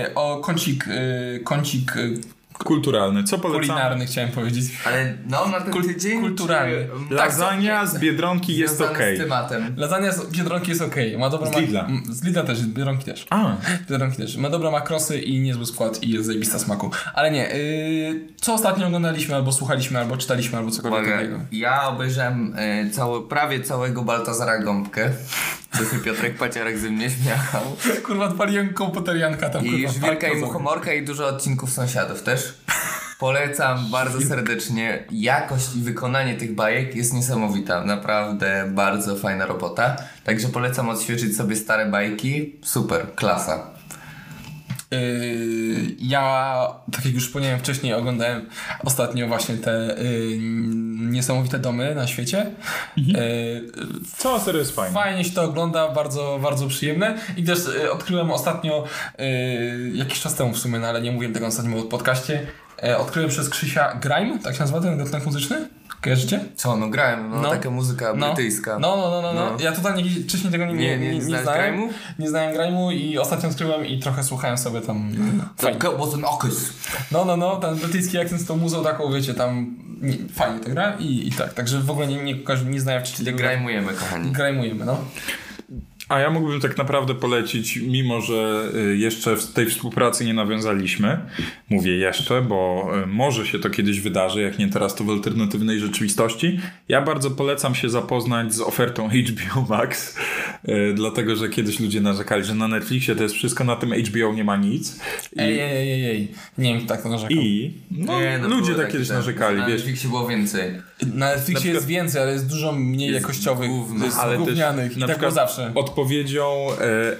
[SPEAKER 4] e, o kącik, e, kącik e,
[SPEAKER 1] Kulturalny, co polecamy?
[SPEAKER 4] kulinarny chciałem powiedzieć.
[SPEAKER 3] Ale no na ten tydzień... tak
[SPEAKER 4] kulturalny.
[SPEAKER 3] czy-
[SPEAKER 1] Lasagna z Biedronki jest
[SPEAKER 3] Związany
[SPEAKER 1] okej.
[SPEAKER 3] z tematem.
[SPEAKER 4] Lasagna z biedronki jest okej, ma dobrą...
[SPEAKER 1] Z Lidla.
[SPEAKER 4] Ma... Z Lidla też, z biedronki też.
[SPEAKER 1] A,
[SPEAKER 4] Biedronki też. Ma dobre makrosy i niezły skład i jest zajebista smaku. Ale nie, yy, co ostatnio oglądaliśmy, albo słuchaliśmy, albo czytaliśmy, albo cokolwiek
[SPEAKER 3] Uwaga,
[SPEAKER 4] takiego.
[SPEAKER 3] ja obejrzałem e, cały, prawie całego Baltazara Gąbkę. To się Piotrek Paciarek ze mnie śmiał.
[SPEAKER 4] Kurwa, odpaliłem komputer Janka tam,
[SPEAKER 3] I
[SPEAKER 4] kurwa.
[SPEAKER 3] Żwirka
[SPEAKER 4] tak,
[SPEAKER 3] i
[SPEAKER 4] to za-
[SPEAKER 3] Muchomorka i dużo odcinków sąsiadów też. Polecam bardzo serdecznie. Jakość i wykonanie tych bajek jest niesamowita. Naprawdę bardzo fajna robota. Także polecam odświeżyć sobie stare bajki. Super, klasa.
[SPEAKER 4] Yy, ja, tak jak już wspomniałem wcześniej, oglądałem ostatnio właśnie te yy, niesamowite domy na świecie. Yy,
[SPEAKER 1] cała seria jest fajna.
[SPEAKER 4] Fajnie się to ogląda, bardzo, bardzo przyjemne. I y, też e, odkryłem ostatnio, e, jakiś czas temu w sumie, no ale nie mówiłem tego na ostatnim podcaście, e, odkryły przez Krzysia Grime, tak się nazywa ten gatunek muzyczny? Kojarzycie?
[SPEAKER 3] Co, no grałem, no,
[SPEAKER 4] No.
[SPEAKER 3] taka muzyka
[SPEAKER 4] No.
[SPEAKER 3] brytyjska.
[SPEAKER 4] No, no, no, no, no.
[SPEAKER 3] No.
[SPEAKER 4] Ja totalnie gdzieś- wcześniej tego nie,
[SPEAKER 3] Nie,
[SPEAKER 4] nie,
[SPEAKER 3] nie
[SPEAKER 4] nie,
[SPEAKER 3] znałeś
[SPEAKER 4] znałem.
[SPEAKER 3] Grime'u?
[SPEAKER 4] Nie znałem Grime'u i ostatnio odkryłem i trochę słuchałem sobie tam.
[SPEAKER 3] To go was an okus.
[SPEAKER 4] No, no, no, ten brytyjski akcent z tą muzą taką, wiecie, tam nie, fajnie to gra i, i tak. Także w ogóle nie, nie, kojarzy- nie znałem wcześniej tego.
[SPEAKER 3] Grajmujemy, kochani.
[SPEAKER 4] Grime'ujemy, no.
[SPEAKER 1] A ja mógłbym tak naprawdę polecić, mimo że y, jeszcze w tej współpracy nie nawiązaliśmy. Mówię jeszcze, bo y, może się to kiedyś wydarzy, jak nie teraz, to w alternatywnej rzeczywistości. Ja bardzo polecam się zapoznać z ofertą HBO Max, y, dlatego że kiedyś ludzie narzekali, że na Netflixie to jest wszystko, na tym HBO nie ma nic. I,
[SPEAKER 4] Ej, ej, ej, ej, ej. Nie wiem, tak to narzekam.
[SPEAKER 1] i no,
[SPEAKER 3] Nie, no,
[SPEAKER 1] ludzie
[SPEAKER 3] było
[SPEAKER 1] tak
[SPEAKER 3] takie,
[SPEAKER 1] kiedyś
[SPEAKER 3] że
[SPEAKER 1] narzekali,
[SPEAKER 3] Na
[SPEAKER 1] wiesz.
[SPEAKER 3] Netflixie było więcej.
[SPEAKER 4] Na Netflixie
[SPEAKER 1] Na przykład-
[SPEAKER 4] jest więcej, ale jest dużo mniej jakościowych,
[SPEAKER 3] gówno.
[SPEAKER 4] jest
[SPEAKER 1] Ale też na
[SPEAKER 4] gównianych i tak było
[SPEAKER 1] przykład
[SPEAKER 4] zawsze.
[SPEAKER 1] Odpowiedzią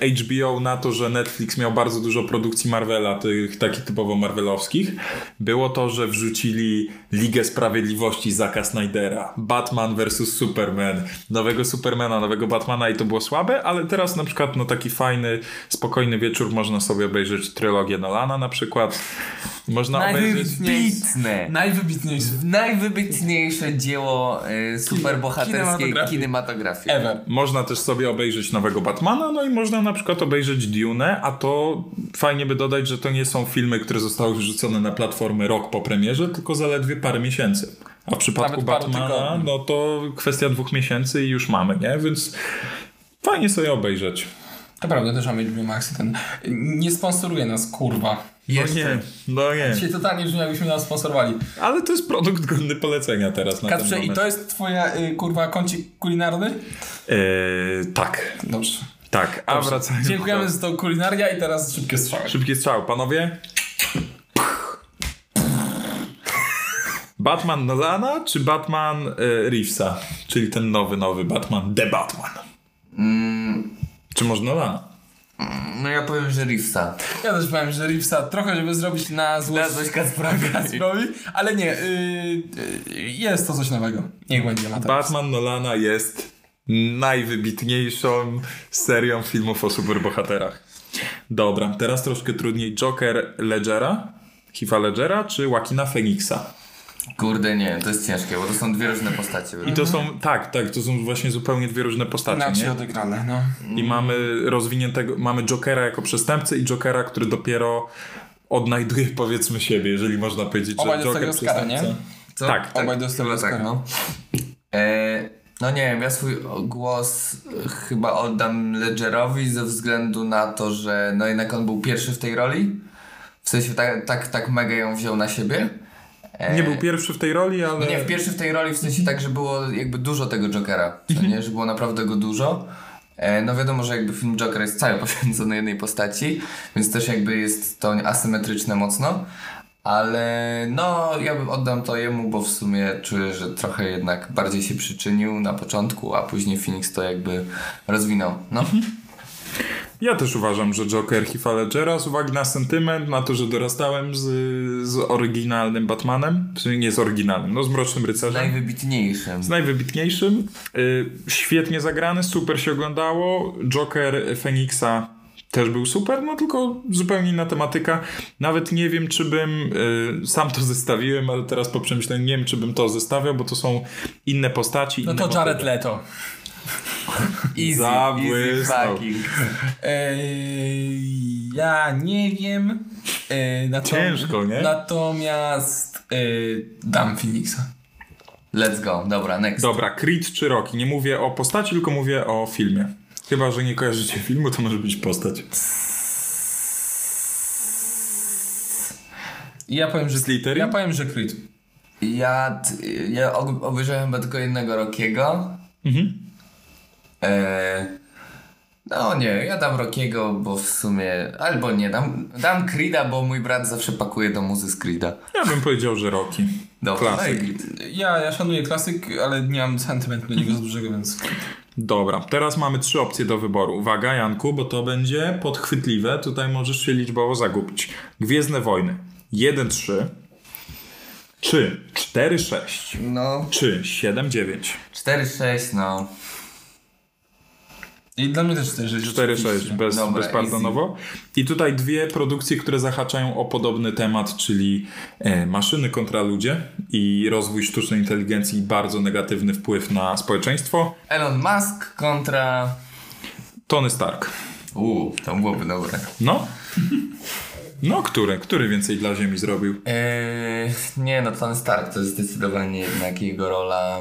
[SPEAKER 1] e, HBO na to, że Netflix miał bardzo dużo produkcji Marvela, tych takich typowo marvelowskich, było to, że wrzucili Ligę Sprawiedliwości Zaka Snydera, Batman vs. Superman, nowego Supermana, nowego Batmana i to było słabe, ale teraz na przykład no taki fajny, spokojny wieczór można sobie obejrzeć trylogię Nolana na przykład. Można obejrzeć...
[SPEAKER 3] Najwybitne.
[SPEAKER 4] Najwybitniejszy
[SPEAKER 3] Najwybitniejsze dzieło y, superbohaterskiej
[SPEAKER 4] kinematografii.
[SPEAKER 3] kinematografii.
[SPEAKER 4] ever.
[SPEAKER 1] Można też sobie obejrzeć nowego Batmana, no i można na przykład obejrzeć Dune, a to fajnie by dodać, że to nie są filmy, które zostały wrzucone na platformy rok po premierze, tylko zaledwie parę miesięcy. A w przypadku
[SPEAKER 4] Nawet paru
[SPEAKER 1] Batmana,
[SPEAKER 4] tygodni.
[SPEAKER 1] no to kwestia dwóch miesięcy i już mamy, nie? Więc fajnie sobie obejrzeć.
[SPEAKER 4] To prawda, też mamy HBO Max i ten... Nie sponsoruje nas, kurwa.
[SPEAKER 1] No nie, no nie.
[SPEAKER 4] Dzisiaj totalnie brzmi, jakbyśmy nas sponsorowali.
[SPEAKER 1] Ale to jest produkt godny polecenia teraz na ten
[SPEAKER 4] Katrze, i
[SPEAKER 1] moment.
[SPEAKER 4] to jest twoja, y, kurwa, kącik kulinarny?
[SPEAKER 1] Eee, tak,
[SPEAKER 4] Dobrze.
[SPEAKER 1] tak. A wracając
[SPEAKER 4] Dziękujemy
[SPEAKER 1] do-
[SPEAKER 4] za to kulinaria i teraz szybkie strzały.
[SPEAKER 1] Szybki strzał, panowie. Batman Nolana czy Batman e, Reevesa? Czyli ten nowy, nowy Batman, The Batman. Czy może Nolana?
[SPEAKER 3] No ja powiem, że Reevesa.
[SPEAKER 4] Ja też powiem, że Reevesa trochę, żeby zrobić
[SPEAKER 3] Dla
[SPEAKER 4] na złość
[SPEAKER 3] coś Kacprawka.
[SPEAKER 4] Kacprowi, ale nie, y, y, jest to coś nowego. Niech będzie na tak.
[SPEAKER 1] Batman Nolana jest najwybitniejszą serią filmów o superbohaterach. Dobra, teraz troszkę trudniej. Joker Ledgera, Heath'a Ledgera czy Joaquina Phoenixa?
[SPEAKER 3] Kurde nie, to jest ciężkie, bo to są dwie różne postacie.
[SPEAKER 1] I to są, tak, tak, to są właśnie zupełnie dwie różne postacie,
[SPEAKER 4] Na
[SPEAKER 1] nie?
[SPEAKER 4] się odegrane, no.
[SPEAKER 1] I mamy rozwiniętego, mamy Jokera jako przestępcę i Jokera, który dopiero odnajduje powiedzmy siebie, jeżeli można powiedzieć,
[SPEAKER 4] Obaj
[SPEAKER 1] że
[SPEAKER 4] dostali
[SPEAKER 1] Joker
[SPEAKER 4] Oscara, nie?
[SPEAKER 1] przestępca.
[SPEAKER 3] Co?
[SPEAKER 1] Tak, tak.
[SPEAKER 4] Obaj dostali
[SPEAKER 3] chyba
[SPEAKER 4] Oscara.
[SPEAKER 3] tak, no. E, no nie wiem, ja swój głos chyba oddam Ledgerowi ze względu na to, że no jednak on był pierwszy w tej roli. W sensie tak, tak, tak mega ją wziął na siebie. E,
[SPEAKER 1] Nie był pierwszy w tej roli, ale
[SPEAKER 3] No nie, w pierwszy w tej roli w sensie tak, że było jakby dużo tego Jokera, co nie? Że było naprawdę go dużo. E, no wiadomo, że jakby film Joker jest cały poświęcony jednej postaci, więc też jakby jest to asymetryczne mocno. Ale no, ja bym oddam to jemu, bo w sumie czuję, że trochę jednak bardziej się przyczynił na początku, a później Phoenix to jakby rozwinął. No,
[SPEAKER 1] ja też uważam, że Joker Heath'a Ledgera z uwagi na sentyment, na to, że dorastałem z, z oryginalnym Batmanem, czyli nie z oryginalnym, no z Mrocznym Rycerzem.
[SPEAKER 3] najwybitniejszym.
[SPEAKER 1] z najwybitniejszym. Y, świetnie zagrany, super się oglądało. Joker Feniksa też był super, no tylko zupełnie inna tematyka. Nawet nie wiem, czy bym y, sam to zestawiłem, ale teraz po przemyśleniu nie wiem, czy bym to zestawiał, bo to są inne postaci.
[SPEAKER 4] No
[SPEAKER 1] inne
[SPEAKER 4] to Jared
[SPEAKER 1] motywy.
[SPEAKER 4] Leto.
[SPEAKER 3] Easy, easy
[SPEAKER 1] Zabłysnął.
[SPEAKER 3] fucking.
[SPEAKER 4] Ej, ja nie wiem. Ej, natom-
[SPEAKER 1] Ciężko, nie?
[SPEAKER 4] Natomiast ej, dam Phoenixa.
[SPEAKER 3] Let's go, dobra, next.
[SPEAKER 1] Dobra, Creed czy Rocky. Nie mówię o postaci, tylko mówię o filmie. Chyba, że nie kojarzycie filmu, to może być postać.
[SPEAKER 4] I ja powiem, że
[SPEAKER 1] Slytherin?
[SPEAKER 4] Ja powiem, że Creed.
[SPEAKER 3] Ja, t- ja og- obejrzałem chyba tylko jednego Rokiego.
[SPEAKER 1] Mhm.
[SPEAKER 3] E, no nie, ja dam Rokiego, bo w sumie. Albo nie, dam, dam Creeda, bo mój brat zawsze pakuje do muzy z Creeda.
[SPEAKER 1] Ja bym powiedział, że Rocky.
[SPEAKER 3] Dobra, no i
[SPEAKER 1] Klasyk.
[SPEAKER 3] Creed.
[SPEAKER 4] Ja, ja szanuję klasyk, ale nie mam sentymentu do niego z dużego, więc...
[SPEAKER 1] Dobra, teraz mamy trzy opcje do wyboru. Uwaga, Janku, bo to będzie podchwytliwe. Tutaj możesz się liczbowo zagubić. Gwiezdne wojny. 1-3. Czy 4-6.
[SPEAKER 3] No,
[SPEAKER 1] Czy 7-9.
[SPEAKER 3] 4-6, no.
[SPEAKER 4] I dla mnie też 4-6.
[SPEAKER 1] 4-6, bez,
[SPEAKER 3] Dobra,
[SPEAKER 1] bezpardonowo. I tutaj dwie produkcje, które zahaczają o podobny temat, czyli e, maszyny kontra ludzie i rozwój sztucznej inteligencji i bardzo negatywny wpływ na społeczeństwo.
[SPEAKER 3] Elon Musk kontra...
[SPEAKER 1] Tony Stark.
[SPEAKER 3] Uuu, to byłoby dobre.
[SPEAKER 1] No? No, który? Który więcej dla Ziemi zrobił?
[SPEAKER 3] Eee, nie, no Tony Stark to jest zdecydowanie jednak jego rola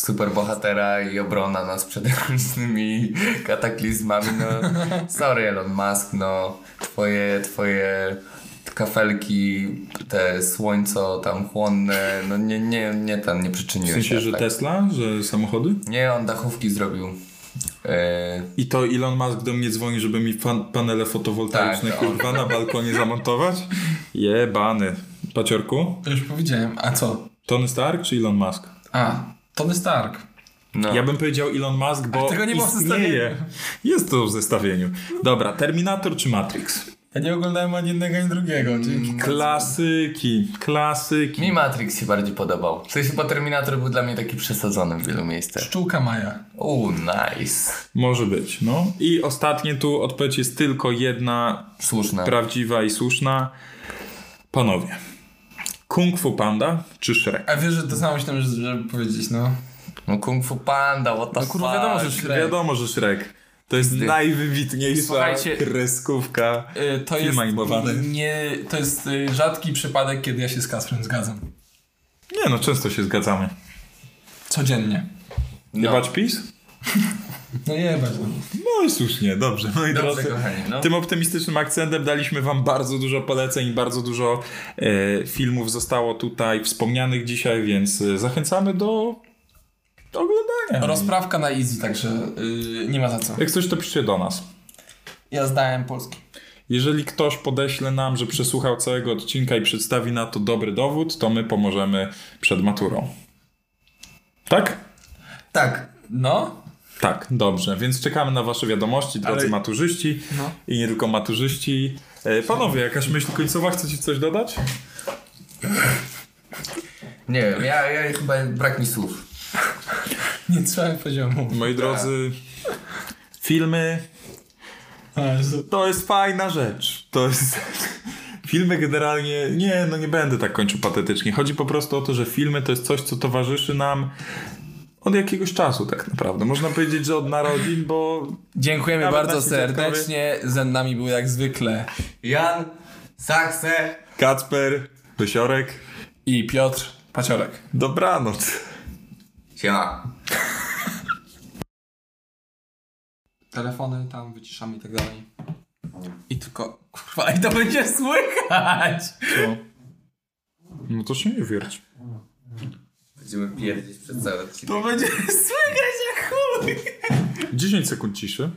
[SPEAKER 3] superbohatera i obrona nas przed różnymi kataklizmami. No, sorry Elon Musk, no twoje, twoje kafelki, te słońco tam chłonne, no nie, nie, nie tam nie
[SPEAKER 1] W
[SPEAKER 3] przyczyniłeś się
[SPEAKER 1] sensie, że
[SPEAKER 3] tak.
[SPEAKER 1] Tesla, że samochody?
[SPEAKER 3] Nie, on dachówki zrobił. Eee,
[SPEAKER 1] I to Elon Musk do mnie dzwoni, żeby mi pan, panele fotowoltaiczne
[SPEAKER 4] no.
[SPEAKER 3] Tak, on.
[SPEAKER 1] kurwa na balkonie zamontować? Jebany. Paciorku?
[SPEAKER 4] To już powiedziałem. A co?
[SPEAKER 1] Tony Stark czy Elon Musk?
[SPEAKER 4] A, Tony Stark.
[SPEAKER 3] no.
[SPEAKER 1] Ja bym powiedział Elon Musk, bo
[SPEAKER 4] Tak. Ale tego nie było w
[SPEAKER 1] istnieje. Jest to w zestawieniu. Dobra, Terminator czy Matrix?
[SPEAKER 4] Ja nie oglądałem ani jednego, ani drugiego. Dzięki.
[SPEAKER 1] Mm. Klasyki, klasyki.
[SPEAKER 3] Mi Matrix się bardziej podobał. W sensie, bo Terminator był dla mnie taki przesadzony w wielu miejscach.
[SPEAKER 4] Pszczółka Maja.
[SPEAKER 3] Uuu, nice.
[SPEAKER 1] Może być, no. I ostatnie tu odpowiedź jest tylko jedna,
[SPEAKER 3] Słuszne.
[SPEAKER 4] Tak.
[SPEAKER 1] prawdziwa i słuszna. Panowie, Kung Fu Panda czy Shrek?
[SPEAKER 4] A wiesz, że to samo myślałem, że- żeby powiedzieć, no.
[SPEAKER 3] No Kung Fu Panda, what the
[SPEAKER 4] No kurwa,
[SPEAKER 3] fuck.
[SPEAKER 4] wiadomo, że Shrek.
[SPEAKER 1] Wiadomo, że Shrek. To jest
[SPEAKER 3] Gdy-
[SPEAKER 1] najwybitniejsza
[SPEAKER 4] Słuchajcie-
[SPEAKER 1] kreskówka.
[SPEAKER 4] Y, To
[SPEAKER 1] Film
[SPEAKER 4] jest,
[SPEAKER 1] animowany.
[SPEAKER 4] nie, to jest y, rzadki przypadek, kiedy ja się z Kasprem zgadzam.
[SPEAKER 1] Nie no, często się zgadzamy.
[SPEAKER 4] Codziennie.
[SPEAKER 1] Nie
[SPEAKER 3] no.
[SPEAKER 1] bać PiS?
[SPEAKER 4] No jebać. No.
[SPEAKER 1] No i słusznie, dobrze. No i
[SPEAKER 3] Dobrze,
[SPEAKER 1] drodzy,
[SPEAKER 3] kochani, no.
[SPEAKER 1] Tym optymistycznym akcentem daliśmy Wam bardzo dużo poleceń, bardzo dużo e, filmów zostało tutaj wspomnianych dzisiaj, więc e, zachęcamy do, do oglądania.
[SPEAKER 4] No, Rozprawka na easy, także y, nie ma za co.
[SPEAKER 1] Jak coś, to piszcie do nas.
[SPEAKER 4] Ja zdałem polski.
[SPEAKER 1] Jeżeli ktoś podeśle nam, że przesłuchał całego odcinka i przedstawi na to dobry dowód, to my pomożemy przed maturą. Tak?
[SPEAKER 4] Tak. No?
[SPEAKER 1] Tak, dobrze. Więc czekamy na Wasze wiadomości, drodzy
[SPEAKER 4] Ale-
[SPEAKER 1] maturzyści
[SPEAKER 4] No.
[SPEAKER 1] i nie tylko maturzyści. E, Panowie, jakaś myśl końcowa? Chcecie coś dodać?
[SPEAKER 3] Nie wiem, ja, ja chyba brak mi słów.
[SPEAKER 4] Nie trzymałem poziomu.
[SPEAKER 1] Moi drodzy, filmy
[SPEAKER 4] A, że-
[SPEAKER 1] to jest fajna rzecz. To jest. Filmy generalnie. Nie, no nie będę tak kończył patetycznie. Chodzi po prostu o to, że filmy to jest coś, co towarzyszy nam od jakiegoś czasu, tak naprawdę. Można powiedzieć, że od narodzin, bo
[SPEAKER 4] Dziękujemy
[SPEAKER 1] Nawet
[SPEAKER 4] bardzo
[SPEAKER 1] nasi
[SPEAKER 4] serdecznie. Ze nami był jak zwykle
[SPEAKER 3] Jan, Sakse.
[SPEAKER 1] Kacper, Pysiorek,
[SPEAKER 4] i Piotr Paciorek.
[SPEAKER 1] dobranoc.
[SPEAKER 3] Siema.
[SPEAKER 4] Telefony tam wyciszamy i tak dalej. I tylko... Kurwa, i to będzie słychać!
[SPEAKER 1] No to się nie wierć.
[SPEAKER 3] Będziemy pierdzieć przez cały odcinek.
[SPEAKER 4] To będzie słychać jak chuj!
[SPEAKER 1] 10 sekund ciszy.